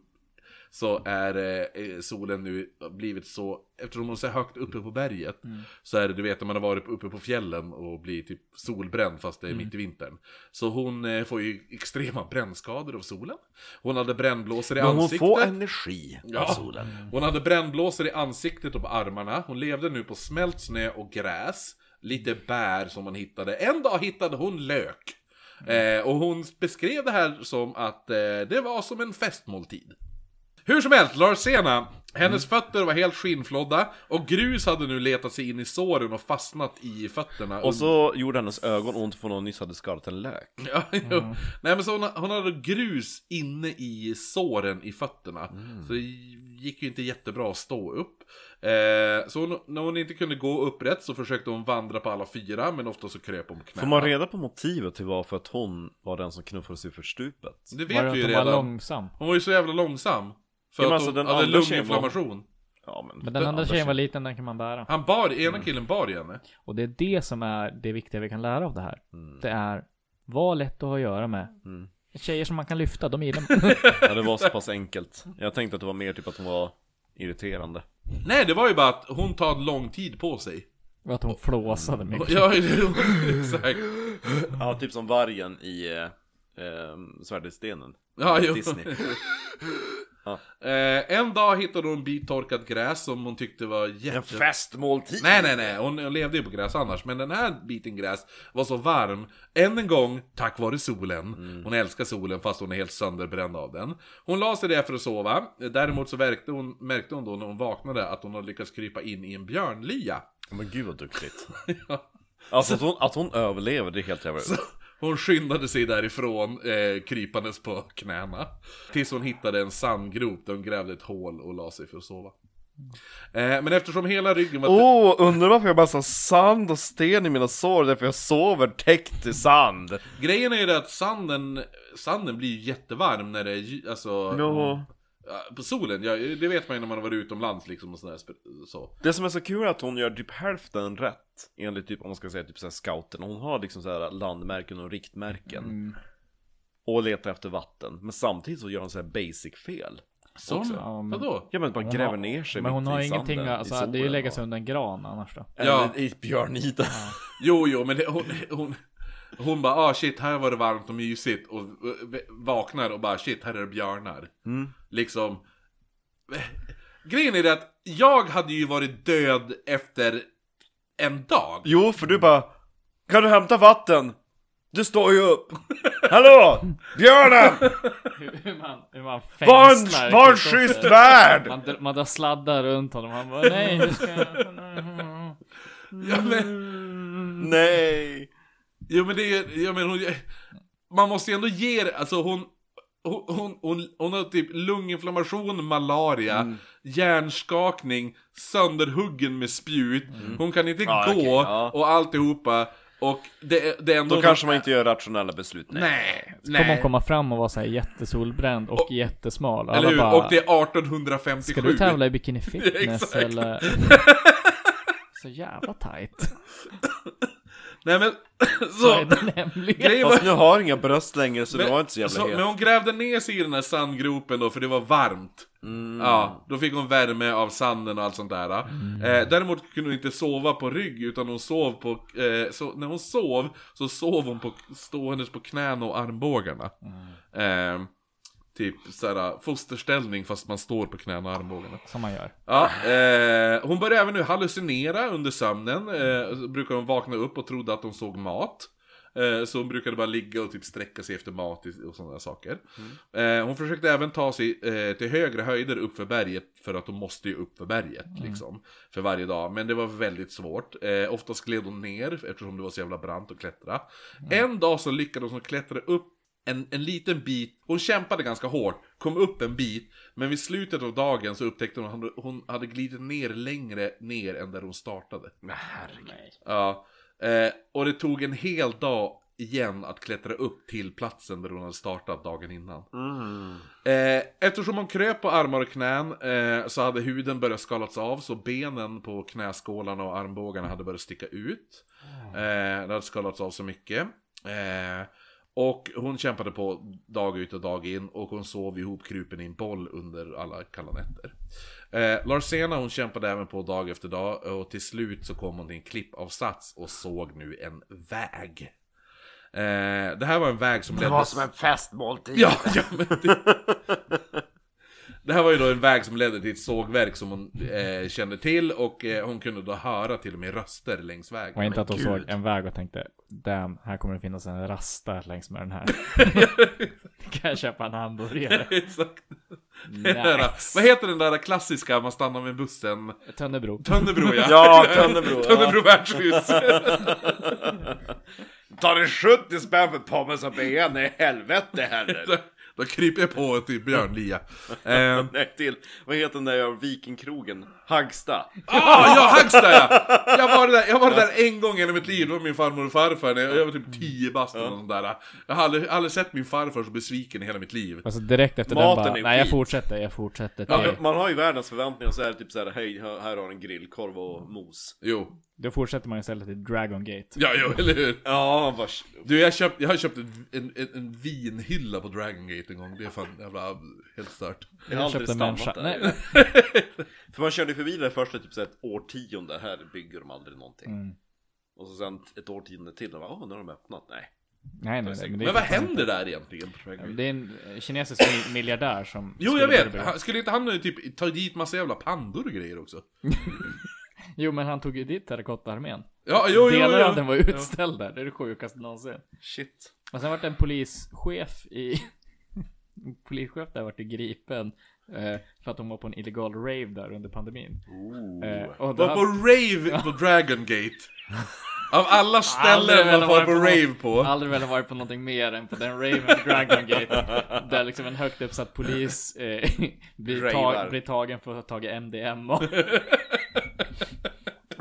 [SPEAKER 1] så är eh, eh, solen nu blivit så, eftersom hon är så högt uppe på berget, så är det, du vet när man har varit uppe på fjällen och blir typ solbränd fast det är mitt i vintern. Så hon eh, får ju extrema brännskador av solen. Hon hade brännblåsor i ansiktet.
[SPEAKER 3] energi
[SPEAKER 1] Ja. Mm. Hon hade brännblåsor i ansiktet och på armarna. Hon levde nu på smält snö och gräs. Lite bär som hon hittade. En dag hittade hon lök.
[SPEAKER 3] Mm.
[SPEAKER 1] Eh, och hon beskrev det här som att eh, det var som en festmåltid. Hur som helst, Larsena. Hennes
[SPEAKER 3] Mm.
[SPEAKER 1] fötter var helt skinnflodda och grus hade nu letat sig in i såren och fastnat i fötterna.
[SPEAKER 3] Och så gjorde hennes ögon ont för hon nyss hade skadat en lök.
[SPEAKER 1] Ja, jo.
[SPEAKER 3] Mm.
[SPEAKER 1] Nej men så hon, hon hade grus inne i såren i fötterna.
[SPEAKER 3] Mm.
[SPEAKER 1] Så det gick ju inte jättebra att stå upp. Eh, så hon, när hon inte kunde gå upprätt så försökte hon vandra på alla fyra men ofta så kröp hon på
[SPEAKER 3] Får
[SPEAKER 1] knäna.
[SPEAKER 3] man reda på motivet till varför att hon var den som knuffades ut för stupet?
[SPEAKER 1] Det vet
[SPEAKER 12] Var det
[SPEAKER 1] vi
[SPEAKER 12] att
[SPEAKER 1] ju
[SPEAKER 12] de var
[SPEAKER 1] redan.
[SPEAKER 12] långsam?
[SPEAKER 1] Hon var ju så jävla långsam. För
[SPEAKER 3] Ja, men
[SPEAKER 1] att
[SPEAKER 3] alltså,
[SPEAKER 1] hon
[SPEAKER 3] den
[SPEAKER 1] hade
[SPEAKER 3] andra tjejen var-
[SPEAKER 1] lunginflammation.
[SPEAKER 3] Ja, men...
[SPEAKER 12] Men den andra tjejen var liten, den kan man bära.
[SPEAKER 1] Han bar,
[SPEAKER 3] Mm.
[SPEAKER 1] ena killen bar ju henne.
[SPEAKER 12] Och det är det som är det viktiga vi kan lära av det här. Det är, var lätt att ha att göra med. Tjejer som man kan lyfta, de gillar man.
[SPEAKER 3] Ja, det var så pass enkelt. Jag tänkte att det var mer typ att hon var irriterande.
[SPEAKER 1] Nej det var ju bara att hon tar lång tid på sig.
[SPEAKER 12] Och att hon flåsade mycket.
[SPEAKER 1] Ja, exakt.
[SPEAKER 3] Ja, typ som vargen i eh, eh, Svärdet i stenen.
[SPEAKER 1] Ja, jo.
[SPEAKER 3] Disney.
[SPEAKER 1] Eh, en dag hittade hon bittorkat gräs som hon tyckte var jätte...
[SPEAKER 3] Festmåltid!
[SPEAKER 1] Nej, nej, nej. Hon, hon levde ju på gräs annars. Men den här biten gräs var så varm, än en gång, tack vare solen. Hon älskar solen fast hon är helt sönderbränd av den. Hon la sig där för att sova. Däremot så märkte hon, märkte hon då när hon vaknade att hon hade lyckats krypa in i en björnlya.
[SPEAKER 3] Men gud vad duktigt. Alltså att hon, att hon överlever, det är helt jävla...
[SPEAKER 1] Hon skyndade sig därifrån, eh, krypandes på knäna. Tills hon hittade en sandgrop där hon grävde ett hål och la sig för att sova. Eh, men eftersom hela ryggen var...
[SPEAKER 3] Åh, oh, undrar varför jag bara har sand och sten i mina sår, därför jag sover täckt i sand.
[SPEAKER 1] Grejen är ju det att sanden, sanden blir ju jättevarm när det är gy- alltså, ja, på solen. Ja, det vet man ju när man har varit utomlands liksom och sådär. sp- Så.
[SPEAKER 3] Det som är så kul är att hon gör typ hälften rätt Enligt typ, om man ska säga typ såhär scouterna Hon har liksom såhär landmärken och riktmärken
[SPEAKER 12] Mm.
[SPEAKER 3] Och letar efter vatten Men samtidigt så gör hon såhär basic fel
[SPEAKER 1] Som?
[SPEAKER 12] ja, men-
[SPEAKER 1] Vadå?
[SPEAKER 3] Ja men bara
[SPEAKER 12] Hon
[SPEAKER 3] gräver
[SPEAKER 12] har-
[SPEAKER 3] ner sig
[SPEAKER 12] Men
[SPEAKER 3] mitt
[SPEAKER 12] hon har
[SPEAKER 3] i
[SPEAKER 12] ingenting,
[SPEAKER 3] sanden, i
[SPEAKER 12] alltså, det är ju
[SPEAKER 3] solen
[SPEAKER 12] lägga
[SPEAKER 3] och-
[SPEAKER 12] sig under en gran annars då.
[SPEAKER 1] Ja.
[SPEAKER 3] Eller i ett björnida
[SPEAKER 1] Jo, jo, men det, hon, hon, hon bara ah shit, här var det varmt och mysigt. Och eh, vaknar och bara shit, här är det björnar. Liksom. Grejen är det att jag hade ju varit död efter en dag.
[SPEAKER 3] Jo för du bara Kan du hämta vatten? Du står ju upp Hallå! Björnen!
[SPEAKER 4] Hur, hur man, hur man
[SPEAKER 5] Man
[SPEAKER 3] Var
[SPEAKER 5] fängslar
[SPEAKER 12] typ.
[SPEAKER 3] en, var en
[SPEAKER 5] Kristoffer.
[SPEAKER 3] schysst värld!
[SPEAKER 5] Man, dr- man drar sladdar runt honom. Han bara nej, du ska...
[SPEAKER 1] Ja, men,
[SPEAKER 3] Nej!
[SPEAKER 1] Jo men det är ju, jag menar hon, man måste ju ändå ge det, alltså hon hon, hon, hon, hon har typ lunginflammation, malaria,
[SPEAKER 3] Mm.
[SPEAKER 1] hjärnskakning, sönderhuggen med spjut. Hon kan inte
[SPEAKER 3] Mm. Ja,
[SPEAKER 1] gå
[SPEAKER 3] okej, ja.
[SPEAKER 1] och alltihopa. Och det, det är ändå...
[SPEAKER 3] Då kanske man inte gör rationella beslut. Nej.
[SPEAKER 1] Nej,
[SPEAKER 5] Kommer hon
[SPEAKER 1] nej.
[SPEAKER 5] komma fram och vara så här jättesolbränd och,
[SPEAKER 1] Och-
[SPEAKER 5] jättesmal. Alla
[SPEAKER 1] Eller hur?
[SPEAKER 5] bara,
[SPEAKER 1] Och det är 1857.
[SPEAKER 5] Ska du tävla i bikini fitness
[SPEAKER 1] Exakt.
[SPEAKER 5] eller? Så jävla tight.
[SPEAKER 1] Nej men,
[SPEAKER 5] Vad är
[SPEAKER 1] så,
[SPEAKER 5] den hemliga?
[SPEAKER 1] grejen var
[SPEAKER 3] Fast nu har jag inga bröst längre så det var inte så jävla
[SPEAKER 1] så,
[SPEAKER 3] het.
[SPEAKER 1] Men hon grävde ner sig i den här sandgropen då, för det var varmt.
[SPEAKER 3] Mm.
[SPEAKER 1] Ja, då fick hon värme av sanden och allt sånt där. Eh, däremot kunde hon inte sova på rygg, utan hon sov på... Eh, så, när hon sov, så sov hon på, ståendes på knäna och armbågarna. Eh, typ såhär fosterställning fast man står på knäna och armbågarna.
[SPEAKER 5] Som man gör.
[SPEAKER 1] Ja, eh, hon började även nu hallucinera under sömnen. Eh, så brukade hon vakna upp och trodde att hon såg mat. Eh, så hon brukade bara ligga och typ sträcka sig efter mat i- och sådana saker. Eh, hon försökte även ta sig eh, till högre höjder upp för berget för att hon måste ju upp för berget liksom. För varje dag, men det var väldigt svårt. Eh, oftast gled hon ner eftersom det var så jävla brant att klättra. En dag så lyckades hon klättra upp en, en liten bit, hon kämpade ganska hårt, kom upp en bit, men vid slutet av dagen så upptäckte hon att hon hade glidit ner längre ner än där hon startade. Ja. Eh, och det tog en hel dag igen att klättra upp till platsen där hon hade startat dagen innan. Eh, eftersom hon kröp på armar och knän eh, så hade huden börjat skalats av så benen på knäskålarna och armbågarna hade börjat sticka ut. Eh, det hade skalats av så mycket. Eh, och hon kämpade på dag ut och dag in och hon sov ihopkrupen i en boll under alla kalla nätter. Eh, Larsena hon kämpade även på dag efter dag och till slut så kom hon till en klippavsats och såg nu en väg. Eh, det här var en väg som ledde...
[SPEAKER 13] en festmåltid.
[SPEAKER 1] Ja, ja men det... det här var ju då en väg som ledde till ett sågverk som hon eh, kände till och eh, hon kunde då höra till och med röster längs vägen.
[SPEAKER 5] Var inte att de
[SPEAKER 1] Gud.
[SPEAKER 5] såg en väg och tänkte Damn, här kommer det finnas en rasta längs med den här. kan jag köpa en hamburgare?
[SPEAKER 1] Exakt. Det där, Vad heter den där klassiska man stannar med bussen?
[SPEAKER 5] Tönnebro.
[SPEAKER 1] Tönnebro ja!
[SPEAKER 3] Ja, Tönnebro.
[SPEAKER 1] Tönnebro värdshus!
[SPEAKER 14] Tar det 70 spänn för pommes och ben? I helvete heller!
[SPEAKER 1] Då kryper jag på typ björnlia. Eh,
[SPEAKER 3] Nej, till. Vad heter den där jag- Vikingkrogen? Hagsta.
[SPEAKER 1] Ah, ja, Hagsta ja! Jag var, där, jag var där en gång i hela mitt liv, det var min farmor och farfar när jag, jag var typ 10 bast eller något sånt där. Jag har aldrig, aldrig sett min farfar så besviken i hela mitt liv.
[SPEAKER 5] Alltså direkt efter
[SPEAKER 3] Maten
[SPEAKER 5] den bara,
[SPEAKER 3] är
[SPEAKER 5] nej jag
[SPEAKER 3] skit."
[SPEAKER 5] fortsätter, jag fortsätter till,
[SPEAKER 3] Ja, man har ju världens förväntningar så är det typ så här, hej, här här har du en grillkorv och mos.
[SPEAKER 1] Jo.
[SPEAKER 5] Då fortsätter man istället till Dragon Gate.
[SPEAKER 1] Ja, jo, eller hur?
[SPEAKER 3] Ja, vars...
[SPEAKER 1] Du, jag, köpt, jag har köpt en, en, en, en vinhylla på Dragon Gate en gång. Det är fan jävla helt stört.
[SPEAKER 3] Jag har aldrig
[SPEAKER 5] köpte en
[SPEAKER 3] stannat
[SPEAKER 5] människa.
[SPEAKER 3] där.
[SPEAKER 5] Nej,
[SPEAKER 3] För man körde förbi det första typ så här, ett årtionde, här bygger de aldrig någonting.
[SPEAKER 5] Mm.
[SPEAKER 3] Och så sen ett årtionde till, och bara, åh, nu har de öppnat. Nej.
[SPEAKER 5] nej, nej, nej men det är
[SPEAKER 1] Men vad händer där egentligen på Dragon Gate?
[SPEAKER 5] Det är en eh, kinesisk mil- miljardär som...
[SPEAKER 1] Jo,
[SPEAKER 5] skulle
[SPEAKER 1] jag vet!
[SPEAKER 5] bli-
[SPEAKER 1] Han- Skulle inte han nu typ ta dit massa jävla pandor och grejer också?
[SPEAKER 5] Jo, men han tog ju dit terrakottaarmén.
[SPEAKER 1] Ja, jo, jo,
[SPEAKER 5] Delar av den
[SPEAKER 1] jo.
[SPEAKER 5] var utställd där. Det är det sjukaste någonsin.
[SPEAKER 3] Shit.
[SPEAKER 5] Och sen vart det en polischef i... polischef där vart det gripen. eh, För att hon var på en illegal rave där under pandemin. Eh, Och då
[SPEAKER 1] Var på
[SPEAKER 5] hade,
[SPEAKER 1] rave på Dragon Gate. Av alla
[SPEAKER 5] Aldrig
[SPEAKER 1] ställen man
[SPEAKER 5] velat
[SPEAKER 1] får
[SPEAKER 5] vara
[SPEAKER 1] på
[SPEAKER 5] på-
[SPEAKER 1] rave på.
[SPEAKER 5] aldrig velat varit på någonting mer än på den raven på Dragon Gate. Där liksom en högt uppsatt polis eh, blir, ta,
[SPEAKER 3] Ravar.
[SPEAKER 5] blir tagen för att ha tagit MDMA.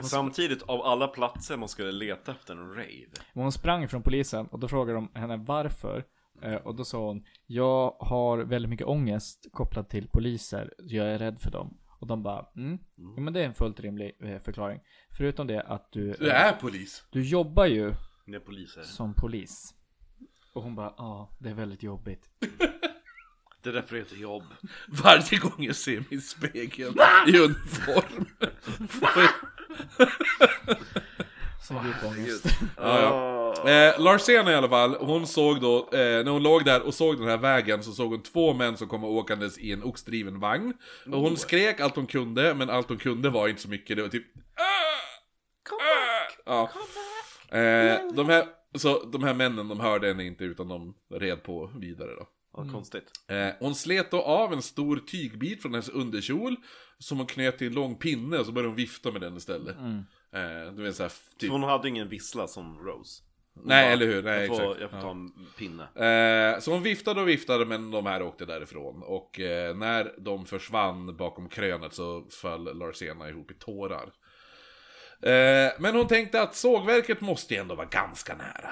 [SPEAKER 3] Samtidigt, av alla platser man skulle leta efter en rave.
[SPEAKER 5] Men hon sprang från polisen och då frågade de henne varför. Eh, Och då sa hon, jag har väldigt mycket ångest kopplad till poliser. Jag är rädd för dem. Och de bara, mm, jo, men det är en fullt rimlig eh, förklaring. Förutom det att du, eh,
[SPEAKER 1] Du är polis.
[SPEAKER 5] du jobbar ju
[SPEAKER 3] När poliser.
[SPEAKER 5] som polis. Och hon bara, ja, det är väldigt jobbigt.
[SPEAKER 3] Det är därför det heter jobb.
[SPEAKER 1] Varje gång jag ser min spegel i uniform.
[SPEAKER 5] Så djup ångest.
[SPEAKER 1] Ja, ja. Eh, Larsena i alla fall, hon såg då, eh, när hon låg där och såg den här vägen så såg hon två män som kom åkandes i en oxdriven vagn. Och
[SPEAKER 3] Oh.
[SPEAKER 1] hon skrek allt hon kunde, men allt hon kunde var inte så mycket, det var typ Kom back! Ja. Eh, de, här, så, de här männen, de hörde henne inte utan de red på vidare då.
[SPEAKER 3] Vad
[SPEAKER 5] Mm.
[SPEAKER 3] konstigt.
[SPEAKER 1] Eh, hon slet då av en stor tygbit från hennes underkjol som hon knöt till en lång pinne
[SPEAKER 3] Mm.
[SPEAKER 1] och så började hon vifta med den istället. Eh, du vet såhär, typ...
[SPEAKER 3] För hon hade ingen vissla som Rose.
[SPEAKER 1] Nej, eller hur? Nej,
[SPEAKER 3] jag får,
[SPEAKER 1] exakt.
[SPEAKER 3] jag får ta en pinne.
[SPEAKER 1] Eh, så hon viftade och viftade men de här åkte därifrån. Och eh, när de försvann bakom krönet så föll Larsena ihop i tårar. Eh, men hon tänkte att sågverket måste ju ändå vara ganska nära.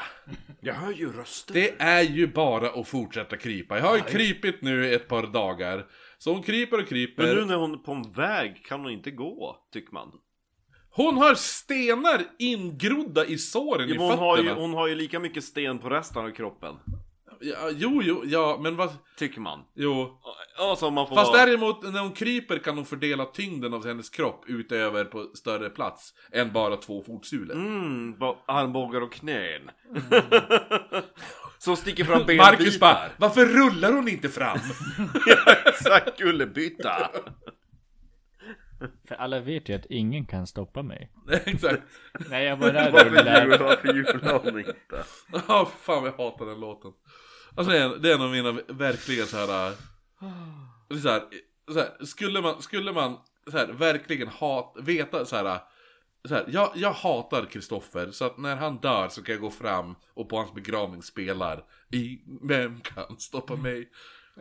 [SPEAKER 3] Jag hör ju röster.
[SPEAKER 1] Det är ju bara att fortsätta krypa. Jag har ju krypit nu i ett par dagar. Så hon kryper och kryper.
[SPEAKER 3] Men nu när hon är på en väg kan hon inte gå, tycker man.
[SPEAKER 1] Hon har stenar ingrodda i såren
[SPEAKER 3] Ja,
[SPEAKER 1] i
[SPEAKER 3] men hon,
[SPEAKER 1] fötterna.
[SPEAKER 3] har ju, hon har ju lika mycket sten på resten av kroppen,
[SPEAKER 1] Ja, jo, jo, ja, men vad...
[SPEAKER 3] tycker man.
[SPEAKER 1] Jo.
[SPEAKER 3] Alltså om man får
[SPEAKER 1] Fast
[SPEAKER 3] vara...
[SPEAKER 1] däremot när hon kryper kan hon fördela tyngden av hennes kropp utöver på större plats än bara två fotsulor.
[SPEAKER 3] Mm, bara armbågar och knän.
[SPEAKER 1] Mm.
[SPEAKER 3] Som sticker fram benbitar.
[SPEAKER 1] Marcus bara, varför rullar hon inte fram?
[SPEAKER 3] Exakt, kullerbytta.
[SPEAKER 5] För alla vet ju att ingen kan stoppa mig.
[SPEAKER 1] Exakt.
[SPEAKER 5] Nej, jag bara rullar.
[SPEAKER 3] Varför gjorde hon inte?
[SPEAKER 1] Ja, fan jag hatar den låten. Alltså det är, det är en av mina verkligen så här. äh, det är Så här, så här skulle man, skulle man så här, verkligen hat, veta så här. äh, Så här jag, jag hatar Kristoffer, så att när han dör så kan jag gå fram och på hans begravning spelar i Vem kan stoppa mig?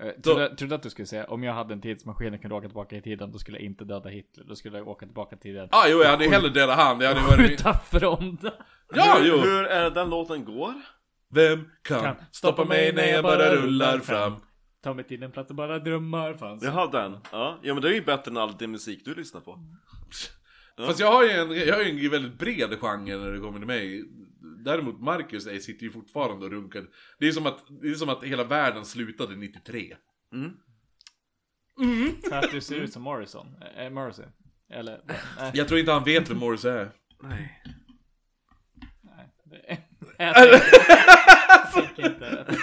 [SPEAKER 12] Eh, Trodde, trodde att du skulle säga om jag hade en tidsmaskin och kunde åka tillbaka i tiden då skulle jag inte döda Hitler. Då skulle jag åka tillbaka till den.
[SPEAKER 1] Ah, jo, jag hade hellre dödat han. Jag hade varit...
[SPEAKER 12] Ta Fronda!
[SPEAKER 1] Ja, jo!
[SPEAKER 3] Hur är det den låten går?
[SPEAKER 1] Vem kan stoppa mig när jag bara rullar fram?
[SPEAKER 12] Ta mig till den plats där bara drömmar fanns.
[SPEAKER 3] Jaha den, ja. ja men det är ju bättre än all den musik du lyssnar på
[SPEAKER 1] Fast jag har ju en, jag har ju en väldigt bred genre när det kommer till mig. Däremot Marcus är, sitter ju fortfarande och runkar. Det är som att, det är som att hela världen slutade 93.
[SPEAKER 12] Så att du ser ut som Morrison. Eh, eh, Morrissey. Eller? Nej.
[SPEAKER 1] Jag tror inte han vet vem Morris är.
[SPEAKER 12] Jag tänker inte. Jag tänker inte.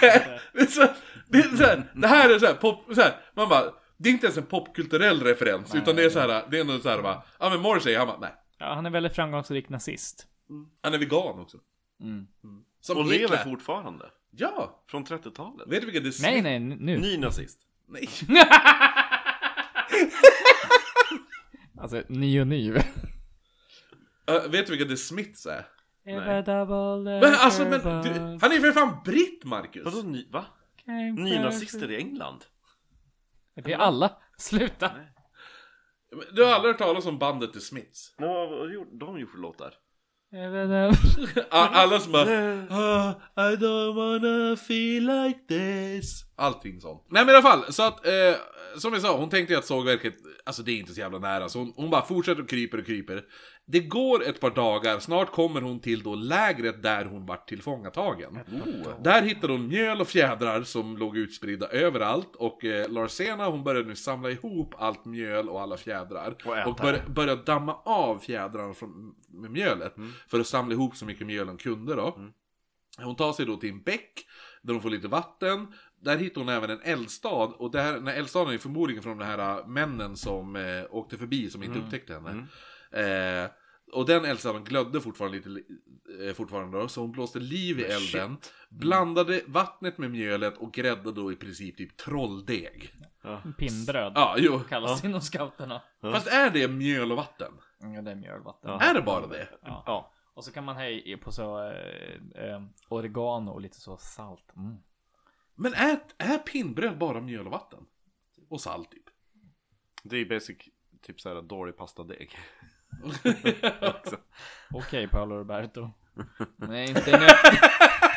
[SPEAKER 1] Det, är så, det, är så här, det här är så här, pop, så här, man bara, det är inte ens en popkulturell referens. utan det är så här, det är ändå så här bara, ja men Morris är han bara, nej.
[SPEAKER 12] Ja, han är väldigt framgångsrik nazist.
[SPEAKER 1] Han är vegan också. Mm. Som
[SPEAKER 3] Och
[SPEAKER 1] Hitler.
[SPEAKER 3] lever fortfarande
[SPEAKER 1] Ja!
[SPEAKER 3] Från 30-talet
[SPEAKER 1] Vet du vilket det
[SPEAKER 12] Nej, nej, nu.
[SPEAKER 3] Ny nazist
[SPEAKER 1] Nej.
[SPEAKER 12] Alltså, ny och ny.
[SPEAKER 1] Ö, Eh, vet du vilka The Smiths är?
[SPEAKER 4] Ever
[SPEAKER 12] eh,
[SPEAKER 4] double
[SPEAKER 1] Men alltså men, du, han är ju för fan britt Marcus!
[SPEAKER 3] Vadå ny, va? Nynazister i England?
[SPEAKER 12] Det är alla. Sluta.
[SPEAKER 1] Men Du har aldrig hört talas om bandet The Smiths?
[SPEAKER 3] Men vad vad gjorde de gjorde för låtar?
[SPEAKER 1] A- Alla som bara "Ah, I don't wanna feel like this Allting sånt Nej men i alla fall, så att eh, Som jag sa, hon tänkte ju att sågverket Alltså det är inte så jävla nära Så hon, hon bara fortsätter och kryper och kryper Det går ett par dagar, snart kommer hon till då lägret där hon vart tillfångatagen Oh. Där hittar hon mjöl och fjädrar som låg utspridda överallt Och eh, Larsena hon börjar nu samla ihop allt mjöl och alla fjädrar
[SPEAKER 3] Och äta
[SPEAKER 1] och bör, börja damma av fjädrarna från, med mjölet
[SPEAKER 3] Mm.
[SPEAKER 1] För att samla ihop så mycket mjöl hon kunde då Hon tar sig då till en bäck där hon får lite vatten. Där hittar hon även en eldstad. Och det här, den här eldstaden är förmodligen från de här äh, männen som eh, åkte förbi som inte upptäckte henne. Eh, och den eldstaden glödde fortfarande lite li- eh, fortfarande då, så hon blåste liv i elden. Blandade vattnet med mjölet och gräddade då i princip typ trolldeg.
[SPEAKER 5] Pinnbröd
[SPEAKER 1] Ja, jo.
[SPEAKER 5] kallas inom scouterna.
[SPEAKER 1] Fast är det mjöl och vatten?
[SPEAKER 5] Ja, det är mjölvatten.
[SPEAKER 1] Är det bara det?
[SPEAKER 5] Ja. Och så kan man ha i på så eh, eh, oregano och lite så salt. Mm.
[SPEAKER 1] Men är, är pinnbröd bara mjöl och vatten? Och salt typ.
[SPEAKER 3] Det är basic typ såhär dålig pastadeg
[SPEAKER 5] Okej, Paolo Roberto. Nej, inte nu.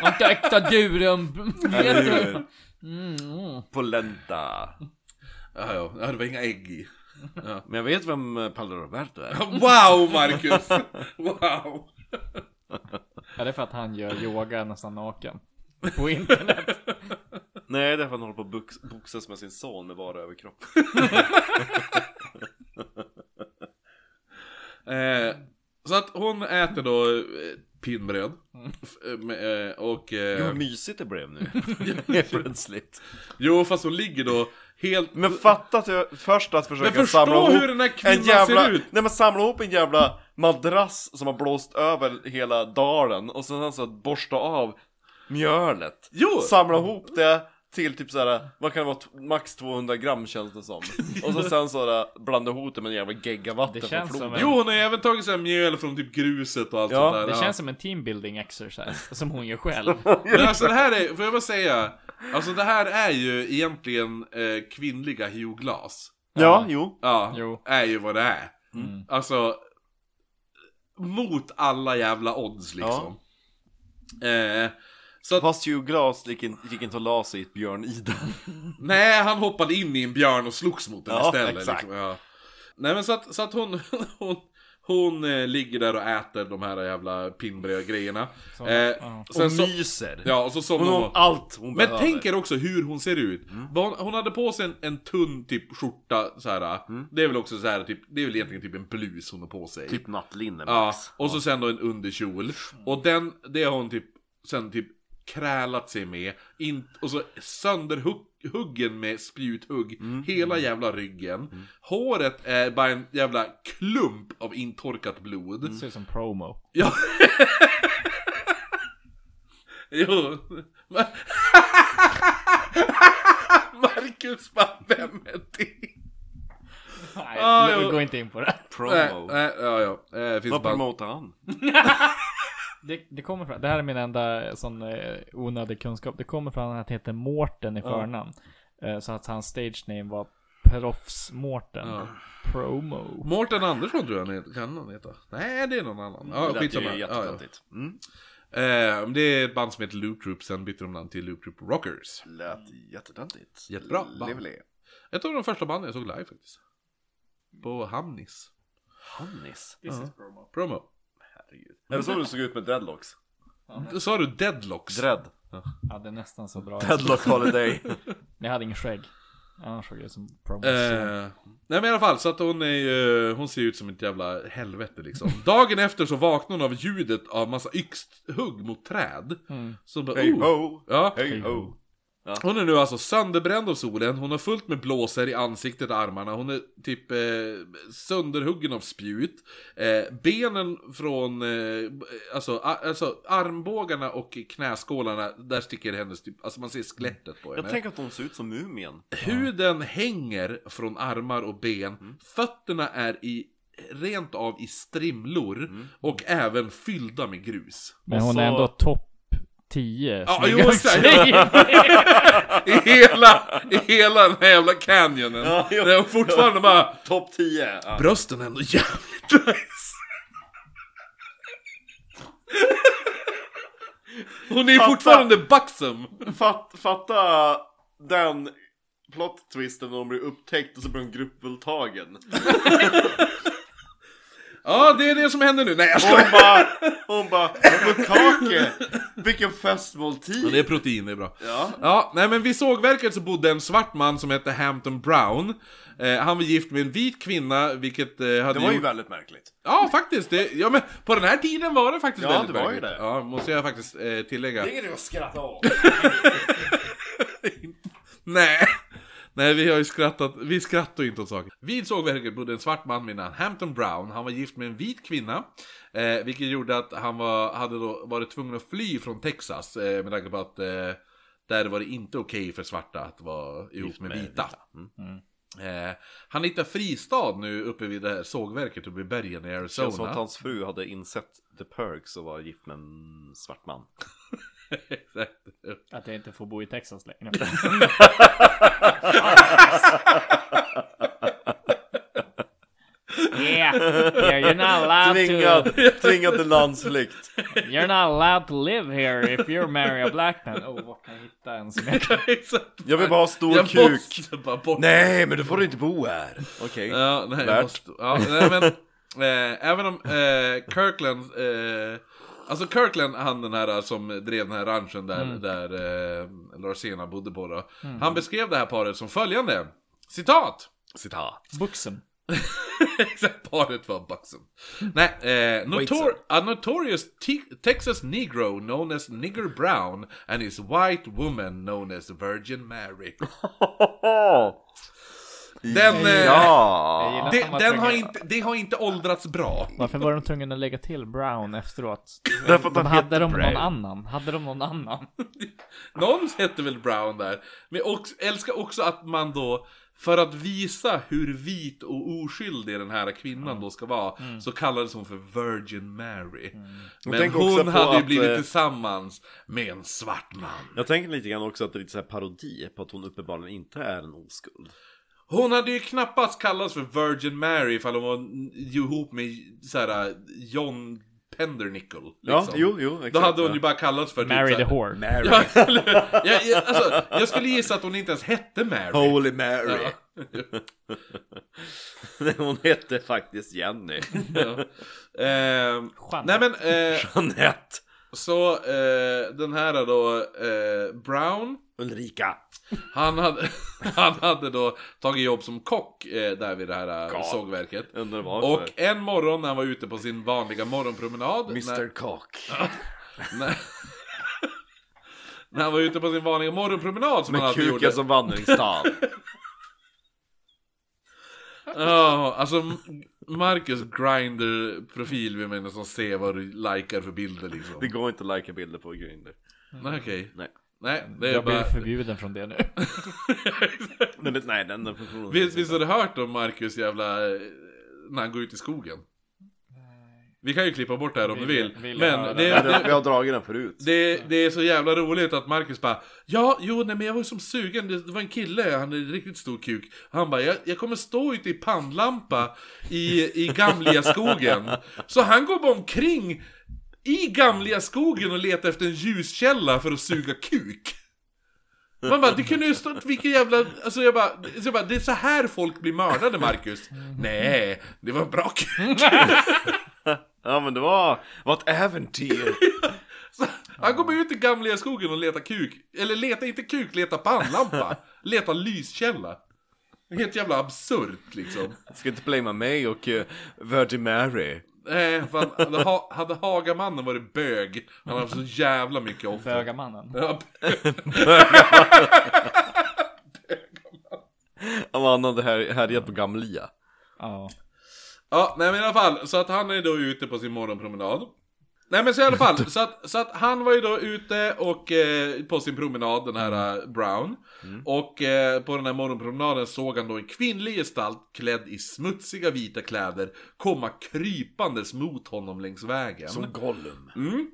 [SPEAKER 5] Inte äkta durum. Mm,
[SPEAKER 3] Polenta
[SPEAKER 1] Ja, ja, Ja, det var inga ägg i.
[SPEAKER 3] Men jag vet vem eh, Paolo Roberto är
[SPEAKER 1] Wow, Marcus! Wow!
[SPEAKER 12] Ja, det är för att han gör yoga nästan naken. På internet.
[SPEAKER 3] Nej det är för att han håller på och bux- boxas med sin son med bara överkropp
[SPEAKER 1] Eh, så att hon äter då eh, pinnbröd.
[SPEAKER 3] Mm.
[SPEAKER 1] F- eh, med, eh, och...
[SPEAKER 3] Gud
[SPEAKER 1] Eh,
[SPEAKER 3] vad mysigt det blev nu Helt plötsligt
[SPEAKER 1] jo, fast hon ligger då helt...
[SPEAKER 3] Men fatta att jag, först att
[SPEAKER 1] Men
[SPEAKER 3] försöka samla
[SPEAKER 1] förstå
[SPEAKER 3] ihop
[SPEAKER 1] hur den här
[SPEAKER 3] en
[SPEAKER 1] kvinnan
[SPEAKER 3] jävla,
[SPEAKER 1] ser ut!
[SPEAKER 3] nej men samla ihop en jävla madrass som har blåst över alltså hela dalen och sen så borsta av mjölet.
[SPEAKER 1] Jo!
[SPEAKER 3] Samla ihop det, till typ såhär, vad kan det vara, t- max 200 gram känns det som. Och så sen såhär, blanda ihop det med en jävla gegga vatten
[SPEAKER 5] Det
[SPEAKER 3] från
[SPEAKER 5] känns som
[SPEAKER 3] floden.
[SPEAKER 5] en,
[SPEAKER 1] Jo, hon har ju även tagit såhär mjöl från typ gruset och allt
[SPEAKER 3] Ja,
[SPEAKER 1] sånt där.
[SPEAKER 5] det
[SPEAKER 1] ja.
[SPEAKER 5] känns som en teambuilding exercise som hon gör själv.
[SPEAKER 1] Men alltså det här är, får jag bara säga, alltså det här är ju egentligen eh, kvinnliga Hugh Glass.
[SPEAKER 3] Ja, jo.
[SPEAKER 1] Ja,
[SPEAKER 5] Jo.
[SPEAKER 1] är ju vad det är.
[SPEAKER 3] Mm.
[SPEAKER 1] Alltså, mot alla jävla odds liksom. Eh, så att,
[SPEAKER 3] Fast Hugh Glass gick in- gick inte och la sig i ett björn-ida.
[SPEAKER 1] nej, han hoppade in i en björn och slogs mot den
[SPEAKER 3] Ja,
[SPEAKER 1] istället.
[SPEAKER 3] exakt.
[SPEAKER 1] Liksom, ja. Nej men så att, så att hon, hon, hon eh, ligger där och äter de här jävla pinnbröd-grejerna. Eh, sen
[SPEAKER 3] Och
[SPEAKER 1] så,
[SPEAKER 3] myser.
[SPEAKER 1] ja, och så somnar
[SPEAKER 3] Hon
[SPEAKER 1] hon.
[SPEAKER 3] har Mm. allt hon
[SPEAKER 1] Men
[SPEAKER 3] behöver.
[SPEAKER 1] tänk er också hur hon ser ut. Vad Hon, hon hade på sig en, en tunn typ skjorta så här. Det är väl också så här typ, det är väl egentligen typ en blus hon har på sig.
[SPEAKER 3] Mm. Typ nattlinne
[SPEAKER 1] Ja,
[SPEAKER 3] max.
[SPEAKER 1] och så sen då en underkjol. Och den, det har hon typ, sen typ krälat sig med. In, och så sönderhuggen med spjuthugg.
[SPEAKER 3] Mm.
[SPEAKER 1] Hela jävla ryggen. Håret är bara en jävla klump av intorkat blod.
[SPEAKER 3] Mm.
[SPEAKER 12] Ser ut som promo.
[SPEAKER 1] Ja. jo. Men- Marcus bara, vem är det?
[SPEAKER 12] Nej,
[SPEAKER 1] Ah,
[SPEAKER 12] gå-
[SPEAKER 1] jo.
[SPEAKER 12] gå inte in på det.
[SPEAKER 1] Nej,
[SPEAKER 3] Promo.
[SPEAKER 1] nej, ja, ja. Eh, det finns
[SPEAKER 3] Vad
[SPEAKER 1] bara...
[SPEAKER 3] promotar han?
[SPEAKER 12] det. Det kommer från, det här är min enda sån eh, onödig kunskap. Det kommer från att han heter Mårten i förnamn. Eh, så att hans stage name var Proffs-Mårten. Promo.
[SPEAKER 1] Mårten Andersson tror jag han heter. Kan han heta? Nej, det är någon annan. Ja,
[SPEAKER 3] det lät
[SPEAKER 1] skitsamma.
[SPEAKER 3] ju
[SPEAKER 1] Ja, ja.
[SPEAKER 3] jätteklantigt. Mm.
[SPEAKER 1] Eh, det är ett band som heter Loop Troop, sen bytte de namn till Loop Troop Rockers.
[SPEAKER 3] Lät jättetöntigt.
[SPEAKER 1] Jättebra band.
[SPEAKER 3] Levle.
[SPEAKER 1] Ett av de första banden jag såg live faktiskt. På Hamnis.
[SPEAKER 3] Hannis.
[SPEAKER 1] Promo.
[SPEAKER 3] Är det så du såg ut med dreadlocks?
[SPEAKER 1] Sa du Deadlocks?
[SPEAKER 3] Dread.
[SPEAKER 12] Ja, det är nästan så bra.
[SPEAKER 3] Dreadlock holiday.
[SPEAKER 12] Jag hade ingen skägg. Annars såg jag ut som promo.
[SPEAKER 1] Eh, nej men i alla fall, så att hon, är, ju- hon ser ut som ett jävla helvete liksom. Dagen efter så vaknar hon av ljudet av massa yxhugg mot träd.
[SPEAKER 5] Mm.
[SPEAKER 1] Så bara,
[SPEAKER 3] Hey
[SPEAKER 1] oh.
[SPEAKER 3] ho.
[SPEAKER 1] Ja.
[SPEAKER 3] Hey ho.
[SPEAKER 1] Hon är nu alltså sönderbränd av solen, hon har fullt med blåsor i ansiktet och armarna, hon är typ eh, sönderhuggen av spjut. Eh, benen från, eh, alltså, a- alltså armbågarna och knäskålarna, där sticker hennes typ, alltså man ser skelettet på henne.
[SPEAKER 3] Jag tänker att hon ser ut som mumien.
[SPEAKER 1] Huden hänger från armar och ben.
[SPEAKER 3] Mm.
[SPEAKER 1] Fötterna är i, rent av i strimlor.
[SPEAKER 3] Mm.
[SPEAKER 1] Och även fyllda med grus.
[SPEAKER 12] Men hon är ändå topp 10.
[SPEAKER 1] Ja, jo, exakt. I hela, I hela den här jävla canyonen.
[SPEAKER 3] Ja, jo.
[SPEAKER 1] Där hon fortfarande bara...
[SPEAKER 3] Topp 10! Ja.
[SPEAKER 1] Brösten är ändå jävligt nice. Hon är
[SPEAKER 3] Fatta.
[SPEAKER 1] fortfarande buxom.
[SPEAKER 3] Fatt, fatta den plot twisten när de blir upptäckt och så blir de gruppvåldtagen.
[SPEAKER 1] Ja, det är det som händer nu. Nej, jag skojar.
[SPEAKER 3] Hon bara, hon bara, Bukake! Vilken
[SPEAKER 1] Ja, det är
[SPEAKER 3] festmåltid!
[SPEAKER 1] protein, det är bra.
[SPEAKER 3] Ja.
[SPEAKER 1] Ja, nej men vid sågverket så bodde en svart man som hette Hampton Brown. Eh, han var gift med en vit kvinna, vilket eh, hade
[SPEAKER 3] Det var ju
[SPEAKER 1] gjort...
[SPEAKER 3] väldigt märkligt.
[SPEAKER 1] Ja, faktiskt. Det... Ja, men på den här tiden var det faktiskt
[SPEAKER 3] Ja,
[SPEAKER 1] väldigt
[SPEAKER 3] det var ju
[SPEAKER 1] märkligt.
[SPEAKER 3] det.
[SPEAKER 1] Ja, måste jag faktiskt eh, tillägga.
[SPEAKER 3] är det att skratta åt.
[SPEAKER 1] Nej. Nej, vi har ju skrattat. Vi skrattar ju inte åt saker. Vid sågverket bodde en svart man vid namn Hampton Brown. Han var gift med en vit kvinna. Eh, vilket gjorde att han var, hade då varit tvungen att fly från Texas. Eh, med tanke på att eh, där var det inte okej för svarta att vara ihop med, vita.
[SPEAKER 3] Mm.
[SPEAKER 1] Eh, han hittar fristad nu uppe vid det här sågverket uppe i bergen i
[SPEAKER 3] Det känns som att
[SPEAKER 1] Arizona.
[SPEAKER 3] hans fru hade insett the perks och var gift med en svart man.
[SPEAKER 1] Exakt.
[SPEAKER 5] Att jag inte får bo i Texas längre. yeah, yeah, you're not allowed to.
[SPEAKER 3] Tvingad, tvingad till landsflykt.
[SPEAKER 5] You're not allowed to live here if you're marry a black man. Oh, var kan jag hitta en som jag kan...
[SPEAKER 1] Exakt.
[SPEAKER 3] Jag vill bara ha stor
[SPEAKER 1] Jag
[SPEAKER 3] kuk.
[SPEAKER 1] måste bara bort.
[SPEAKER 3] Nej, men då får du inte bo här. Okej.
[SPEAKER 1] Ja, nej, jag
[SPEAKER 3] Värt.
[SPEAKER 1] måste, ja, nej men eh, även om eh, Kirkland, eh, alltså Kirkland han den här som drev den här ranchen där, där eh, Larsena bodde på då. Han beskrev det här paret som följande, citat! Citat.
[SPEAKER 12] Buxen.
[SPEAKER 1] Exakt, paret var buxom. Nej, eh, notor a notorious te- Texas negro known as Nigger Brown and his white woman known as Virgin Mary. Den, eh,
[SPEAKER 12] Jag gillar
[SPEAKER 3] Ja!
[SPEAKER 12] att
[SPEAKER 1] det,
[SPEAKER 12] han var
[SPEAKER 1] den
[SPEAKER 12] tvungen-
[SPEAKER 1] har inte, det har inte åldrats bra.
[SPEAKER 12] Varför var de tvungna att lägga till Brown efteråt?
[SPEAKER 3] Därför att han
[SPEAKER 12] De hade
[SPEAKER 3] hette
[SPEAKER 12] de någon
[SPEAKER 3] Brown.
[SPEAKER 12] annan? Hade de någon annan?
[SPEAKER 1] Någon hette väl Brown där. Men jag också, älskar också att man då, för att visa hur vit och oskyldig den här kvinnan då ska vara,
[SPEAKER 12] Mm.
[SPEAKER 1] så kallades hon för Virgin Mary. Men
[SPEAKER 3] tänk också
[SPEAKER 1] hon
[SPEAKER 3] på
[SPEAKER 1] hade ju
[SPEAKER 3] att, eh,
[SPEAKER 1] blivit tillsammans med en svart man.
[SPEAKER 3] Jag tänker lite grann också att det är lite så här parodi på att hon uppenbarligen inte är en oskuld.
[SPEAKER 1] Hon hade ju knappast kallats för Virgin Mary ifall hon var n- ihop med såhär John Pendernickel. Liksom.
[SPEAKER 3] Ja, jo, jo, exakt.
[SPEAKER 1] Då hade hon
[SPEAKER 3] ja.
[SPEAKER 1] ju bara kallats för typ
[SPEAKER 12] Marry the
[SPEAKER 1] såhär-
[SPEAKER 12] whore.
[SPEAKER 1] Ja, eller hur? jag, jag, alltså, jag skulle gissa att hon inte ens hette Mary.
[SPEAKER 3] Holy Mary!
[SPEAKER 1] Ja.
[SPEAKER 3] Nej, hon hette faktiskt Jenny.
[SPEAKER 1] Ja. Ehm, nej men, eh,
[SPEAKER 3] Jeanette.
[SPEAKER 1] så eh, den här då, eh, Brown,
[SPEAKER 3] Ulrika.
[SPEAKER 1] han hade, han hade då tagit jobb som kock eh, där vid det här eh, sågverket.
[SPEAKER 3] Undrar varför.
[SPEAKER 1] Och en morgon när han var ute på sin vanliga morgonpromenad. När,
[SPEAKER 3] Mr Cock.
[SPEAKER 1] när, när han var ute på sin vanliga morgonpromenad som han
[SPEAKER 3] Med
[SPEAKER 1] alltid
[SPEAKER 3] kuken
[SPEAKER 1] gjorde.
[SPEAKER 3] som vandringsstav.
[SPEAKER 1] Ja, alltså Marcus Grinder-profil vi menar som ser vad du likar för bilder liksom.
[SPEAKER 3] det går inte att likea bilder på Grindr.
[SPEAKER 1] Nej okej.
[SPEAKER 3] Nej.
[SPEAKER 1] Nej, det är
[SPEAKER 12] Jag blir
[SPEAKER 1] bara...
[SPEAKER 12] förbjuden från det nu.
[SPEAKER 3] Men det, nej, den, den funktionen
[SPEAKER 1] Visst, visst har du hört om Marcus jävla... eh, När han går ut i skogen? Vi kan ju klippa bort det här om du vill.
[SPEAKER 12] vill jag höra.
[SPEAKER 1] men det,
[SPEAKER 3] Nej, den-
[SPEAKER 1] det,
[SPEAKER 3] Vi har dragit den förut.
[SPEAKER 1] det, det är så jävla roligt att Marcus bara Ja, jo, nej men jag var ju som sugen. Det det var en kille, han är en riktigt stor kuk. Han bara, jag, jag kommer stå ute i pannlampa i, i Gamliga skogen. Så han går bara omkring i Gamliga skogen och letar efter en ljuskälla för att suga kuk. Man bara, det kunde ju stått vilken jävla... Alltså jag bara, så jag bara, det är så här folk blir mördade Marcus. Nej, det var bra kul.
[SPEAKER 3] Ja men det var, var ett äventyr.
[SPEAKER 1] Så Han kommer ut i gamla skogen och letar kuk. Eller leta inte kuk, leta pannlampa. Leta lyskälla. Helt jävla absurt liksom.
[SPEAKER 3] Ska inte blamea mig och eh, Virgin Mary.
[SPEAKER 1] Nej, fan, Eh, hade, ha, hade Hagamannen varit bög, han hade haft så jävla mycket offer.
[SPEAKER 12] Bögamannen.
[SPEAKER 1] Ja,
[SPEAKER 3] Om han hade här- härjat på Gamlia.
[SPEAKER 12] Ja.
[SPEAKER 1] Ja, nej men i alla fall, så att han är då ute på sin morgonpromenad. Nej men så i alla fall, så att, så att han var ju då ute och eh, på sin promenad, den här eh, Brown. Och eh, på den här morgonpromenaden såg han då en kvinnlig gestalt klädd i smutsiga vita kläder komma krypandes mot honom längs vägen.
[SPEAKER 3] Gollum.
[SPEAKER 1] Mm.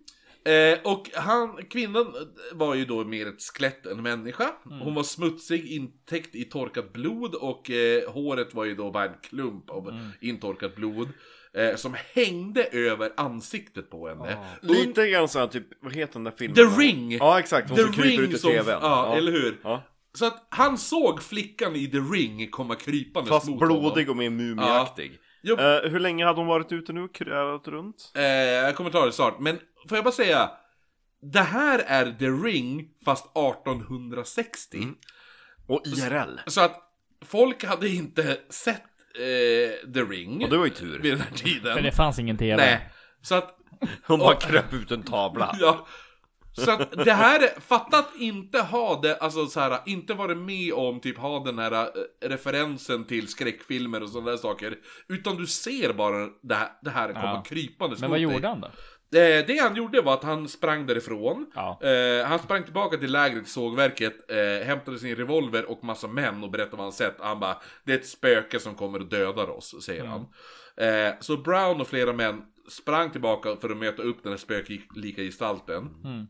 [SPEAKER 1] Eh, och han, kvinnan eh, var ju då mer ett skelett än människa.
[SPEAKER 3] Mm.
[SPEAKER 1] Hon var smutsig, intäckt i torkat blod och eh, håret var ju då bara en klump av
[SPEAKER 3] Mm.
[SPEAKER 1] intorkat blod. Eh, som hängde över ansiktet på henne. Und-
[SPEAKER 3] Ah. Lite grann såhär typ, vad heter den där filmen?
[SPEAKER 1] The Ring!
[SPEAKER 3] Ja exakt, hon
[SPEAKER 1] The
[SPEAKER 3] som kryper
[SPEAKER 1] Ring
[SPEAKER 3] ut ur
[SPEAKER 1] som-
[SPEAKER 3] tvn.
[SPEAKER 1] Ja, eller hur?
[SPEAKER 3] Ja.
[SPEAKER 1] Så att han såg flickan i The Ring komma krypandes
[SPEAKER 3] Fast
[SPEAKER 1] mot
[SPEAKER 3] blodig
[SPEAKER 1] honom.
[SPEAKER 3] och mer mumieaktig.
[SPEAKER 1] Jo.
[SPEAKER 3] Eh, hur länge hade hon varit ute nu? Krävat runt?
[SPEAKER 1] Eh, jag kommer ta det snart, men får jag bara säga. Det här är The Ring fast 1860.
[SPEAKER 3] Mm. Och IRL.
[SPEAKER 1] Så att folk hade inte sett eh, The Ring
[SPEAKER 3] Och det var ju tur.
[SPEAKER 1] vid den här
[SPEAKER 12] För
[SPEAKER 1] tiden.
[SPEAKER 12] det fanns ingen TV.
[SPEAKER 1] Nej. Så att,
[SPEAKER 3] Hon bara kröp ut en tavla.
[SPEAKER 1] ja. Så att det här, är- fatta att inte ha det, alltså så här, inte varit med om typ ha den här eh, referensen till skräckfilmer och sådana där saker. Utan du ser bara det här, det här komma
[SPEAKER 12] Ja.
[SPEAKER 1] krypandes
[SPEAKER 12] Men
[SPEAKER 1] mot
[SPEAKER 12] vad
[SPEAKER 1] dig.
[SPEAKER 12] gjorde han då?
[SPEAKER 1] Eh, Det han gjorde var att han sprang därifrån.
[SPEAKER 12] Ja.
[SPEAKER 1] Eh, han sprang tillbaka till lägret, sågverket, eh, hämtade sin revolver och massa män och berättade vad han sett. Han bara, det är ett spöke som kommer och dödar oss, säger han.
[SPEAKER 12] Mm.
[SPEAKER 1] Eh, så Brown och flera män sprang tillbaka för att möta upp den här spöklika gestalten.
[SPEAKER 12] Mm.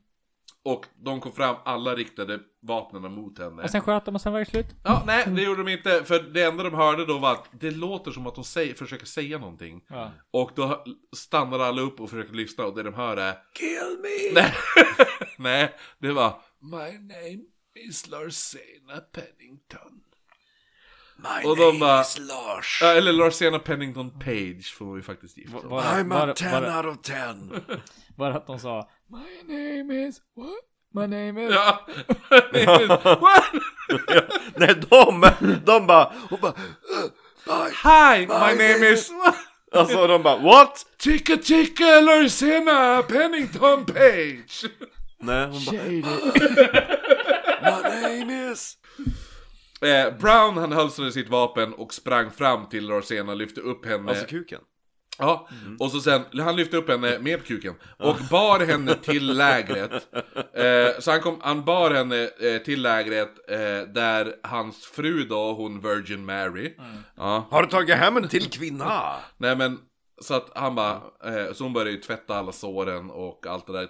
[SPEAKER 1] Och de kom fram, alla riktade vapnen mot henne.
[SPEAKER 12] Och sen sköt de och sen var det slut.
[SPEAKER 1] Ja, nej, det gjorde de inte. För det enda de hörde då var att det låter som att de säger, försöker säga någonting.
[SPEAKER 12] Ja.
[SPEAKER 1] Och då stannar alla upp och försöker lyssna och det de hör är Kill me! Nej, nej det var My name is Larsena Pennington.
[SPEAKER 3] My
[SPEAKER 1] Och de bara-
[SPEAKER 3] Lars.
[SPEAKER 1] Ja, eller Larsena Pennington Page får vi faktiskt gifta oss.
[SPEAKER 12] Var, det- var, det- var, det-
[SPEAKER 3] out of 10.
[SPEAKER 12] var det att de sa My name is what? My name is...
[SPEAKER 1] Ja. What?
[SPEAKER 3] Nej, de, de bara, hon bara,
[SPEAKER 1] Hi, my name is...
[SPEAKER 3] alltså de bara, what?
[SPEAKER 1] Ticka ticka Larsena Pennington Page!
[SPEAKER 3] Nej, hon bara, my name is.
[SPEAKER 1] Eh, Brown han hölstrade sitt vapen och sprang fram till Larsena, lyfte upp henne.
[SPEAKER 3] Alltså kuken.
[SPEAKER 1] Ja, och så sen, han lyfte upp henne med kuken och bar henne till lägret. Eh, så han, kom, han bar henne eh, till lägret eh, där hans fru då, hon Virgin Mary. Ja,
[SPEAKER 3] Har du tagit hem en till kvinna?
[SPEAKER 1] nej men, så att han bara, eh, så hon började ju tvätta alla såren och allt det där.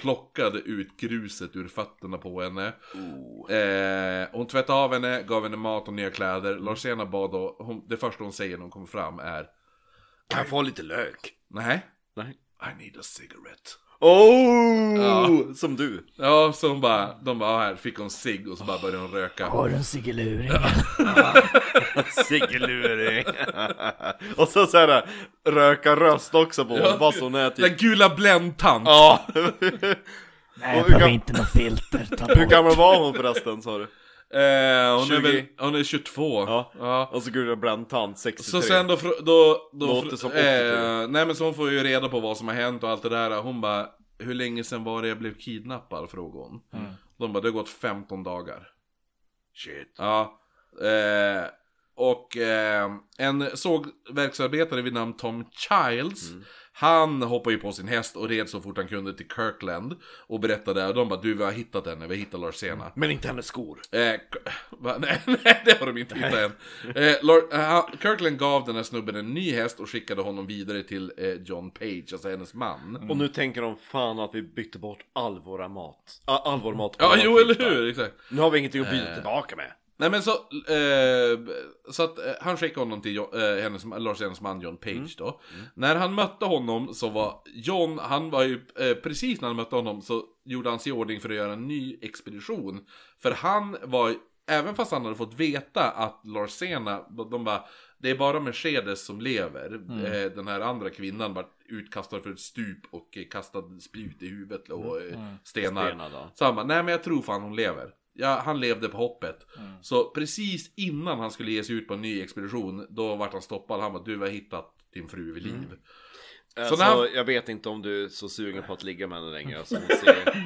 [SPEAKER 1] Plockade ut gruset ur fötterna på henne. Eh, hon tvättade av henne, gav henne mat och nya kläder. Larsena bad då, hon, det första hon säger när hon kommer fram är
[SPEAKER 3] Kan jag få lite lök?
[SPEAKER 1] Nej.
[SPEAKER 3] Nej.
[SPEAKER 1] I need a cigarette.
[SPEAKER 3] Oh!
[SPEAKER 1] Ja.
[SPEAKER 3] Som du.
[SPEAKER 1] Ja, så hon bara, de bara, "Ja, här fick hon cigg och så bara började hon röka.
[SPEAKER 12] Har du en sigeluring?
[SPEAKER 3] Siggeluring. och så såhär röka röst också på honom, bara så hon är typ...
[SPEAKER 1] Den gula bländtant!
[SPEAKER 3] Ja!
[SPEAKER 12] Nej,
[SPEAKER 3] jag behöver
[SPEAKER 12] inte något filter. Ta
[SPEAKER 3] Hur gammal var hon förresten sa du?
[SPEAKER 1] Eh, hon, är
[SPEAKER 3] 20.
[SPEAKER 1] väl, hon är 22.
[SPEAKER 3] Ja.
[SPEAKER 1] Ja.
[SPEAKER 3] Och så Gurra Blantant 63.
[SPEAKER 1] Så sen då, fr- då, då
[SPEAKER 3] Låter som 80
[SPEAKER 1] eh, nej men så hon får ju reda på vad som har hänt och allt det där. Hon bara, hur länge sen var det jag blev kidnappad? Frågade hon.
[SPEAKER 3] Mm.
[SPEAKER 1] De bara, det har gått 15 dagar.
[SPEAKER 3] Shit.
[SPEAKER 1] Ja. Eh, och eh, en sågverksarbetare vid namn Tom Childs.
[SPEAKER 3] Mm.
[SPEAKER 1] Han hoppade ju på sin häst och red så fort han kunde till Kirkland. Och berättade, och de bara du vi har hittat henne, vi har hittat Larsena.
[SPEAKER 3] Men inte hennes skor.
[SPEAKER 1] Eh, K- va? nej, nej, det har de inte hittat än. Eh, Lor- eh, han- Kirkland gav den här snubben en ny häst och skickade honom vidare till eh, John Page, alltså hennes man.
[SPEAKER 3] Och nu tänker de fan att vi bytte bort all våra mat. Ah, All vår mat. på
[SPEAKER 1] Ja,
[SPEAKER 3] våra
[SPEAKER 1] jo eller
[SPEAKER 3] filtar.
[SPEAKER 1] hur, exakt.
[SPEAKER 3] Nu har vi ingenting att byta tillbaka med.
[SPEAKER 1] Nej men så, eh, så att eh, han skickade honom till Jo- eh, hennes, Lars Jens man John Page då. När han mötte honom så var John, han var ju, eh, precis när han mötte honom så gjorde han sig i ordning för att göra en ny expedition. För han var, även fast han hade fått veta att Larsena, de bara, det är bara Mercedes som lever. Eh, den här andra kvinnan var utkastad för ett stup och eh, kastad spjut i huvudet och eh, stenar.
[SPEAKER 3] Stenar, ja.
[SPEAKER 1] Så han bara, nej men jag tror fan hon lever. Ja, han levde på hoppet.
[SPEAKER 3] Mm.
[SPEAKER 1] Så precis innan han skulle ge sig ut på en ny expedition, då vart han stoppad. Han bara, du vi har hittat din fru vid liv.
[SPEAKER 3] Mm. Alltså,
[SPEAKER 1] när han-
[SPEAKER 3] Jag vet inte om du är så sugen på att ligga med henne längre. Alltså, hon ser...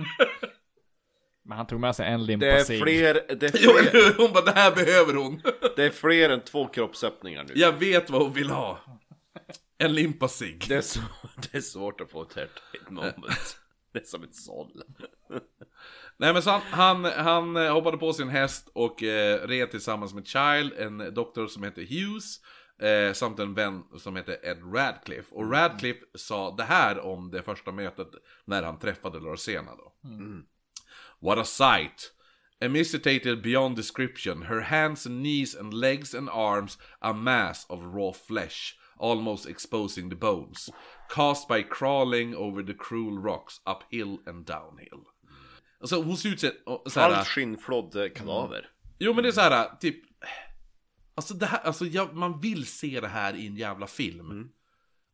[SPEAKER 5] Men han tog med sig en
[SPEAKER 3] det,
[SPEAKER 5] limpa
[SPEAKER 3] är
[SPEAKER 5] cigg.
[SPEAKER 3] fler, det, är
[SPEAKER 1] Jo,
[SPEAKER 3] fler,
[SPEAKER 1] hon bara, det här behöver hon.
[SPEAKER 3] det är fler än två kroppsöppningar nu.
[SPEAKER 1] Jag vet vad hon vill ha. En limpa cigg.
[SPEAKER 3] Det, är så, det är svårt att få ett hairtight moment. Det är som ett såll.
[SPEAKER 1] Nej men så han, han, han eh, hoppade på sin häst och eh, red tillsammans med Child, en doktor som heter Hughes, eh, samt en vän som heter Ed Radcliffe.
[SPEAKER 3] Mm.
[SPEAKER 1] Och Radcliffe sa det här om det första mötet när han träffade Larsena då. What a sight! Emiscitated beyond description, her hands and knees and legs and arms a mass of raw flesh, almost exposing the bones, cast by crawling over the cruel rocks uphill and downhill. Alltså hon ser ut så- och så här,
[SPEAKER 3] Allt skinnflådd eh, kadaver.
[SPEAKER 1] Jo men det är så här typ Alltså det här, alltså jag, man vill se det här i en jävla film
[SPEAKER 3] Mm.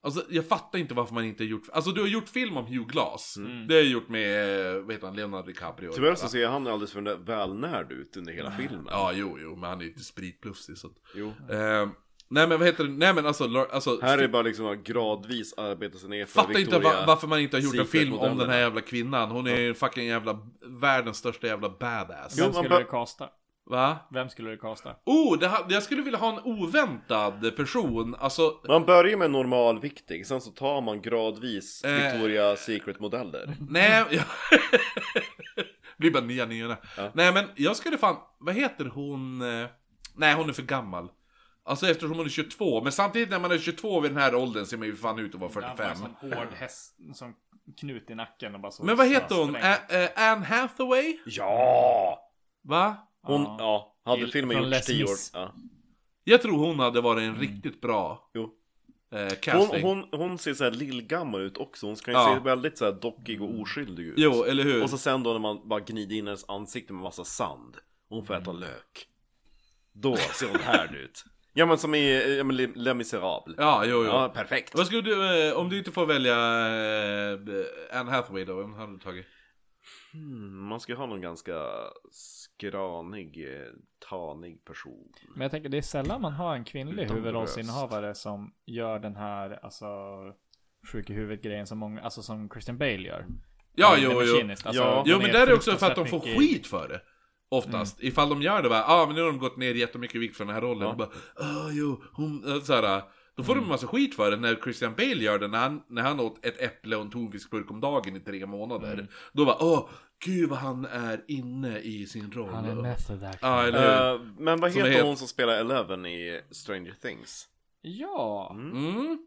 [SPEAKER 1] Alltså jag fattar inte varför man inte gjort Alltså du har gjort film om Hugh Glass Det har jag gjort med, eh, vad heter han, Leonardo DiCaprio
[SPEAKER 3] Mm. Tyvärr så ser han alldeles för välnärd ut under hela filmen.
[SPEAKER 1] Ja jo jo, men han är ju inte spritplufsig så att...
[SPEAKER 3] Jo.
[SPEAKER 1] Ehm, Nej men vad heter det, nej men alltså, Lor- alltså
[SPEAKER 3] Här är bara liksom att gradvis arbeta sig ner för
[SPEAKER 1] Fattar inte va-
[SPEAKER 3] Victoria.
[SPEAKER 1] varför man inte har gjort en film om
[SPEAKER 3] Secret-modellerna.
[SPEAKER 1] den här jävla kvinnan Hon är ju fucking jävla, världens största jävla badass
[SPEAKER 3] Jo,
[SPEAKER 5] Vem
[SPEAKER 3] man
[SPEAKER 5] skulle
[SPEAKER 3] bör-
[SPEAKER 5] du kasta?
[SPEAKER 1] Va?
[SPEAKER 5] Vem skulle du kasta?
[SPEAKER 1] Oh, det här, jag skulle vilja ha en oväntad person, alltså
[SPEAKER 3] Man börjar med normalviktig, sen så tar man gradvis
[SPEAKER 1] Eh.
[SPEAKER 3] Victoria Secret-modeller.
[SPEAKER 1] Nej,
[SPEAKER 3] Mm.
[SPEAKER 1] jag... blir bara nya nya. Nej men jag skulle fan, vad heter hon? eh, Nej hon är för gammal. Alltså eftersom hon är 22, men samtidigt när man är 22 vid den här åldern ser man ju fan ut att vara
[SPEAKER 5] Han var
[SPEAKER 1] 45.
[SPEAKER 5] som hård häst, som knut i nacken och bara så.
[SPEAKER 1] Men vad heter hon?
[SPEAKER 5] Sträng.
[SPEAKER 1] Ä- eh, Anne Hathaway?
[SPEAKER 3] Ja!
[SPEAKER 1] Va?
[SPEAKER 3] Hon, ja, hade
[SPEAKER 5] Till-
[SPEAKER 3] filmen
[SPEAKER 5] från
[SPEAKER 3] gjorts
[SPEAKER 5] Les
[SPEAKER 3] 10 år.
[SPEAKER 5] Mis.
[SPEAKER 3] Ja.
[SPEAKER 1] Jag tror hon hade varit en riktigt bra
[SPEAKER 3] Mm. Jo.
[SPEAKER 1] eh,
[SPEAKER 3] Hon,
[SPEAKER 1] casting.
[SPEAKER 3] hon, hon ser såhär lillgammal ut också, hon ska ju
[SPEAKER 1] Ja.
[SPEAKER 3] se väldigt såhär dockig och oskyldig ut.
[SPEAKER 1] Jo, eller hur?
[SPEAKER 3] Och så sen då när man bara gnider in hennes ansikte med massa sand, och hon får äta lök. Då ser hon härd ut. Ja men som i eh, ja, men Les Les Misérables.
[SPEAKER 1] Ja, jo, jo.
[SPEAKER 3] Ja, perfekt.
[SPEAKER 1] Vad skulle du, eh, om du inte får välja eh, Anne Hathaway då, vem hade du tagit?
[SPEAKER 3] Mm, Man ska ju ha någon ganska skranig, eh, tanig person.
[SPEAKER 5] Men jag tänker det är sällan man har en kvinnlig
[SPEAKER 3] Utom
[SPEAKER 5] huvudrollsinnehavare som gör den här alltså sjuk i huvudet grejen som många, alltså som Christian Bale gör.
[SPEAKER 1] Ja,
[SPEAKER 5] Det
[SPEAKER 1] jo,
[SPEAKER 5] med
[SPEAKER 1] jo.
[SPEAKER 5] Kinnis, alltså,
[SPEAKER 3] Ja.
[SPEAKER 5] hon
[SPEAKER 1] Jo men där är det också för att
[SPEAKER 5] fruktansvärt
[SPEAKER 1] de får
[SPEAKER 5] mycket-
[SPEAKER 1] skit för det. Oftast. Ifall de gör det bara, ah men nu har de gått ner jättemycket i vikt för den här rollen. Ja. Bara, ah jo, hon, äh, såhär. Då får de en massa skit för det när Christian Bale gör det, när han, när han åt ett äpple och en tonfiskburk om dagen i tre månader. Då bara, åh, gud vad han är inne i sin roll.
[SPEAKER 12] Han är med för verkligen.
[SPEAKER 1] Ja, eller hur?
[SPEAKER 3] Eh, men vad
[SPEAKER 1] Som
[SPEAKER 3] heter
[SPEAKER 1] het-
[SPEAKER 3] hon som spelar Eleven i Stranger Things?
[SPEAKER 12] Ja.
[SPEAKER 1] Mm.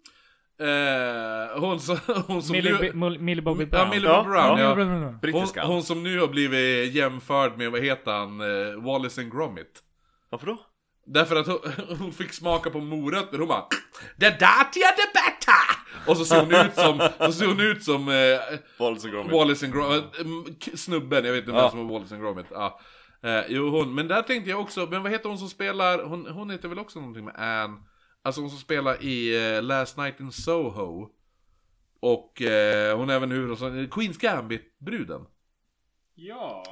[SPEAKER 1] Eh, hon som... Hon som
[SPEAKER 12] Millie,
[SPEAKER 1] nu,
[SPEAKER 12] Bi- Mul- Millie Bobby
[SPEAKER 1] ja,
[SPEAKER 12] Brown.
[SPEAKER 1] Millie
[SPEAKER 3] Ja,
[SPEAKER 1] Bobby Brown,
[SPEAKER 3] ja.
[SPEAKER 1] ja.
[SPEAKER 12] Bra, bra, bra.
[SPEAKER 3] Brittiska?
[SPEAKER 1] Hon, hon som nu har blivit jämförd med, vad heter han, eh, Wallace and Gromit.
[SPEAKER 3] Varför då?
[SPEAKER 1] Därför att hon, hon fick smaka på morötter, hon bara Det där till det bättre! Och så ser hon ut som, så ser hon ut som eh,
[SPEAKER 3] Wallace and Gromit.
[SPEAKER 1] Wallace and Gromit, eh, m- k- snubben, jag vet inte vem som är Wallace and Gromit. Ja. Eh, jo hon, men där tänkte jag också, men vad heter hon som spelar, hon, hon heter väl också någonting med Anne? Alltså hon som spelar i eh, Last Night in Soho. Och eh, hon är även huvudrollen, Queens Gambit-bruden.
[SPEAKER 3] Ja,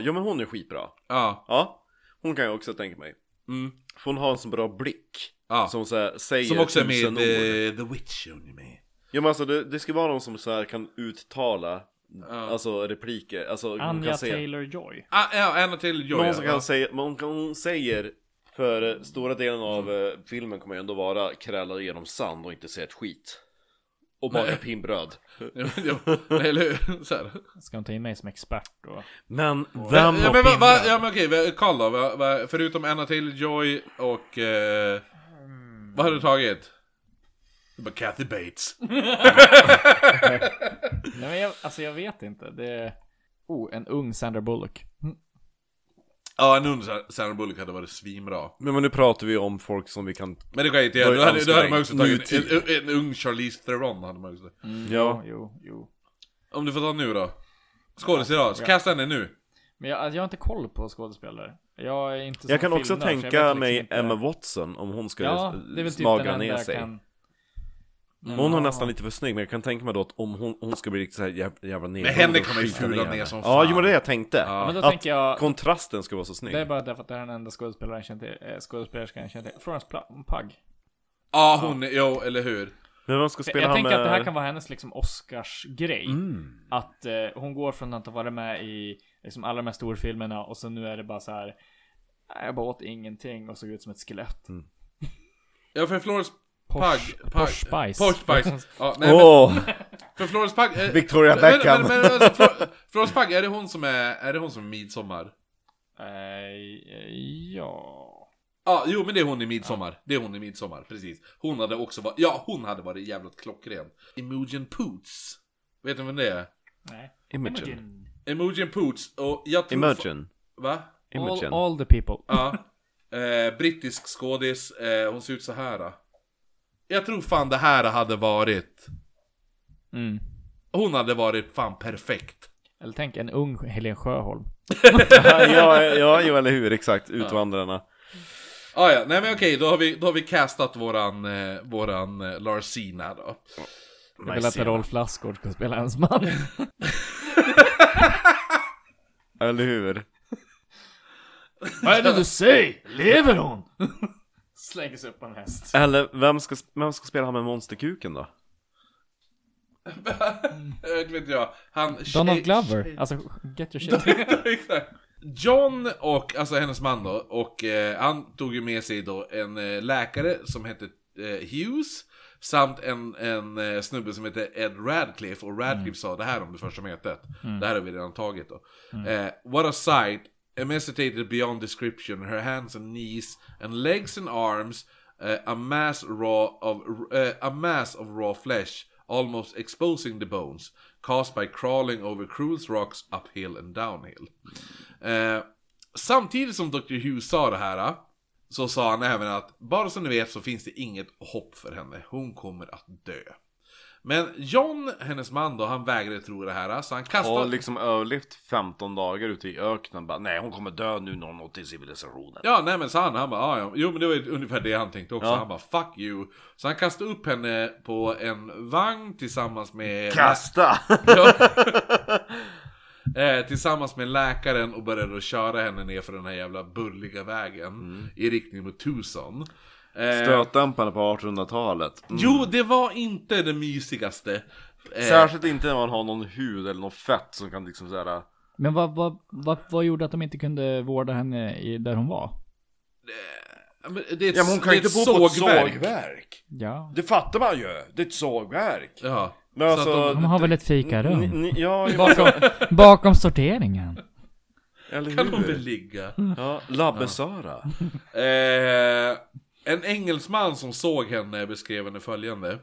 [SPEAKER 3] ja men hon är skitbra.
[SPEAKER 1] Ja,
[SPEAKER 3] Ja, hon kan jag också tänka mig.
[SPEAKER 1] Mm.
[SPEAKER 3] För hon har en så bra blick.
[SPEAKER 1] ja.
[SPEAKER 3] Som så här, säger
[SPEAKER 1] Som också är med i
[SPEAKER 3] tusen ord.
[SPEAKER 1] The, The Witch, är hon ju med.
[SPEAKER 3] Ja men alltså det, det ska vara någon som så här kan uttala
[SPEAKER 1] Ja.
[SPEAKER 3] Alltså repliker, alltså hon
[SPEAKER 5] Anja
[SPEAKER 3] kan säga
[SPEAKER 5] Taylor-Joy.
[SPEAKER 1] Ah, ja, Anna till Joy.
[SPEAKER 3] Någon som
[SPEAKER 1] ja.
[SPEAKER 3] kan säga, men hon, kan, hon säger För eh, stora delen av eh, filmen kommer ju ändå vara krälar genom sand och inte säga ett skit Och baka pinnbröd
[SPEAKER 1] Ja, men, ja, nej, eller hur? Så här.
[SPEAKER 5] Ska hon ta in mig som expert då?
[SPEAKER 3] Men
[SPEAKER 1] Ja,
[SPEAKER 3] vem
[SPEAKER 1] men, va, va, ja men okej, Karl då? Va, va, förutom Anna till Joy och... Eh, vad har du tagit? Det var Kathy Bates.
[SPEAKER 5] Nej men jag, alltså jag vet inte. Det...
[SPEAKER 12] Oh, en ung Sandra Bullock. Mm.
[SPEAKER 1] Ja, en ung Sa- Sandra Bullock hade varit svinbra.
[SPEAKER 3] Men, men nu pratar vi om folk som vi kan
[SPEAKER 1] Men det kan jag inte
[SPEAKER 3] Vad
[SPEAKER 1] göra.
[SPEAKER 3] är
[SPEAKER 1] Då hade, då hade man också
[SPEAKER 3] ansträngd?
[SPEAKER 1] tagit en, en, en ung Charlize Theron. Hade man också.
[SPEAKER 3] Ja,
[SPEAKER 12] Jo, jo.
[SPEAKER 1] Om du får ta nu då. Skådis idag, så kasta henne nu.
[SPEAKER 12] Men jag, alltså, jag har inte koll på skådespelare. Jag är inte så
[SPEAKER 3] Jag kan också
[SPEAKER 12] filmnörd, så jag
[SPEAKER 3] tänka
[SPEAKER 12] vet liksom
[SPEAKER 3] mig
[SPEAKER 12] inte-
[SPEAKER 3] Emma Watson om hon skulle
[SPEAKER 12] Ja,
[SPEAKER 3] s-
[SPEAKER 12] det är väl typ den
[SPEAKER 3] smagra
[SPEAKER 12] enda
[SPEAKER 3] ner
[SPEAKER 12] jag
[SPEAKER 3] sig
[SPEAKER 12] kan...
[SPEAKER 3] Hon är nästan lite för snygg men jag kan tänka mig då att om hon, hon ska bli riktigt såhär jävla, jävla ner
[SPEAKER 1] Men henne kan man ju fula ner som
[SPEAKER 3] Ja,
[SPEAKER 1] fan.
[SPEAKER 3] jo men det är det jag tänkte
[SPEAKER 1] Ja.
[SPEAKER 12] Men då
[SPEAKER 3] Att
[SPEAKER 12] tänker jag...
[SPEAKER 3] kontrasten ska vara så snygg
[SPEAKER 12] Det är bara därför att det här är den enda skådespelaren jag känner till, eh, skådespelerskan jag känner till. Florence Pla- Pugh.
[SPEAKER 1] Ja, hon, är- jo, eller hur?
[SPEAKER 3] Men vem ska spela
[SPEAKER 12] jag
[SPEAKER 3] han
[SPEAKER 12] tänker
[SPEAKER 3] med... Mm.
[SPEAKER 12] att det här kan vara hennes liksom Oscars-grej. Att eh, hon går från att ha varit med i liksom, alla de här storfilmerna och så nu är det bara så här. "Nej, Jag bara åt ingenting och såg ut som ett skelett.
[SPEAKER 3] Mm.
[SPEAKER 1] Ja, för Florence
[SPEAKER 12] Posh-
[SPEAKER 1] Pugh-
[SPEAKER 5] Posh Spice.
[SPEAKER 1] Posh Spice. Ja, nej, men-
[SPEAKER 3] Åh!
[SPEAKER 1] För Florence Pugh... eh,
[SPEAKER 3] Victoria
[SPEAKER 1] men- men-
[SPEAKER 3] Beckham.
[SPEAKER 1] men- men- Flo- Florence Pugh, är det hon som är, är det hon som är Midsommar?
[SPEAKER 12] Eh, eh, ja.
[SPEAKER 1] Ja, jo men det är hon i Midsommar. Det är hon i Midsommar, precis. Hon hade också varit, ja hon hade varit jävligt klockren. Imogen Poots. Vet du vem det är?
[SPEAKER 3] Imogen
[SPEAKER 1] Imogen Poots och jag tror...
[SPEAKER 3] Imogen
[SPEAKER 1] Va?
[SPEAKER 3] Imogen
[SPEAKER 12] All, all the people.
[SPEAKER 1] Ja. Eh, brittisk skådis, eh, hon ser ut så här. då. Jag tror fan det här hade varit...
[SPEAKER 12] Mm.
[SPEAKER 1] Hon hade varit fan perfekt.
[SPEAKER 12] Eller tänk en ung Helen Sjöholm.
[SPEAKER 3] ja, ja, ja, eller hur, exakt, Utvandrarna
[SPEAKER 1] Ah, ja, nej men okej, då har vi, då har vi castat våran, eh, våran eh, Larsina då.
[SPEAKER 12] Jag vill att Rolf Lassgård ska spela ens man.
[SPEAKER 3] Eller hur?
[SPEAKER 12] Vad är det du säger? Lever hon? Slänger sig upp på en häst.
[SPEAKER 3] Eller vem ska, vem ska spela han med monsterkuken då?
[SPEAKER 1] Eh, Inte vet jag, han...
[SPEAKER 12] Donald
[SPEAKER 1] tjej-
[SPEAKER 12] Glover. Alltså, get your shit.
[SPEAKER 1] Exakt. John och, alltså hennes man då, och eh, han tog ju med sig då en eh, läkare som hette eh, Hughes Samt en, en eh, snubbe som hette Ed Radcliffe och Radcliffe sa det här om det första mötet Det här har vi redan tagit då eh, What a sight, emaciated beyond description, her hands and knees and legs and arms eh, A mass raw of, eh, a mass of raw flesh almost exposing the bones caused by crawling over cruise rocks uphill and downhill. Eh, samtidigt som Dr. Hughes sa det här eh, så sa han även att bara som ni vet så finns det inget hopp för henne. Hon kommer att dö. Men John, hennes man då, han vägrade tro det här eh, så han
[SPEAKER 3] Har
[SPEAKER 1] kastade...
[SPEAKER 3] liksom överlevt 15 dagar ute i öknen bara, nej hon kommer dö nu när hon nått till civilisationen
[SPEAKER 1] Ja, nej men sa han, han bara, "Ah, ja, jo men det var ju ungefär det han tänkte också. Han bara, fuck you. Så han kastade upp henne på en vagn tillsammans med...
[SPEAKER 3] Kasta!
[SPEAKER 1] Ja. Eh, tillsammans med läkaren och började då köra henne ner för den här jävla bulliga vägen
[SPEAKER 3] Mm.
[SPEAKER 1] i riktning mot Tucson. Eh,
[SPEAKER 3] Stötdämparna på 1800-talet Mm.
[SPEAKER 1] Jo, det var inte det mysigaste. Eh,
[SPEAKER 3] Särskilt inte när man har någon hud eller något fett som kan liksom såhär
[SPEAKER 12] Men vad, vad, vad, vad gjorde att de inte kunde vårda henne i, där hon var?
[SPEAKER 1] Ja, men det är ett,
[SPEAKER 3] Ja, men hon kan
[SPEAKER 1] det
[SPEAKER 3] ju
[SPEAKER 1] är
[SPEAKER 3] inte
[SPEAKER 1] ett
[SPEAKER 3] bo på ett
[SPEAKER 1] sågverk.
[SPEAKER 3] sågverk.
[SPEAKER 12] Ja.
[SPEAKER 3] Det fattar man ju. Det är ett sågverk.
[SPEAKER 1] Ja.
[SPEAKER 3] Men
[SPEAKER 1] Så att
[SPEAKER 3] alltså...
[SPEAKER 12] De har väl ett
[SPEAKER 3] ni,
[SPEAKER 12] fikarum?
[SPEAKER 3] ni, ja, ju-
[SPEAKER 12] Bakom, bakom sorteringen.
[SPEAKER 3] eller
[SPEAKER 1] Kan hon väl
[SPEAKER 3] hur?
[SPEAKER 1] ligga?
[SPEAKER 3] Ja, Labbe-Sara.
[SPEAKER 1] Eh, en engelsman som såg henne beskrev henne följande.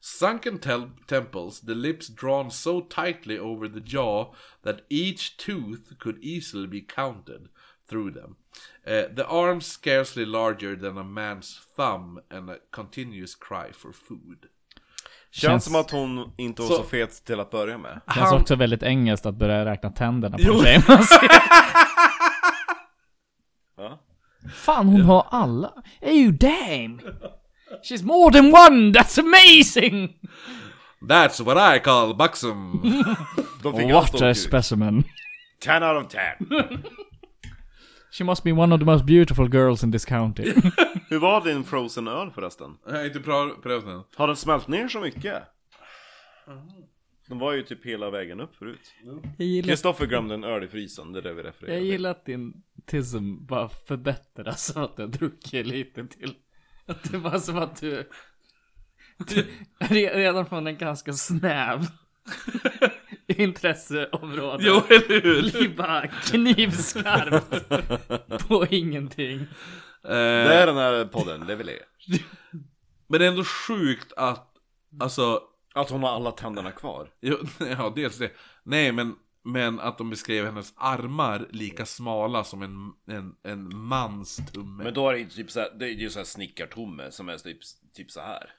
[SPEAKER 1] Sunken tel- temples, the lips drawn so tightly over the jaw that each tooth could easily be counted through them. Eh, the arms scarcely larger than a man's thumb and a continuous cry for food.
[SPEAKER 3] Känns,
[SPEAKER 12] Känns-
[SPEAKER 3] som att hon inte var så,
[SPEAKER 1] Så-
[SPEAKER 3] fet till att börja med.
[SPEAKER 12] Känns
[SPEAKER 1] Han-
[SPEAKER 12] också väldigt engelskt att börja räkna tänderna på en tjej man ser. Fan hon har alla. Oh damn! She's more than one, that's amazing!
[SPEAKER 1] That's what I call buxom.
[SPEAKER 3] De fick allt
[SPEAKER 12] What
[SPEAKER 3] de
[SPEAKER 12] a
[SPEAKER 3] fick.
[SPEAKER 12] specimen.
[SPEAKER 3] 10 out of 10.
[SPEAKER 12] She must be one of the most beautiful girls in this county.
[SPEAKER 3] Hur var din frozen-öl förresten?
[SPEAKER 1] Jag har inte pra- prövat den.
[SPEAKER 3] Har den smält ner så mycket? Den var ju typ hela vägen upp förut.
[SPEAKER 12] Jag gillar,
[SPEAKER 3] Kristoffer glömde en öl i frysen, det är det vi refererar
[SPEAKER 5] Jag
[SPEAKER 3] till.
[SPEAKER 5] gillar att din tism bara förbättras av att du har druckit lite till. Att det var som att du... du re- redan från en ganska snäv intresseområde.
[SPEAKER 1] Jo, eller hur?
[SPEAKER 5] Blir bara knivskarpt på ingenting.
[SPEAKER 3] Det är den här podden, Levelé.
[SPEAKER 1] Eh, Men det är ändå sjukt att, alltså,
[SPEAKER 3] Att hon har alla tänderna kvar.
[SPEAKER 1] Jo, ja, dels det. Nej, men, men att de beskrev hennes armar lika smala som en, en, en mans tumme.
[SPEAKER 3] Men då är det ju typ så här, det är ju så här snickartomme som är typ, typ så här.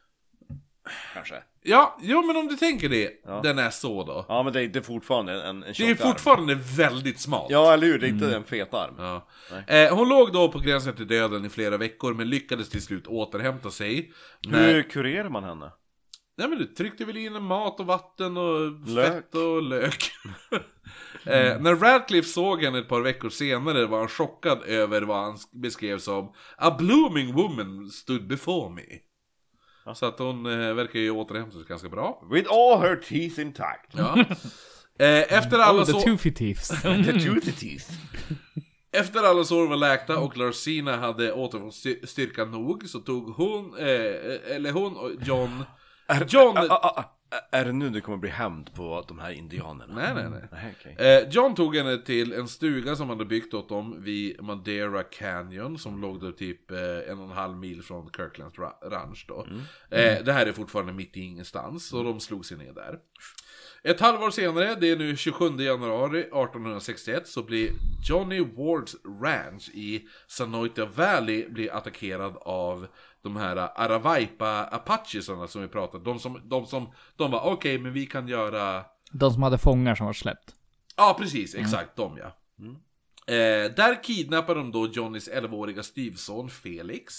[SPEAKER 3] Kanske.
[SPEAKER 1] Ja, jo, men om du tänker det. Den är så då.
[SPEAKER 3] Ja men det är, det är fortfarande en, en
[SPEAKER 1] det är
[SPEAKER 3] tjock arm.
[SPEAKER 1] fortfarande väldigt smalt.
[SPEAKER 3] Ja eller hur, det är inte en fet arm.
[SPEAKER 1] Ja. Eh, hon låg då på gränsen till döden i flera veckor, men lyckades till slut återhämta sig.
[SPEAKER 3] Hur
[SPEAKER 1] När...
[SPEAKER 3] kurerar man henne?
[SPEAKER 1] Nej, men du tryckte väl in mat och vatten och
[SPEAKER 3] Lök.
[SPEAKER 1] fett och lök. Eh, när Radcliffe såg henne ett par veckor senare var han chockad över vad han beskrev som A blooming woman stood before me. Så att hon eh, verkar ju återhämta sig ganska bra.
[SPEAKER 3] With all her teeth intact.
[SPEAKER 1] Ja. eh, efter, alla
[SPEAKER 12] oh, the
[SPEAKER 1] så-
[SPEAKER 12] toothy thieves.
[SPEAKER 3] The toothy teeth.
[SPEAKER 1] efter alla sår var läkta och Larsina hade återfått sty- styrka nog så tog hon, eh, eh, eller hon och John... John...
[SPEAKER 3] Ah, ah, ah, är det nu det kommer bli hämnd på de här indianerna?
[SPEAKER 1] Nej, nej, nej.
[SPEAKER 3] Nej, okej.
[SPEAKER 1] Eh, John tog henne till en stuga som han hade byggt åt dem vid Madeira Canyon som låg då typ eh, en och en halv mil från Kirklands ra- ranch då. Eh, det här är fortfarande mitt i ingenstans och de slog sig ner där. Ett halvår senare, det är nu 27 januari 1861, så blir Johnny Wards Ranch i Sanoita Valley blir attackerad av de här Aravaipa Apachisarna som vi pratade De som, de som, de var okej, men vi kan göra
[SPEAKER 12] De som hade fångar som var släppt.
[SPEAKER 1] Ja, precis.
[SPEAKER 12] Mm.
[SPEAKER 1] Exakt de, ja. Mm. Eh, där kidnappar de då Johnnys 11-åriga styvson Felix.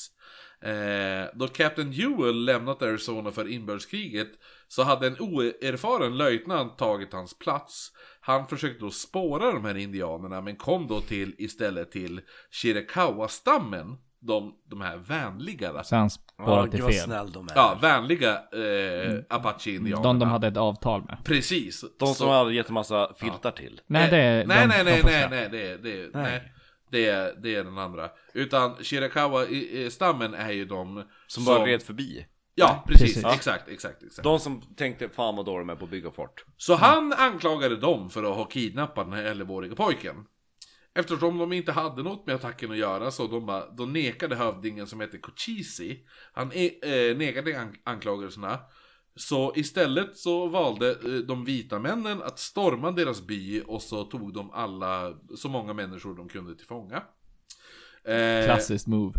[SPEAKER 1] Eh, då Captain Ewell lämnat Arizona för inbördeskriget så hade en oerfaren löjtnant tagit hans plats. Han försökte då spåra de här indianerna men kom då till istället till Chiricahua-stammen. De, de här vänligare,
[SPEAKER 12] Så han spårade till
[SPEAKER 3] Gud, vad
[SPEAKER 12] fel.
[SPEAKER 3] snäll de är.
[SPEAKER 1] ja, vänliga eh, Apache-indianerna.
[SPEAKER 12] Mm. De de hade ett avtal med.
[SPEAKER 1] Precis.
[SPEAKER 3] De
[SPEAKER 1] Så-
[SPEAKER 3] som har gett en massa filtar till.
[SPEAKER 12] Nej, det är
[SPEAKER 1] Eh, nej,
[SPEAKER 12] de,
[SPEAKER 1] nej,
[SPEAKER 12] de
[SPEAKER 1] nej,
[SPEAKER 12] första.
[SPEAKER 1] nej, nej, det, det, nej. Det, är, det är den andra. Utan Shirakawa-stammen är ju de
[SPEAKER 3] Som bara red förbi.
[SPEAKER 1] Ja, precis.
[SPEAKER 12] Precis.
[SPEAKER 1] Exakt, exakt, exakt.
[SPEAKER 3] De som tänkte fan vad dåliga de är på att bygga fort.
[SPEAKER 1] Så han anklagade dem för att ha kidnappat den här 11-årige pojken. Eftersom de inte hade något med attacken att göra så de bara, då nekade hövdingen som hette Kochisi. Han e- eh, nekade an- anklagelserna. Så istället så valde eh, de vita männen att storma deras by och så tog de alla, så många människor de kunde till fånga. Eh,
[SPEAKER 12] Klassiskt move.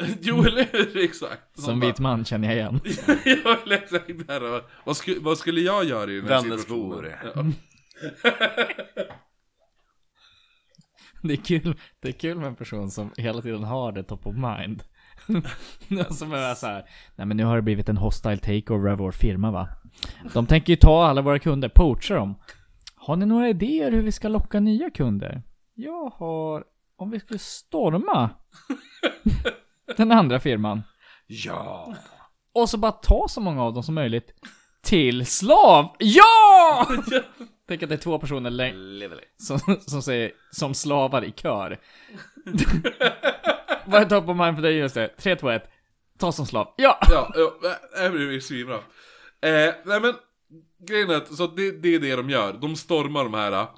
[SPEAKER 1] jo, eller hur? Exakt.
[SPEAKER 12] Som
[SPEAKER 1] De bara-
[SPEAKER 12] vit man känner jag igen.
[SPEAKER 1] jag vill exakt där. Vad, sku- vad skulle jag göra i den här
[SPEAKER 3] Vännäsbor.
[SPEAKER 1] situationen? Ja.
[SPEAKER 12] Det är, kul, det är kul med en person som hela tiden har det top of mind. som är så här, nej men nu har det blivit en hostile takeover av vår firma va? De tänker ju ta alla våra kunder, poacha dem. Har ni några idéer hur vi ska locka nya kunder? Jag har, om vi skulle storma den andra firman. Ja! Och så bara ta så många av dem som möjligt till slav. Ja! Tänk att det är två personer läng-
[SPEAKER 3] Lively.
[SPEAKER 12] som, som säger som slavar i kör. Vad är top of mind för dig just det? 3, 2, 1. Ta som slav. Ja!
[SPEAKER 1] Ja, ja, det här blir ju svinbra. Eh, nej men, grejen är att så det, det är det de gör. De stormar de här, eh,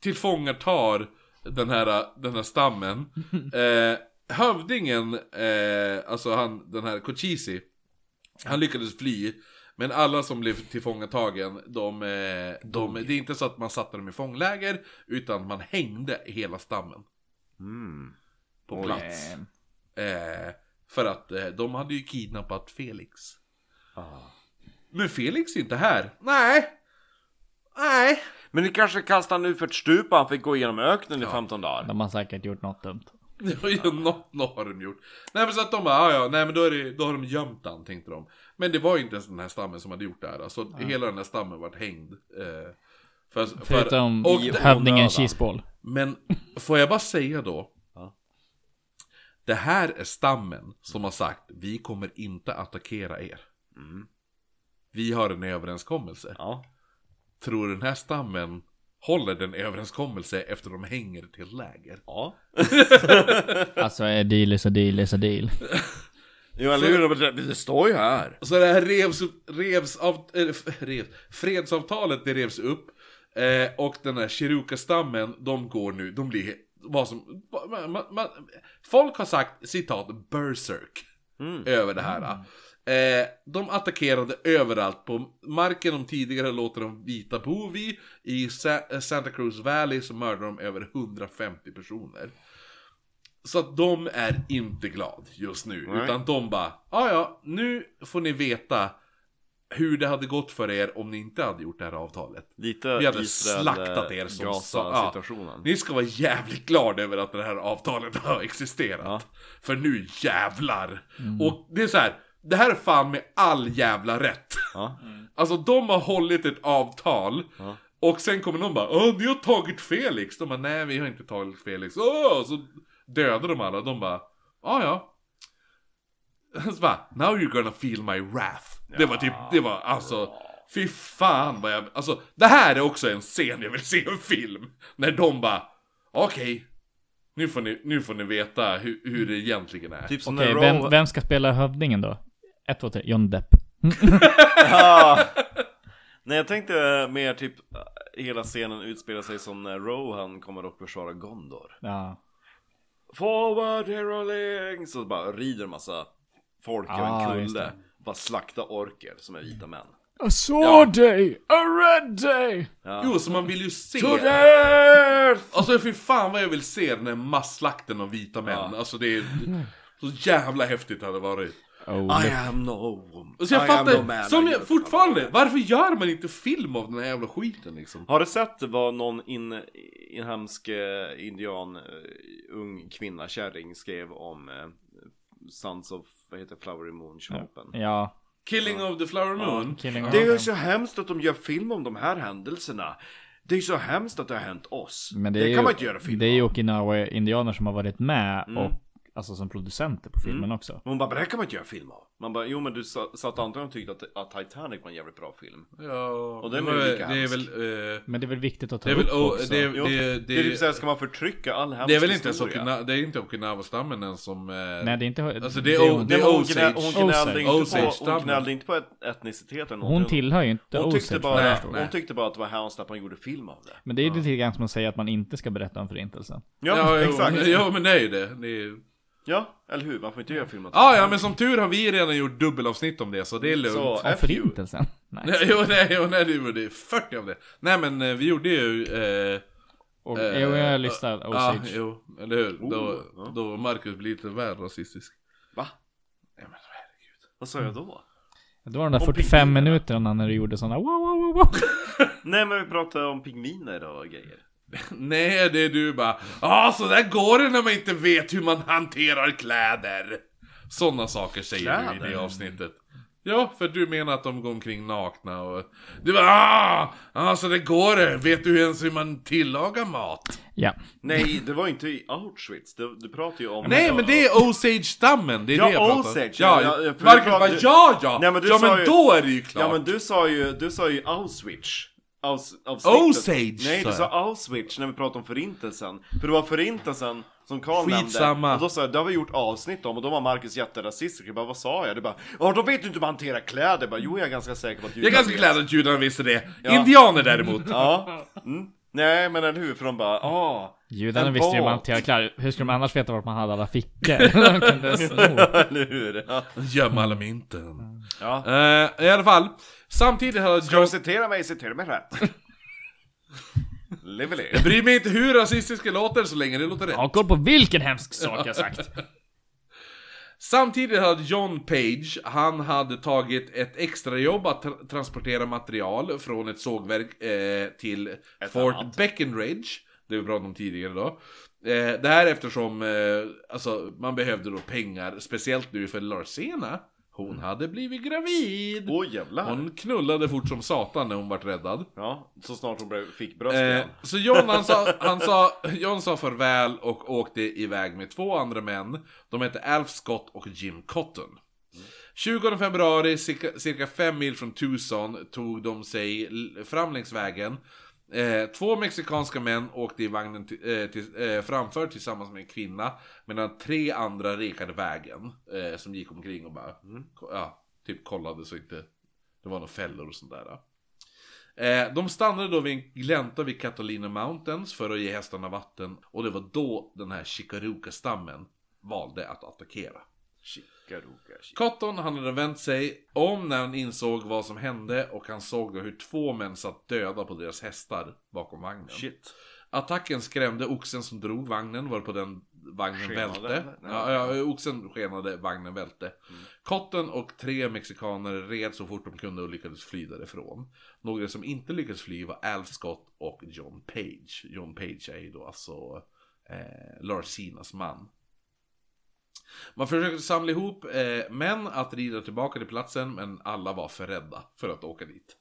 [SPEAKER 1] tillfångatar den här, eh, den här stammen. Eh, hövdingen, eh, alltså han, den här Kochisi, han lyckades fly. Men alla som blev tillfångatagen, de, eh, de, det är inte så att man satte dem i fångläger, utan man hängde hela stammen.
[SPEAKER 3] Mm.
[SPEAKER 1] På plats. Eh, för att eh, de hade ju kidnappat Felix. Men Felix är inte här. Nej. Nej.
[SPEAKER 3] Men ni kanske kastar han ut för ett stup och han fick gå igenom öknen i 15 dagar.
[SPEAKER 12] De har säkert gjort något dumt.
[SPEAKER 1] Det var ju något, något har de gjort. Nej men så att de bara, "Ah, ja nej men då, är det, då har de gömt han tänkte de. Men det var ju inte ens den här stammen som hade gjort det här. Alltså hela den här stammen vart hängd. Eh, för, för,
[SPEAKER 12] Förutom
[SPEAKER 1] och,
[SPEAKER 12] hövdingen Cheeseball.
[SPEAKER 1] Men får jag bara säga då. Det här är stammen som har sagt, vi kommer inte attackera er. Vi har en överenskommelse.
[SPEAKER 3] Mm. Ja.
[SPEAKER 1] Tror den här stammen håller den överenskommelse efter de hänger till läger?
[SPEAKER 3] Ja.
[SPEAKER 12] Alltså, är deal is a deal is a deal.
[SPEAKER 3] Jo eller hur, Robert? det står ju här.
[SPEAKER 1] Så det här revs, upp- revs av, eller, f- revs, fredsavtalet det revs upp. Eh, och den här Cheruka-stammen, de går nu, de blir he- vad som, man, man, man, Folk har sagt, citat, berserk. Över det här. Eh, de attackerade överallt på marken de tidigare låter de vita bo vid. I Sa- eh, Santa Cruz Valley så mördar de över 150 personer. Så att de är inte glad just nu. Utan de bara, ja ja, nu får ni veta hur det hade gått för er om ni inte hade gjort det här avtalet.
[SPEAKER 3] Lite
[SPEAKER 1] Vi hade
[SPEAKER 3] Israel, eh,
[SPEAKER 1] slaktat er som sa-
[SPEAKER 3] situationen.
[SPEAKER 1] Ni ska vara jävligt glada över att det här avtalet har existerat. För nu jävlar! Och det är så här. det här är fan med all jävla rätt.
[SPEAKER 3] Ja.
[SPEAKER 1] Alltså de har hållit ett avtal. Och sen kommer någon bara Åh, ni har tagit Felix! De bara nej vi har inte tagit Felix. Åh! Så dödar de alla. De bara ja ja. Så bara now you're gonna feel my wrath. Det var typ, det var alltså Fy fan vad jag, alltså det här är också en scen jag vill se i en film. När de bara okej. nu får, ni, nu får ni veta hur, hur det egentligen är.
[SPEAKER 3] Typ som
[SPEAKER 12] Okej,
[SPEAKER 3] när
[SPEAKER 12] vem,
[SPEAKER 3] Rowan-
[SPEAKER 12] vem ska spela hövdingen då? 1, 2, 3. John Depp.
[SPEAKER 1] Ah!
[SPEAKER 3] Ja. Nej jag tänkte mer typ hela scenen utspelar sig som när Rohan kommer och försvarar Gondor.
[SPEAKER 12] Ja.
[SPEAKER 3] Forward heroling! Så bara rider en massa folk över
[SPEAKER 12] Ah,
[SPEAKER 3] en
[SPEAKER 12] just
[SPEAKER 3] kulle.
[SPEAKER 12] det.
[SPEAKER 3] Bara slakta orker som är vita män.
[SPEAKER 12] A sword day! A red day!
[SPEAKER 1] Jo, så man vill ju se.
[SPEAKER 3] Earth!
[SPEAKER 1] Alltså fy fan vad jag vill se den här masslakten av vita män. Alltså det är så jävla häftigt det hade varit.
[SPEAKER 3] I am no woman.
[SPEAKER 1] Alltså jag
[SPEAKER 3] I am no
[SPEAKER 1] fattar,
[SPEAKER 3] man.
[SPEAKER 1] som
[SPEAKER 3] I
[SPEAKER 1] jag,
[SPEAKER 3] am-
[SPEAKER 1] fortfarande, varför gör man inte film av den här jävla skiten liksom?
[SPEAKER 3] Har du sett vad någon in, inhemsk eh, indian eh, ung kvinna kärring skrev om eh, Sons of, vad heter det, Flowery Moon shoppen?
[SPEAKER 12] Ja.
[SPEAKER 1] Killing of the Flower Moon.
[SPEAKER 12] Killing
[SPEAKER 3] Det är ju
[SPEAKER 12] Rogan.
[SPEAKER 3] så hemskt att de gör film om de här händelserna. Det är ju så hemskt att det har hänt oss.
[SPEAKER 12] Men det,
[SPEAKER 3] det
[SPEAKER 12] är
[SPEAKER 3] kan
[SPEAKER 12] ju,
[SPEAKER 3] man inte göra Mm. film
[SPEAKER 12] Det är ju
[SPEAKER 3] om.
[SPEAKER 12] Okinawa-indianer som har varit med och alltså som producenter på
[SPEAKER 3] Mm.
[SPEAKER 12] filmen också.
[SPEAKER 3] Hon bara, "Men det här kan man inte göra film av. Man bara, jo men du sa- satt antagligen och tyckte att, att Titanic var en jävligt bra film.
[SPEAKER 1] Ja,
[SPEAKER 3] Och den
[SPEAKER 1] det
[SPEAKER 3] är
[SPEAKER 1] var-
[SPEAKER 3] ju lika
[SPEAKER 1] det är
[SPEAKER 3] hemsk.
[SPEAKER 1] väl... eh,
[SPEAKER 12] Men det är väl viktigt att ta
[SPEAKER 1] Det är väl...
[SPEAKER 12] upp
[SPEAKER 1] oh,
[SPEAKER 12] också.
[SPEAKER 1] det,
[SPEAKER 3] Jo,
[SPEAKER 1] det,
[SPEAKER 3] det är typ
[SPEAKER 1] det,
[SPEAKER 3] såhär, ska man förtrycka all hemsk
[SPEAKER 1] det är väl inte ens
[SPEAKER 3] historia?
[SPEAKER 1] Okina- det är inte Okinawa-stammen ens som... eh,
[SPEAKER 12] Nej, det är inte...
[SPEAKER 1] Alltså det är
[SPEAKER 12] hon-
[SPEAKER 1] o- det
[SPEAKER 3] Nej,
[SPEAKER 1] är
[SPEAKER 3] men hon,
[SPEAKER 1] Osage.
[SPEAKER 3] gnä, hon, gnällde
[SPEAKER 12] Osage.
[SPEAKER 3] inte på, hon
[SPEAKER 1] Osage-stammen.
[SPEAKER 3] gnällde inte på et- etnicitet eller
[SPEAKER 12] hon
[SPEAKER 3] någonting.
[SPEAKER 12] tillhör ju inte
[SPEAKER 3] hon tyckte,
[SPEAKER 12] Osage,
[SPEAKER 3] bara,
[SPEAKER 12] vad jag
[SPEAKER 1] Nej,
[SPEAKER 12] förstår.
[SPEAKER 1] nej.
[SPEAKER 3] hon tyckte bara att det var hemskt att man gjorde film av det.
[SPEAKER 12] Men det är ju lite grann som att säga att man inte ska berätta om förintelsen.
[SPEAKER 3] Ja,
[SPEAKER 1] jo,
[SPEAKER 3] exakt.
[SPEAKER 1] Ja, men det är ju det. det är, ju-
[SPEAKER 3] Ja, eller hur? Man får inte göra film av det.
[SPEAKER 1] ah, ja, men som tur har vi redan gjort dubbelavsnitt om det, så det är lugnt.
[SPEAKER 3] Så,
[SPEAKER 12] Om
[SPEAKER 3] F you.
[SPEAKER 12] förintelsen? Nej.
[SPEAKER 1] Nej, jo, nej, jo, nej, det gjorde det. 40 av det. Nej, men eh, vi gjorde ju... Eh,
[SPEAKER 12] Och,
[SPEAKER 1] eh,
[SPEAKER 12] jo,
[SPEAKER 1] eh,
[SPEAKER 12] jag lyssnar.
[SPEAKER 1] ja,
[SPEAKER 12] Osage.
[SPEAKER 1] jo, eller hur? då,
[SPEAKER 3] Oh, ja.
[SPEAKER 1] då Marcus blir lite väl rasistisk.
[SPEAKER 3] Va?
[SPEAKER 1] Nej, men herregud.
[SPEAKER 3] Vad sa jag då?
[SPEAKER 12] Det var de där
[SPEAKER 3] Om
[SPEAKER 12] 45
[SPEAKER 3] pingvinerna.
[SPEAKER 12] minuterna när du gjorde sådana wow, wow, wow, wow.
[SPEAKER 3] Nej men vi pratade om pingviner och grejer.
[SPEAKER 1] Nej, det är du bara. Ja, så där går det när man inte vet hur man hanterar kläder. Sådana saker säger du i det
[SPEAKER 3] Kläder?
[SPEAKER 1] avsnittet. Ja, för du menar att de går omkring nakna och... Du bara ah! Ja, så det går det. Vet du ens hur man tillagar mat?
[SPEAKER 12] Ja.
[SPEAKER 3] Nej, det var inte i Auschwitz. Du, du pratade ju om...
[SPEAKER 1] Nej, men det är Osage-stammen. Det är
[SPEAKER 3] Ja,
[SPEAKER 1] det jag pratar om.
[SPEAKER 3] Osage,
[SPEAKER 1] Ja,
[SPEAKER 3] ja,
[SPEAKER 1] ja,
[SPEAKER 3] ja, ja, för
[SPEAKER 1] Marcus
[SPEAKER 3] du pratar-
[SPEAKER 1] bara ja, ja.
[SPEAKER 3] Nej, men du
[SPEAKER 1] ja,
[SPEAKER 3] sa
[SPEAKER 1] men
[SPEAKER 3] ju-
[SPEAKER 1] då är det ju klart.
[SPEAKER 3] Ja men du sa ju, du sa ju Auschwitz. Aus, avsnittet.
[SPEAKER 1] Osage!
[SPEAKER 3] Nej,
[SPEAKER 1] sa
[SPEAKER 3] du
[SPEAKER 1] jag.
[SPEAKER 3] sa Auschwitz när vi pratade om förintelsen. För det var förintelsen som Karl nämnde.
[SPEAKER 1] Skitsamma.
[SPEAKER 3] Och då sa jag, det har vi gjort avsnitt om och då var Marcus jätterasistisk. Jag bara, vad sa jag? Du bara, ja då vet du inte hur man hanterar kläder. Jag bara, jo jag är ganska säker på att
[SPEAKER 1] Jag är ganska
[SPEAKER 3] vet."
[SPEAKER 1] glad att judarna visste det.
[SPEAKER 3] Ja.
[SPEAKER 1] Indianer däremot.
[SPEAKER 3] Ja. Mm. Nej men eller hur, för de bara, ah.
[SPEAKER 5] Judarna
[SPEAKER 3] En
[SPEAKER 5] visste ju
[SPEAKER 3] båt.
[SPEAKER 5] vad han tillklar. Hur skulle de annars veta vart man hade alla fickor? de kunde sno.
[SPEAKER 3] eller hur? Ja.
[SPEAKER 1] Gömma alla mynten.
[SPEAKER 3] Ja.
[SPEAKER 1] Eh, I alla fall. Samtidigt hade
[SPEAKER 3] Ska du
[SPEAKER 1] John...
[SPEAKER 3] citera mig, citera mig rätt. Lively.
[SPEAKER 1] Jag bryr mig inte hur rasistiskt det låter så länge det låter rätt.
[SPEAKER 5] Jag har koll på vilken hemsk sak jag sagt.
[SPEAKER 1] Samtidigt hade John Page, han hade tagit ett extrajobb att tra- transportera material från ett sågverk eh, till Fort Breckenridge. Det vi pratade om tidigare då. Eh, det här eftersom eh, alltså, man behövde då pengar, speciellt nu för Larsena. Hon hade blivit gravid!
[SPEAKER 3] Åh jävlar.
[SPEAKER 1] Hon knullade fort som satan när hon vart räddad.
[SPEAKER 3] Ja, så snart hon blev, fick bröst
[SPEAKER 1] Eh,
[SPEAKER 3] igen.
[SPEAKER 1] så John, han sa, han sa, John sa farväl och åkte iväg med två andra män. De hette Alf Scott och Jim Cotton. 20 februari, cirka, cirka fem mil från Tucson, tog de sig l- fram längs vägen. Eh, två mexikanska män åkte i vagnen ti- eh, till, eh, framför tillsammans med en kvinna. Medan tre andra rekade vägen. Eh, som gick omkring och bara, mm, ko- ja, typ kollade så inte det var några fällor och sånt där. då. Eh, de stannade då vid en glänta vid Catalina Mountains för att ge hästarna vatten. Och det var då den här Chikaruka-stammen valde att attackera.
[SPEAKER 3] Chikaruka, chi-
[SPEAKER 1] Cotton han hade vänt sig om när han insåg vad som hände och han såg då hur två män satt döda på deras hästar bakom vagnen.
[SPEAKER 3] Shit.
[SPEAKER 1] Attacken skrämde oxen som drog vagnen varpå den vagnen
[SPEAKER 3] Skenade,
[SPEAKER 1] välte.
[SPEAKER 3] eller?
[SPEAKER 1] Ja, ja, oxen skenade, vagnen välte. Cotton och tre mexikaner red så fort de kunde och lyckades fly därifrån. Några som inte lyckades fly var Al Scott och John Page. John Page är ju då alltså eh, Larsinas man. Man försökte samla ihop eh, män att rida tillbaka till platsen men alla var för rädda för att åka dit.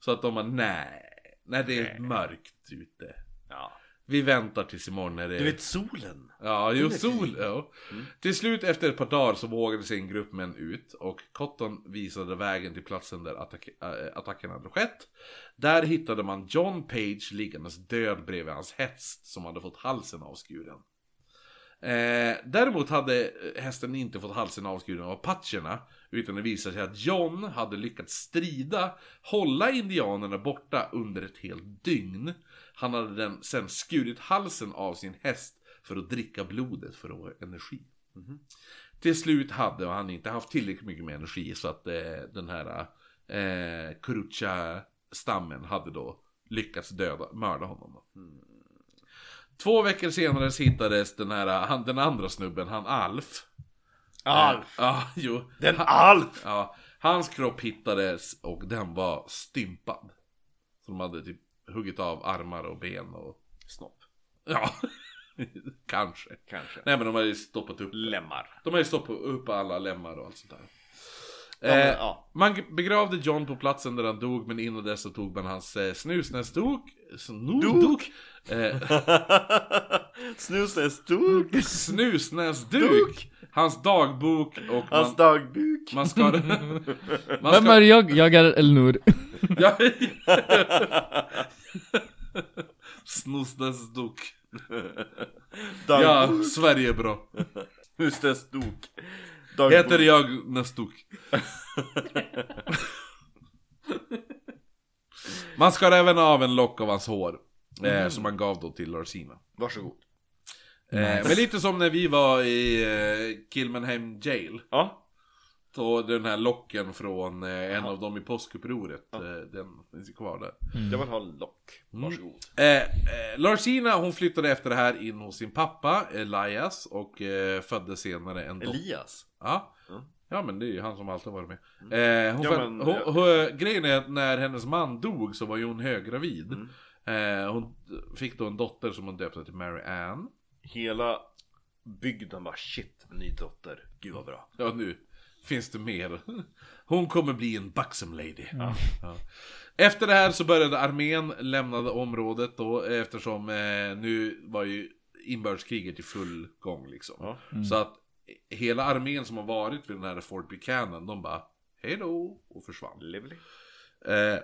[SPEAKER 1] Så att de var nej, nej det är mörkt ute.
[SPEAKER 3] Ja.
[SPEAKER 1] Vi väntar tills imorgon när det
[SPEAKER 3] Du vet Mm. solen.
[SPEAKER 1] Ja, jo, sol. Ja. Till slut efter ett par dagar så vågade sig en grupp män ut och Cotton visade vägen till platsen där attack, äh, attacken hade skett. Där hittade man John Page liggandes död bredvid hans häst som hade fått halsen avskuren. Eh, däremot hade eh, hästen inte fått halsen avskuren av apacherna utan det visade sig att John hade lyckats strida, hålla indianerna borta under ett helt dygn. Han hade den, sen skurit halsen av sin häst för att dricka blodet för att få energi. Till slut hade han inte haft tillräckligt mycket mer energi så att eh, den här eh, Kurucha-stammen hade då lyckats döda, mörda honom. Då. Två veckor senare så hittades den här, han, den andra snubben, han Alf. Eh,
[SPEAKER 3] Alf.
[SPEAKER 1] Ja, jo.
[SPEAKER 3] Den Alf.
[SPEAKER 1] Ja, hans kropp hittades och den var stympad. Så de hade typ huggit av armar och ben och...
[SPEAKER 3] Snopp.
[SPEAKER 1] Ja, kanske.
[SPEAKER 3] Kanske.
[SPEAKER 1] Nej men de hade ju stoppat upp
[SPEAKER 3] Lemmar.
[SPEAKER 1] De hade ju stoppat upp alla lemmar och allt sånt där.
[SPEAKER 3] Ja, men,
[SPEAKER 1] Eh,
[SPEAKER 3] ja.
[SPEAKER 1] Man begravde John på platsen där han dog men innan dess så tog man hans eh, snusnäsduk. Snoduk? Eh,
[SPEAKER 3] Snusnäsduk.
[SPEAKER 1] snusnäsduk! Hans dagbok och man,
[SPEAKER 3] Hans dagbuk.
[SPEAKER 1] man skar... man
[SPEAKER 12] Vem är jag? Jag är Elnur.
[SPEAKER 1] Ja. Snusnäsduk. Ja,
[SPEAKER 3] Dagbuk.
[SPEAKER 1] Sverige är bra.
[SPEAKER 3] Snusnäsduk.
[SPEAKER 1] Heter jag Näsduk. Man skar även av en lock av hans hår. Eh, som man gav då till Larsina.
[SPEAKER 3] Varsågod.
[SPEAKER 1] Eh, men lite som när vi var i eh, Kilmenheim Jail.
[SPEAKER 3] Ja.
[SPEAKER 1] Så den här locken från eh, en av dem i påskupproret. Eh, den finns ju kvar där.
[SPEAKER 3] Jag vill ha en lock. Varsågod.
[SPEAKER 1] Eh, eh, Larsina hon flyttade efter det här in hos sin pappa Elias och eh, födde senare en dotter.
[SPEAKER 3] Elias.
[SPEAKER 1] Ja.
[SPEAKER 3] Mm.
[SPEAKER 1] ja men det är ju han som alltid har varit med. Eh, hon
[SPEAKER 3] Ja,
[SPEAKER 1] föd-
[SPEAKER 3] men-
[SPEAKER 1] hon, hon, grejen är att när hennes man dog så var ju hon höggravid.
[SPEAKER 3] Mm.
[SPEAKER 1] Eh, hon fick då en dotter som hon döpte till Mary Ann.
[SPEAKER 3] Hela bygden bara shit, ny dotter. Gud vad bra.
[SPEAKER 1] Ja, nu finns det mer. Hon kommer bli en buxom lady. Ja. Efter det här så började armén lämnade området då eftersom eh, nu var ju inbördeskriget i full gång liksom. Så att hela armén som har varit vid den här Fort Buchanan, de bara hej då och försvann.
[SPEAKER 3] Lively.
[SPEAKER 1] Eh,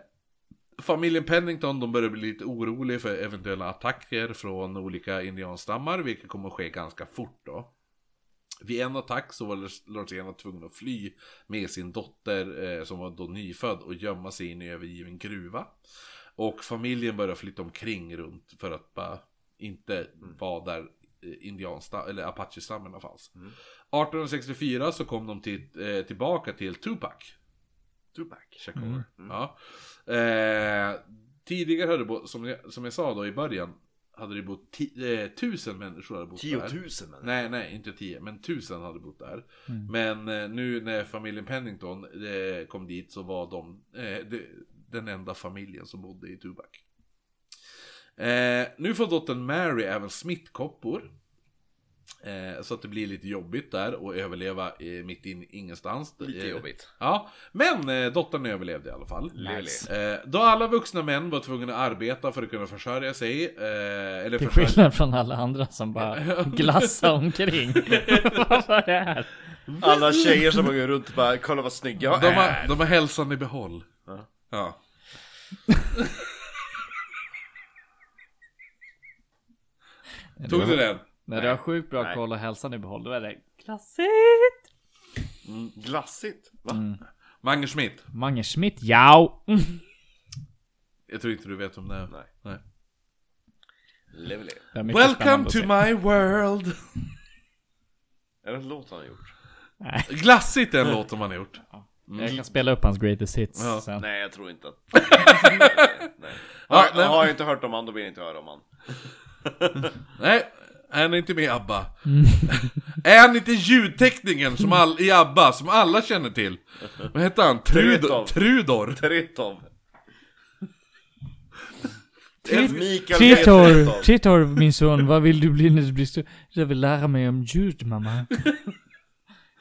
[SPEAKER 1] Familjen Pennington de börjar bli lite oroliga för eventuella attacker från olika indianstammar, vilket kommer att ske ganska fort då. Vid en attack så var Lorena tvungen att fly med sin dotter eh, som var då nyfödd och gömma sig i en övergiven gruva. Och familjen börjar flytta omkring runt för att bara inte vara där eh, indiansta eller apachistammarna fanns. 1864 så kom de till, eh, tillbaka till Tupac
[SPEAKER 3] Tupac. Mm.
[SPEAKER 1] Ja. Eh, tidigare hade det bott, som jag, som jag sa då i början, hade det bott ti- eh, tusen människor hade bott där.
[SPEAKER 3] Tiotusen människor.
[SPEAKER 1] Nej, nej, inte tio, men tusen hade bott där. Men eh, nu när familjen Pennington eh, kom dit så var de eh, de, den enda familjen som bodde i Tubac. Eh, nu får dottern Mary även smittkoppor. Eh, så att det blir lite jobbigt där och överleva eh, mitt in ingenstans.
[SPEAKER 3] Lite
[SPEAKER 1] Eh,
[SPEAKER 3] jobbigt.
[SPEAKER 1] Ja, men eh, dottern överlevde i alla fall.
[SPEAKER 3] Nice.
[SPEAKER 1] Eh, då alla vuxna män var tvungna att arbeta för att kunna försörja sig. Eh, eller
[SPEAKER 12] Till
[SPEAKER 1] försörja
[SPEAKER 12] skillnad från alla andra som bara glassar omkring. Vad var det här?
[SPEAKER 3] Alla tjejer som går runt och bara kolla vad snygg eh, jag
[SPEAKER 1] De
[SPEAKER 3] är.
[SPEAKER 1] har, de har hälsan i behåll. Ja. Tog du den?
[SPEAKER 12] När du har sjukt bra koll och hälsan i behåll, då är det
[SPEAKER 4] Klassigt!
[SPEAKER 3] Glassigt. Va?
[SPEAKER 1] Mange Schmidt.
[SPEAKER 12] Mange Schmidt, jao! Mm.
[SPEAKER 1] Jag tror inte du vet om det är.
[SPEAKER 3] Nej.
[SPEAKER 1] Nej.
[SPEAKER 3] Leveli.
[SPEAKER 12] Det är mycket
[SPEAKER 1] Welcome
[SPEAKER 12] spännande att
[SPEAKER 1] to
[SPEAKER 12] se.
[SPEAKER 1] my world.
[SPEAKER 3] Är det en låt han har gjort?
[SPEAKER 1] Glassigt är en låt som han har gjort.
[SPEAKER 12] Jag kan spela upp hans greatest hits
[SPEAKER 1] Ja.
[SPEAKER 12] sen.
[SPEAKER 3] Nej, jag tror inte att... nej, nej. Har,
[SPEAKER 1] Ja, nej.
[SPEAKER 3] har jag inte hört om han, då vill jag inte höra om han.
[SPEAKER 1] Nej, han är inte med i ABBA.
[SPEAKER 12] Mm.
[SPEAKER 1] är han inte ljudteckningen som all, i ABBA som alla känner till? Vad heter han? Trudor?
[SPEAKER 3] Trudor.
[SPEAKER 1] Trudor.
[SPEAKER 3] Teritov.
[SPEAKER 12] Trit-
[SPEAKER 3] Mikael
[SPEAKER 12] Tritor,
[SPEAKER 3] Petersson.
[SPEAKER 12] Tritor min son, vad vill du bli när du blir stor? Jag vill lära mig om ljud mamma.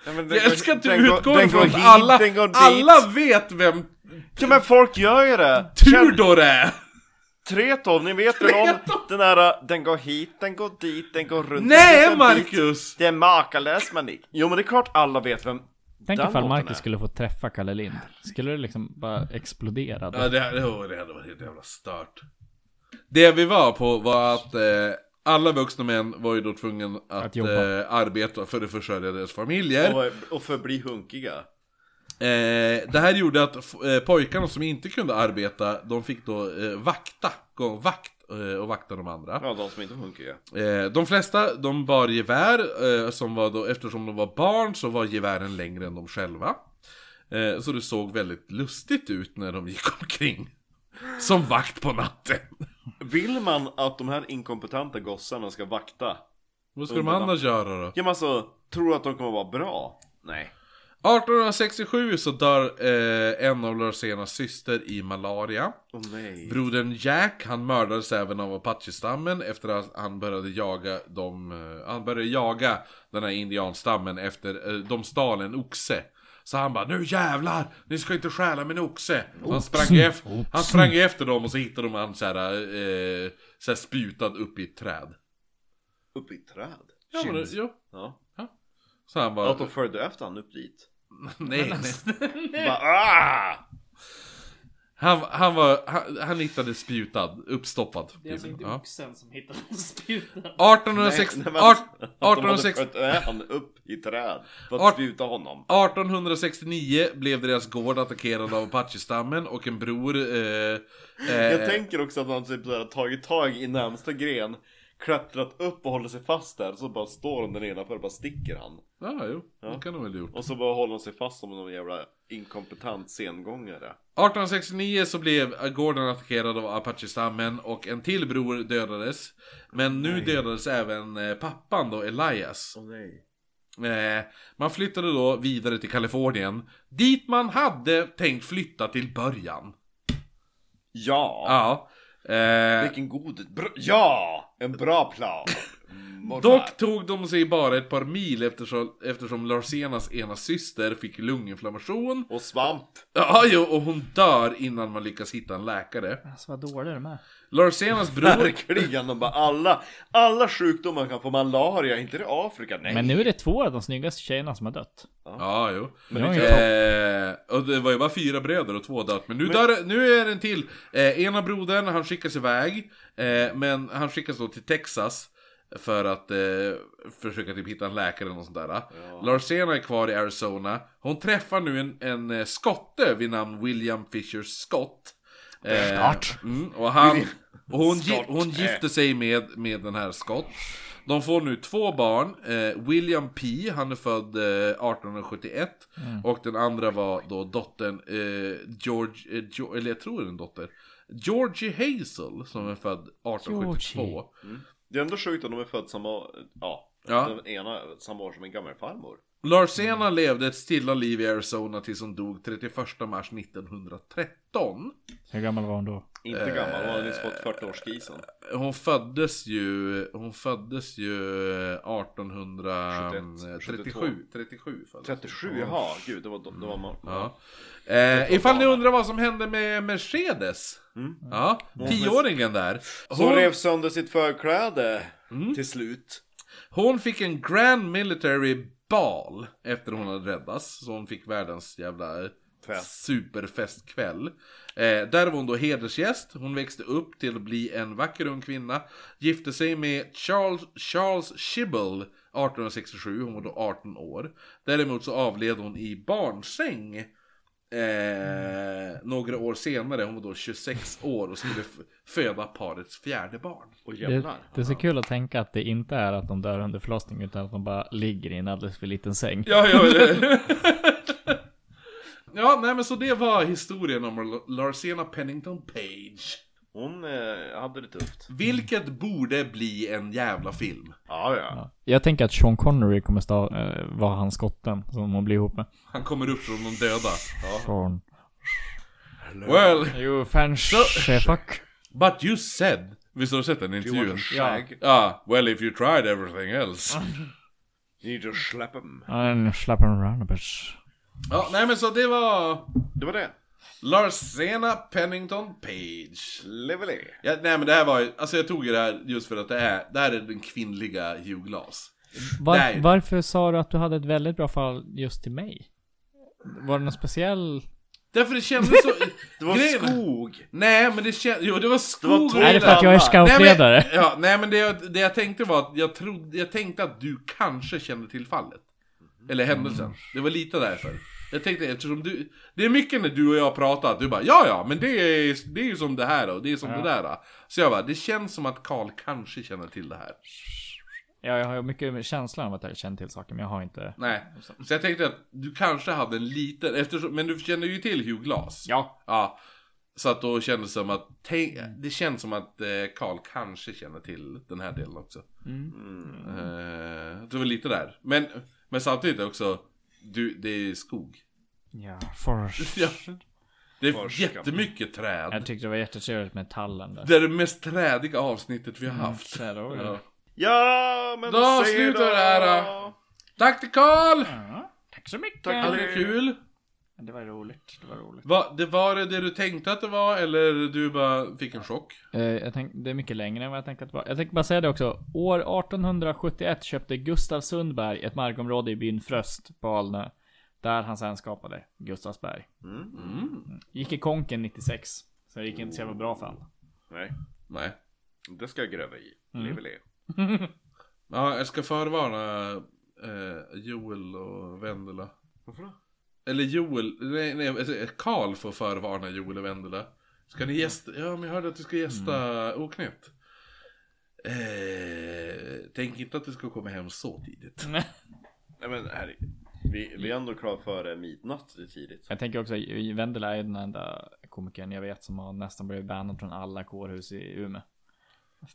[SPEAKER 3] Nej, men den
[SPEAKER 1] Jag
[SPEAKER 3] går-
[SPEAKER 1] älskar att du
[SPEAKER 3] den går-
[SPEAKER 1] utgår
[SPEAKER 3] den går
[SPEAKER 1] ifrån
[SPEAKER 3] hit,
[SPEAKER 1] att alla,
[SPEAKER 3] den går dit.
[SPEAKER 1] alla vet vem
[SPEAKER 3] Ja men folk gör ju det! Känn-
[SPEAKER 1] Tudor är!
[SPEAKER 3] Tretov, ni vet väl om den här, äh, den går hit, den går dit, den går runt den går
[SPEAKER 1] Nej
[SPEAKER 3] dit.
[SPEAKER 1] Marcus!
[SPEAKER 3] Det är makalöst Manik! Jo men det är klart alla vet vem
[SPEAKER 12] Tänk
[SPEAKER 3] den låten
[SPEAKER 12] ifall
[SPEAKER 3] är.
[SPEAKER 12] Marcus skulle få träffa Kalle Lind. Skulle det liksom bara explodera
[SPEAKER 1] Ja
[SPEAKER 12] då?
[SPEAKER 1] det, hade- åh, det hade varit helt jävla stört. Det vi var på var att eh, alla vuxna män var ju då tvungna att,
[SPEAKER 12] Att
[SPEAKER 1] eh,
[SPEAKER 12] jobba.
[SPEAKER 1] arbeta för att försörja deras familjer.
[SPEAKER 3] Och, och förbli hunkiga.
[SPEAKER 1] Eh, det här gjorde att f- eh, pojkarna som inte kunde arbeta, de fick då eh, vakta, gå vakt eh, och vakta de andra.
[SPEAKER 3] Ja, de som inte är hunkiga.
[SPEAKER 1] Eh, de flesta, de bar gevär, eh, som var då, eftersom de var barn så var gevären längre än de själva. Eh, så det såg väldigt lustigt ut när de gick omkring. Som vakt på natten.
[SPEAKER 3] Vill man att de här inkompetenta gossarna ska vakta?
[SPEAKER 1] Vad skulle de annars göra då?
[SPEAKER 3] Ja men alltså, tror du att de kommer vara bra? Nej.
[SPEAKER 1] 1867 så dör eh, en av Lorsenas syster i malaria.
[SPEAKER 3] Åh nej.
[SPEAKER 1] Brodern Jack, han mördades även av Apache-stammen efter att han började jaga dem, eh, han började jaga den här indianstammen efter, eh, de stal en oxe. Så han bara, nu jävlar, ni ska inte stjäla min oxe! Så Han sprang, efter, han sprang efter dem och så hittade de han såhär, eh, såhär sputad upp i ett träd.
[SPEAKER 3] Upp i ett träd?
[SPEAKER 1] Ja, men,
[SPEAKER 3] Shit.
[SPEAKER 1] jo.
[SPEAKER 3] Ja.
[SPEAKER 1] Så han bara,
[SPEAKER 3] Att de följde efter han upp dit.
[SPEAKER 1] Oh, nej. nej.
[SPEAKER 3] Bara, ah!
[SPEAKER 1] Han, han var, han, han hittade spjutad, uppstoppad. typ.
[SPEAKER 4] Det är alltså inte
[SPEAKER 1] Ja.
[SPEAKER 4] oxen som hittar spjuten.
[SPEAKER 1] 1860,
[SPEAKER 3] Nej, nej, men-
[SPEAKER 1] art-
[SPEAKER 3] Att de hade
[SPEAKER 1] 1860
[SPEAKER 3] fört med han upp i träd för
[SPEAKER 1] Art-
[SPEAKER 3] att spjuta honom.
[SPEAKER 1] 1869 blev deras gård attackerad av Apache-stammen och en bror... Eh, eh,
[SPEAKER 3] Jag tänker också att han typ såhär, tagit tag i närmsta gren, klättrat upp och håller sig fast där, så bara står han där nedanför och bara sticker han.
[SPEAKER 1] Ja, jo, det kan de väl ha gjort.
[SPEAKER 3] Och så bara håller han sig fast som någon jävla inkompetent sengångare.
[SPEAKER 1] 1869 så blev gården attackerad av Apache-stammen och en till bror dödades. Men nu dödades även eh, pappan då, Elias.
[SPEAKER 3] Åh nej.
[SPEAKER 1] Eh, man flyttade då vidare till Kalifornien, dit man hade tänkt flytta till början.
[SPEAKER 3] Ja!
[SPEAKER 1] Ja. Eh, Ah.
[SPEAKER 3] Vilken god... Br- ja! En bra plan!
[SPEAKER 1] Dock tog de sig bara ett par mil eftersom, eftersom Larsenas ena syster fick lunginflammation.
[SPEAKER 3] Och svamp.
[SPEAKER 1] Ja, jo, och hon dör innan man lyckas hitta en läkare.
[SPEAKER 5] Alltså vad dåliga de är.
[SPEAKER 1] Larsenas bror...
[SPEAKER 3] Verkligen, de bara alla, alla sjukdomar kan få malaria, inte det Afrika? Nej.
[SPEAKER 5] Men nu är det två av de snyggaste tjejerna som har dött.
[SPEAKER 1] Ja, jo.
[SPEAKER 5] Men det är
[SPEAKER 1] eh, och det var ju bara fyra bröder och två dött. Men nu, Dör, nu är det en till. Eh, ena brodern, han skickas iväg. Eh, men han skickas då till Texas. För att eh, försöka typ hitta en läkare eller något sånt där. Larsena är kvar i Arizona. Hon träffar nu en, en eh, skotte vid namn William Fisher Scott. Eh, mm, och han, och hon, gi- hon gifter sig med, med den här Scott. De får nu två barn. Eh, William P, han är född eh, 1871. Och den andra var då dottern eh, George, eh, jo, eller jag tror det är en dotter. Georgie Hazel, som är född 1872.
[SPEAKER 3] Det är ändå sjukt om de är födda samma, ja,
[SPEAKER 1] Ja.
[SPEAKER 3] den ena samma år som en gammal farmor.
[SPEAKER 1] Larsena levde ett stilla liv i Arizona tills hon dog 31 mars 1913.
[SPEAKER 5] Hur gammal var hon då?
[SPEAKER 3] Inte gammal, hon hade nyss fått 40-årskrisen.
[SPEAKER 1] Hon föddes ju, hon föddes ju eh, 1837. 37 föddes hon.
[SPEAKER 3] 37, jaha, gud, det var, det var man.
[SPEAKER 1] Ja. Eh, ifall ni undrar vad som hände med Mercedes. Ja, tioåringen där.
[SPEAKER 3] Så
[SPEAKER 1] Hon,
[SPEAKER 3] rev sönder sitt förkläde
[SPEAKER 1] Mm.
[SPEAKER 3] till slut.
[SPEAKER 1] hon fick en Grand Military Ball efter hon hade räddats. Så hon fick världens jävla
[SPEAKER 3] Fest.
[SPEAKER 1] superfestkväll. Eh, där var hon då hedersgäst. Hon växte upp till att bli en vacker ung kvinna. Gifte sig med Charles, Charles Shibble 1867. Hon var då 18 år. Däremot så avled hon i barnsäng. Eh, Några år senare, hon var då 26 år och skulle f- föda parets fjärde barn.
[SPEAKER 3] Och
[SPEAKER 5] Det,
[SPEAKER 3] jävlar.
[SPEAKER 5] det är så kul att tänka att det inte är att de dör under förlossning utan att de bara ligger i en alldeles för liten säng.
[SPEAKER 1] Ja, ja, det. ja, nej men så det var historien om Lar- Larsena Pennington Page.
[SPEAKER 3] Hon eh, hade det tufft.
[SPEAKER 1] Vilket borde bli en jävla film.
[SPEAKER 3] Ja, ja.
[SPEAKER 5] Jag tänker att Sean Connery kommer stå, eh, vara han skotten som hon blir ihop med.
[SPEAKER 1] Han kommer upp från de döda.
[SPEAKER 5] Sean.
[SPEAKER 1] Well,
[SPEAKER 5] Jo, fanchefuck.
[SPEAKER 1] but you said... Visst har du sett den intervjun?
[SPEAKER 3] Skägg.
[SPEAKER 1] Ja, well if you tried everything else.
[SPEAKER 3] Need to slap 'em.
[SPEAKER 5] En slappen runnabus.
[SPEAKER 1] ja, nej men så det var
[SPEAKER 3] Det var det.
[SPEAKER 1] Larsena Pennington Page.
[SPEAKER 3] Levelé.
[SPEAKER 1] Ja, nej men det här var ju, alltså jag tog ju det här just för att det är, det här är den kvinnliga Hugh Glass. Nej.
[SPEAKER 5] Var, varför sa du att du hade ett väldigt bra fall just till mig? Var det någon speciell?
[SPEAKER 1] Därför det kändes så...
[SPEAKER 3] Det var
[SPEAKER 1] Grejen-
[SPEAKER 3] skog.
[SPEAKER 1] Nej men det kändes, jo det var skog.
[SPEAKER 3] var träd.
[SPEAKER 5] Är det för att jag är
[SPEAKER 1] Nej men,
[SPEAKER 5] scoutledare?
[SPEAKER 1] ja, nej, men det, jag, det jag tänkte var att jag, trodde, jag tänkte att du kanske kände till fallet. Eller händelsen. Det var lite därför. Jag tänkte eftersom du... Det är mycket när du och jag har pratat. Du bara ja ja, men det är, det är ju som det här och det är som det där. då." Så jag bara, det känns som att Karl kanske känner till det här.
[SPEAKER 5] Ja, jag har ju mycket med känslan av att jag känner till saker, men jag har inte.
[SPEAKER 1] Nej. Så jag tänkte att du kanske hade en liten... Eftersom, men du känner ju till Hugh Glass.
[SPEAKER 5] Ja.
[SPEAKER 1] Ja. Så att då kändes det som att... Tänk, det känns som att eh, Karl kanske känner till den här delen också. Eh, det var lite där. Men, men samtidigt också... Du, det är skog.
[SPEAKER 5] Ja, forest.
[SPEAKER 1] Ja. Det är jättemycket
[SPEAKER 5] Jag
[SPEAKER 1] träd.
[SPEAKER 5] tyckte det var jättetrevligt med tallen där.
[SPEAKER 1] Det är det mest trädiga avsnittet vi
[SPEAKER 5] Mm.
[SPEAKER 1] har haft.
[SPEAKER 5] Så här då,
[SPEAKER 1] Ja.
[SPEAKER 3] Ja, men
[SPEAKER 1] Då
[SPEAKER 3] säg
[SPEAKER 1] slutar
[SPEAKER 3] då.
[SPEAKER 1] det här, då. Tack till Karl!
[SPEAKER 5] Ja, tack så mycket.
[SPEAKER 1] Hade det kul?
[SPEAKER 5] Det var roligt. Det var roligt.
[SPEAKER 1] Va, det var det det du tänkte att det var eller du bara fick en chock?
[SPEAKER 5] Eh, jag tänk, det är mycket längre än vad jag tänkte att det var. Jag tänkte bara säga det också. År 1871 köpte Gustav Sundberg ett markområde i byn Fröst på Alnö. Där han sen skapade Gustavsberg. Mm. Gick i konken 96. Så det gick inte så jävla bra för han.
[SPEAKER 3] Nej,
[SPEAKER 1] Nej.
[SPEAKER 3] det ska jag gräva i.
[SPEAKER 1] Mm.
[SPEAKER 3] Levelé.
[SPEAKER 1] Ja, jag ska förvarna eh, Joel och Vendela. Varför då? Eller Joel, nej, nej, alltså, Karl får förvarna Joel och Vendela. Ska
[SPEAKER 3] Mm.
[SPEAKER 1] ni gästa, ja men jag hörde att du ska gästa Oknytt. Eh, tänk inte att du ska komma hem så tidigt.
[SPEAKER 3] Nej men herre, vi, vi är ändå klara före midnatt, det är tidigt.
[SPEAKER 5] Jag tänker också, Vendela är ju den enda komikern jag vet som har nästan blivit bannad från alla kårhus i Umeå.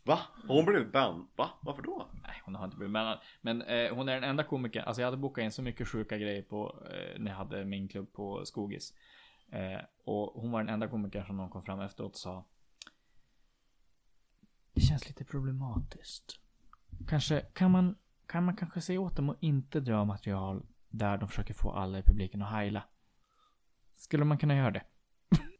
[SPEAKER 3] Va? Hon blev ban... Va? Varför då?
[SPEAKER 5] Nej, hon har inte blivit bannad. Men eh, hon är den enda komikern. Alltså jag hade bokat in så mycket sjuka grejer på eh, när jag hade min klubb på Skogis. Eh, och hon var den enda komikern som någon kom fram efteråt och sa. Det känns lite problematiskt.
[SPEAKER 12] Kanske, kan man, kan man kanske se åt dem att inte dra material där de försöker få alla i publiken att heila? Skulle man kunna göra det?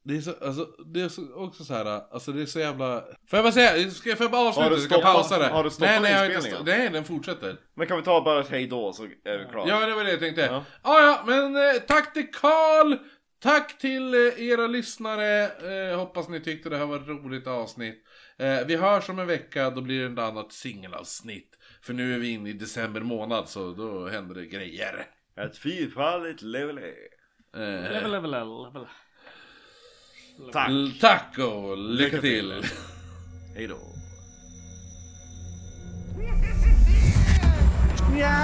[SPEAKER 1] Det är, så, alltså, det är så, också så här, alltså det är så jävla... Får jag bara säga, ska jag får jag bara avsluta?
[SPEAKER 3] Har du
[SPEAKER 1] Ska jag
[SPEAKER 3] stoppat-
[SPEAKER 1] pausa det?
[SPEAKER 3] har du stoppat
[SPEAKER 1] nej, nej, jag har inte
[SPEAKER 3] inspelningen?
[SPEAKER 1] stopp- nej, den fortsätter.
[SPEAKER 3] Men kan vi ta bara ett hej då så är vi klara?
[SPEAKER 1] Ja, det var det jag tänkte. Ja,
[SPEAKER 3] Ja.
[SPEAKER 1] ja, men eh, tack till Karl! Tack till eh, era lyssnare. Eh, hoppas ni tyckte det här var ett roligt avsnitt. Eh, vi hörs om en vecka, då blir det ett annat singelavsnitt. För nu är vi inne i december månad, så då händer det grejer.
[SPEAKER 3] Ett fyrfaldigt level
[SPEAKER 1] Eh,
[SPEAKER 4] Level, level, level, level.
[SPEAKER 3] Tack,
[SPEAKER 1] l- tack och lycka till!
[SPEAKER 3] hej då.
[SPEAKER 15] Ja!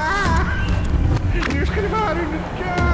[SPEAKER 15] Nu ska ni få höra hur det går!